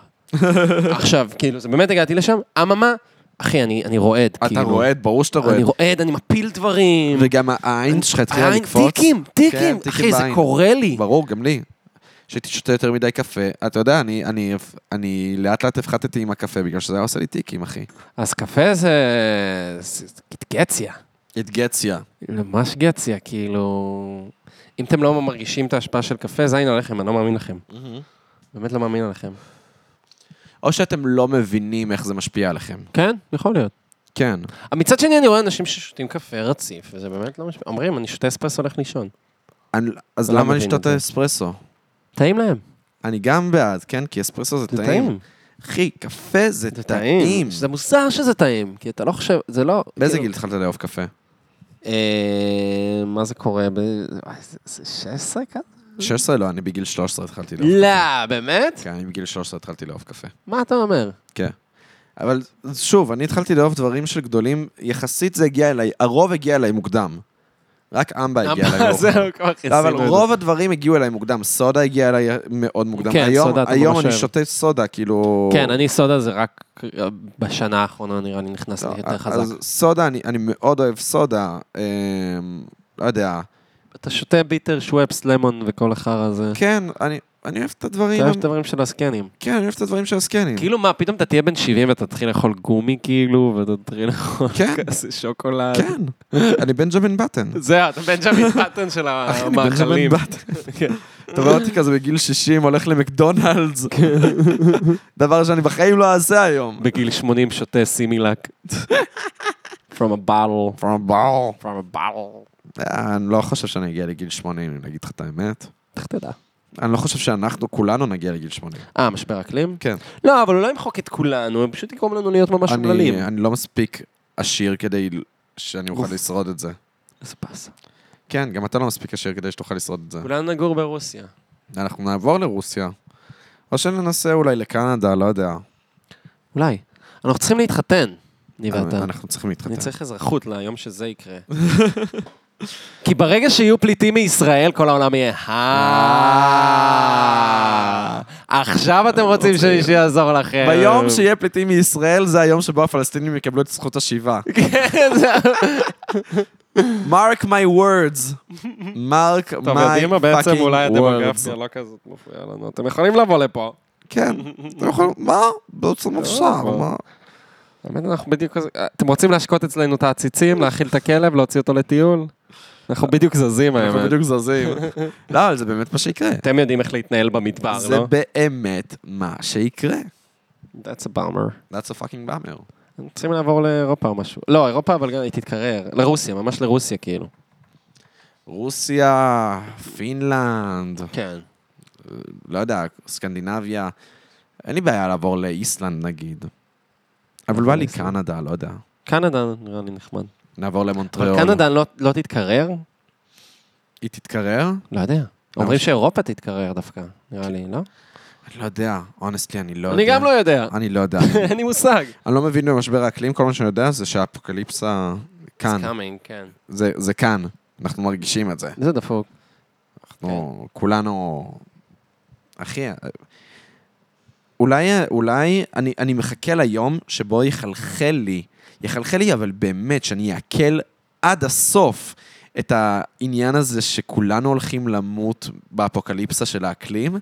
B: עכשיו, כאילו, זה באמת הגעתי לשם, אממה, אחי, אני אני רועד, כאילו.
A: אתה רועד, ברור שאתה רועד.
B: אני רועד, אני מפיל דברים.
A: וגם העין שלך התחילה
B: העין-
A: לקפוץ.
B: טיקים, טיקים.
A: כן, טיקים
B: אחי, זה
A: בעין.
B: קורה לי.
A: ברור, גם לי. שהייתי שותה יותר מדי קפה, אתה יודע, אני, אני, אני לאט לאט הפחתתי עם הקפה, בגלל שזה היה עושה לי טיקים, אחי.
B: אז קפה זה... זה גציה.
A: It gets ya.
B: ממש גציה, כאילו... אם אתם לא מרגישים את ההשפעה של קפה, זין עליכם, אני לא מאמין לכם. באמת לא מאמין עליכם.
A: או שאתם לא מבינים איך זה משפיע עליכם.
B: כן, יכול להיות.
A: כן.
B: מצד שני, אני רואה אנשים ששותים קפה רציף, וזה באמת לא משמע. אומרים, אני שותה אספרסו, הולך לישון.
A: אני, אז
B: לא
A: למה
B: מבין את
A: לשתות
B: זה.
A: אספרסו?
B: טעים להם.
A: אני גם בעד, כן? כי אספרסו זה
B: זה
A: טעים.
B: טעים.
A: אחי, קפה זה
B: זה טעים.
A: טעים.
B: זה מוזר שזה טעים, כי אתה לא חושב, זה לא...
A: באיזה
B: כאילו-
A: גיל התחלת לאהוב קפה?
B: אה, מה זה קורה? ב... וואי, זה- זה 16 כזה?
A: 16 לא, אני בגיל 13 התחלתי לאהוב קפה.
B: לא, באמת?
A: כן, אני בגיל 13 התחלתי לאהוב קפה.
B: מה אתה אומר?
A: כן. אבל שוב, אני התחלתי לאהוב דברים של גדולים, יחסית זה הגיע אליי, הרוב הגיע אליי מוקדם. רק אמבה הגיע אליי מאוחר.
B: זהו, כבר
A: לא, אבל
B: כיסינו את
A: רוב הדברים הגיעו אליי מוקדם, סודה הגיעה אליי מאוד מוקדם.
B: כן,
A: היום-
B: סודה אתה
A: היום
B: ממש
A: אני
B: אוהב.
A: שותה סודה, כאילו...
B: זה. כן, אני סודה זה רק אה, בשנה האחרונה, נראה לי, נכנס לי
A: לא,
B: יותר חזק.
A: אז סודה, אני אני מאוד אוהב סודה, אמ, לא יודע.
B: אתה שותה ביטר, שוואפס, למון וכל החרא הזה.
A: כן, אני אני אוהב את
B: אתה
A: הדברים,
B: אוהב את הדברים של הזקנים.
A: כן, אני אוהב את הדברים של הזקנים.
B: כאילו מה, פתאום אתה תהיה בן 70 ואתה תתחיל לאכול גומי כאילו, ואתה תתחיל לאכול
A: כן.
B: כזה שוקולד.
A: כן, אני בנג'מין בטן.
B: זהו, אתה בנג'מין פטון של
A: אחי, אני בנג'מין
B: המאכלים.
A: בטן.
B: כן.
A: אתה רואה אותי כזה בגיל 60, הולך למקדונלדס. כן. דבר שאני בחיים לא אעשה היום.
B: בגיל 80 שותה סימילק. From a bottle.
A: From bar.
B: From a bottle.
A: אה, אני לא חושב שאני אגיע לגיל 80, אם להגיד לך את האמת.
B: איך תדע?
A: אני לא חושב שאנחנו כולנו נגיע לגיל 80.
B: אה, משבר אקלים?
A: כן.
B: לא, אבל הוא לא ימחוק את כולנו, הם פשוט יגרום לנו להיות ממש
A: אני-
B: אומללים.
A: אני לא מספיק עשיר כדי שאני אוכל
B: אוף.
A: לשרוד את זה.
B: איזה פס.
A: כן, גם אתה לא מספיק עשיר כדי שתוכל לשרוד את זה.
B: כולנו נגור ברוסיה.
A: אנחנו נעבור לרוסיה. או שננסה אולי לקנדה, לא יודע.
B: אולי. אנחנו צריכים להתחתן, אני ואתה.
A: אנחנו צריכים
B: אני
A: להתחתן.
B: צריך אזרחות ליום שזה יקרה. כי ברגע שיהיו פליטים מישראל, כל העולם יהיה, "אה, עכשיו אתם רוצים שמישהו יעזור לכם.
A: ביום שיהיה פליטים מישראל, זה היום שבו הפלסטינים יקבלו את זכות השיבה.
B: כן, זה-
A: mark my words. mark my fucking words.
B: טוב, יודעים מה? בעצם אולי הדמוגרפיה לא כזאת מפריעה לנו. אתם יכולים לבוא לפה.
A: כן, אתם יכולים, מה? בעצם עכשיו,
B: אבל-
A: מה?
B: אה, באמת, אנחנו בדיוק כזה... אתם רוצים להשקות אצלנו את העציצים, להאכיל את הכלב, להוציא אותו לטיול? אנחנו בדיוק זזים
A: אנחנו
B: האמת.
A: בדיוק זזים. לא, אבל זה באמת מה שיקרה.
B: אתם יודעים איך להתנהל במדבר,
A: זה
B: לא?
A: באמת מה שיקרה.
B: That's a bummer.
A: That's a fucking bummer.
B: הם צריכים לעבור לאירופה או משהו. לא, אירופה, אבל גם היא תתקרר. לרוסיה, ממש לרוסיה, כאילו.
A: רוסיה, פינלנד,
B: כן.
A: לא יודע, סקנדינביה. אין לי בעיה לעבור לאיסלנד נגיד. אבל בא לי
B: לאיסלנד.
A: קנדה, לא יודע.
B: קנדה נראה לי נחמד.
A: נעבור
B: אבל
A: למונטריאול.
B: קנדה לא- לא תתקרר?
A: היא תתקרר?
B: לא יודע. אומרים שאירופה תתקרר דווקא, נראה לי, לא?
A: אני לא יודע. אונסטלי, אני כן. לא יודע.
B: אני גם לא יודע.
A: אני לא יודע.
B: אין לי מושג.
A: אני לא מבין במשבר האקלים, כל מה שאני יודע זה שהאפוקליפסה כאן.
B: It's coming, כן.
A: זה, זה כאן, אנחנו מרגישים את זה.
B: זה דפוק.
A: Mm. אנחנו כולנו... אחי, אולי, אולי אני, אני מחכה ליום שבו יחלחל לי, יחלחל לי, אבל באמת, שאני אעכל עד הסוף את העניין הזה שכולנו הולכים למות באפוקליפסה של האקלים,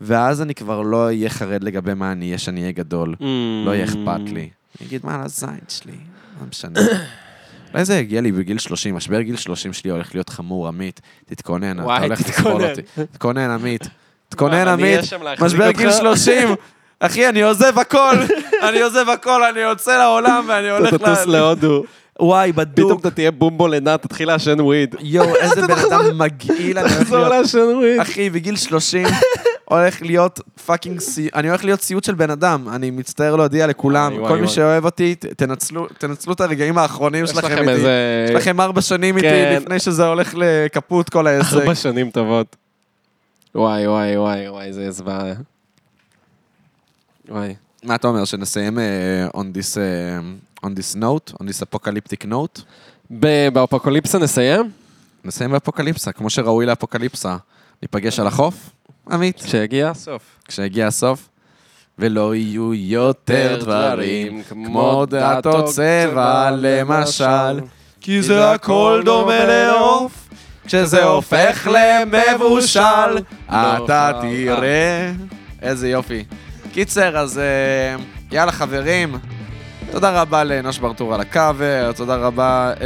A: ואז אני כבר לא אהיה חרד לגבי מה אני אהיה כשאני אהיה גדול.
B: Mm.
A: לא יהיה אכפת לי. אני אגיד, מה, לזין שלי, לא משנה. אולי זה יגיע לי בגיל 30, משבר גיל 30 שלי הולך להיות חמור, עמית. תתכונן, אתה
B: וואי,
A: הולך לסבול
B: תתכונן.
A: אותי. תתכונן, עמית.
B: מה,
A: תתכונן,
B: אני אהיה
A: עמית.
B: שם להחזיק
A: משבר
B: אותך?
A: גיל 30. אחי, אני עוזב הכל, אני עוזב הכל, אני יוצא לעולם ואני
B: אתה
A: הולך ל...
B: תטוס להודו.
A: וואי,
B: פתאום
A: בדוק.
B: אתה תהיה בומבו לנה, תתחיל לעשן וויד.
A: יואו, איזה בן אדם מגעיל אני הולך
B: תחזור
A: להיות.
B: לעשן וויד.
A: אחי, בגיל 30 הולך להיות פאקינג סי... אני הולך להיות סיוט של בן אדם. אני מצטער להודיע לכולם.
B: וואי, וואי,
A: כל מי
B: וואי.
A: שאוהב אותי, ת- תנצלו תנצלו את הרגעים האחרונים
B: יש
A: שלכם
B: לכם
A: איתי.
B: איזה...
A: יש לכם ארבע שנים איתי
B: כן.
A: לפני שזה הולך לקפוט כל העסק.
B: ארבע שנים טובות. וואי, וואי, וואי, וואי, זה זוועה. וואי.
A: מה אתה אומר, שנסיים אה, on this אה, on this note, on this apocalyptic note?
B: ב- באפוקוליפסה נסיים?
A: נסיים באפוקליפסה, כמו שראוי לאפוקליפסה. ניפגש על החוף, עמית,
B: כשיגיע הסוף.
A: כשהגיע הסוף. ולא יהיו יותר דברים כמו דעתו צבע למשל, כי זה הכל דומה לעוף, כשזה הופך למבושל, לא אתה תראה. איזה יופי. קיצר, אז אה, יאללה חברים, תודה רבה לאנוש ברטור על הקאבר, תודה רבה אה,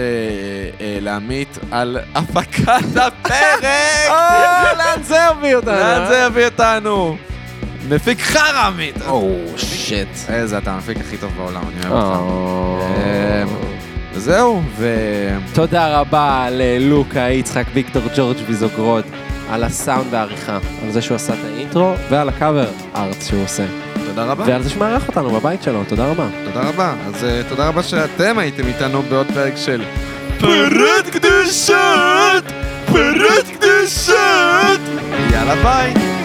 A: אה, לעמית על הפקת הפרק!
B: אה, לאן זה הביא אותנו?
A: לאן זה יביא אה? אותנו? מפיק חרא עמית!
B: או, שיט.
A: איזה אתה המפיק הכי טוב בעולם, אני אוהב אותך. אה, וזהו, ו...
B: אמ, תודה רבה ללוקה, יצחק, ויקטור, ג'ורג' ויזוגרוד, על הסאונד והעריכה, על זה שהוא עשה את האינטרו, ועל הקאבר ארץ שהוא עושה.
A: תודה רבה.
B: ועל זה שמארח אותנו בבית שלו, תודה רבה.
A: תודה רבה. אז אה, תודה רבה שאתם הייתם איתנו בעוד פרק של פרות קדושות! פרות קדושות! יאללה ביי!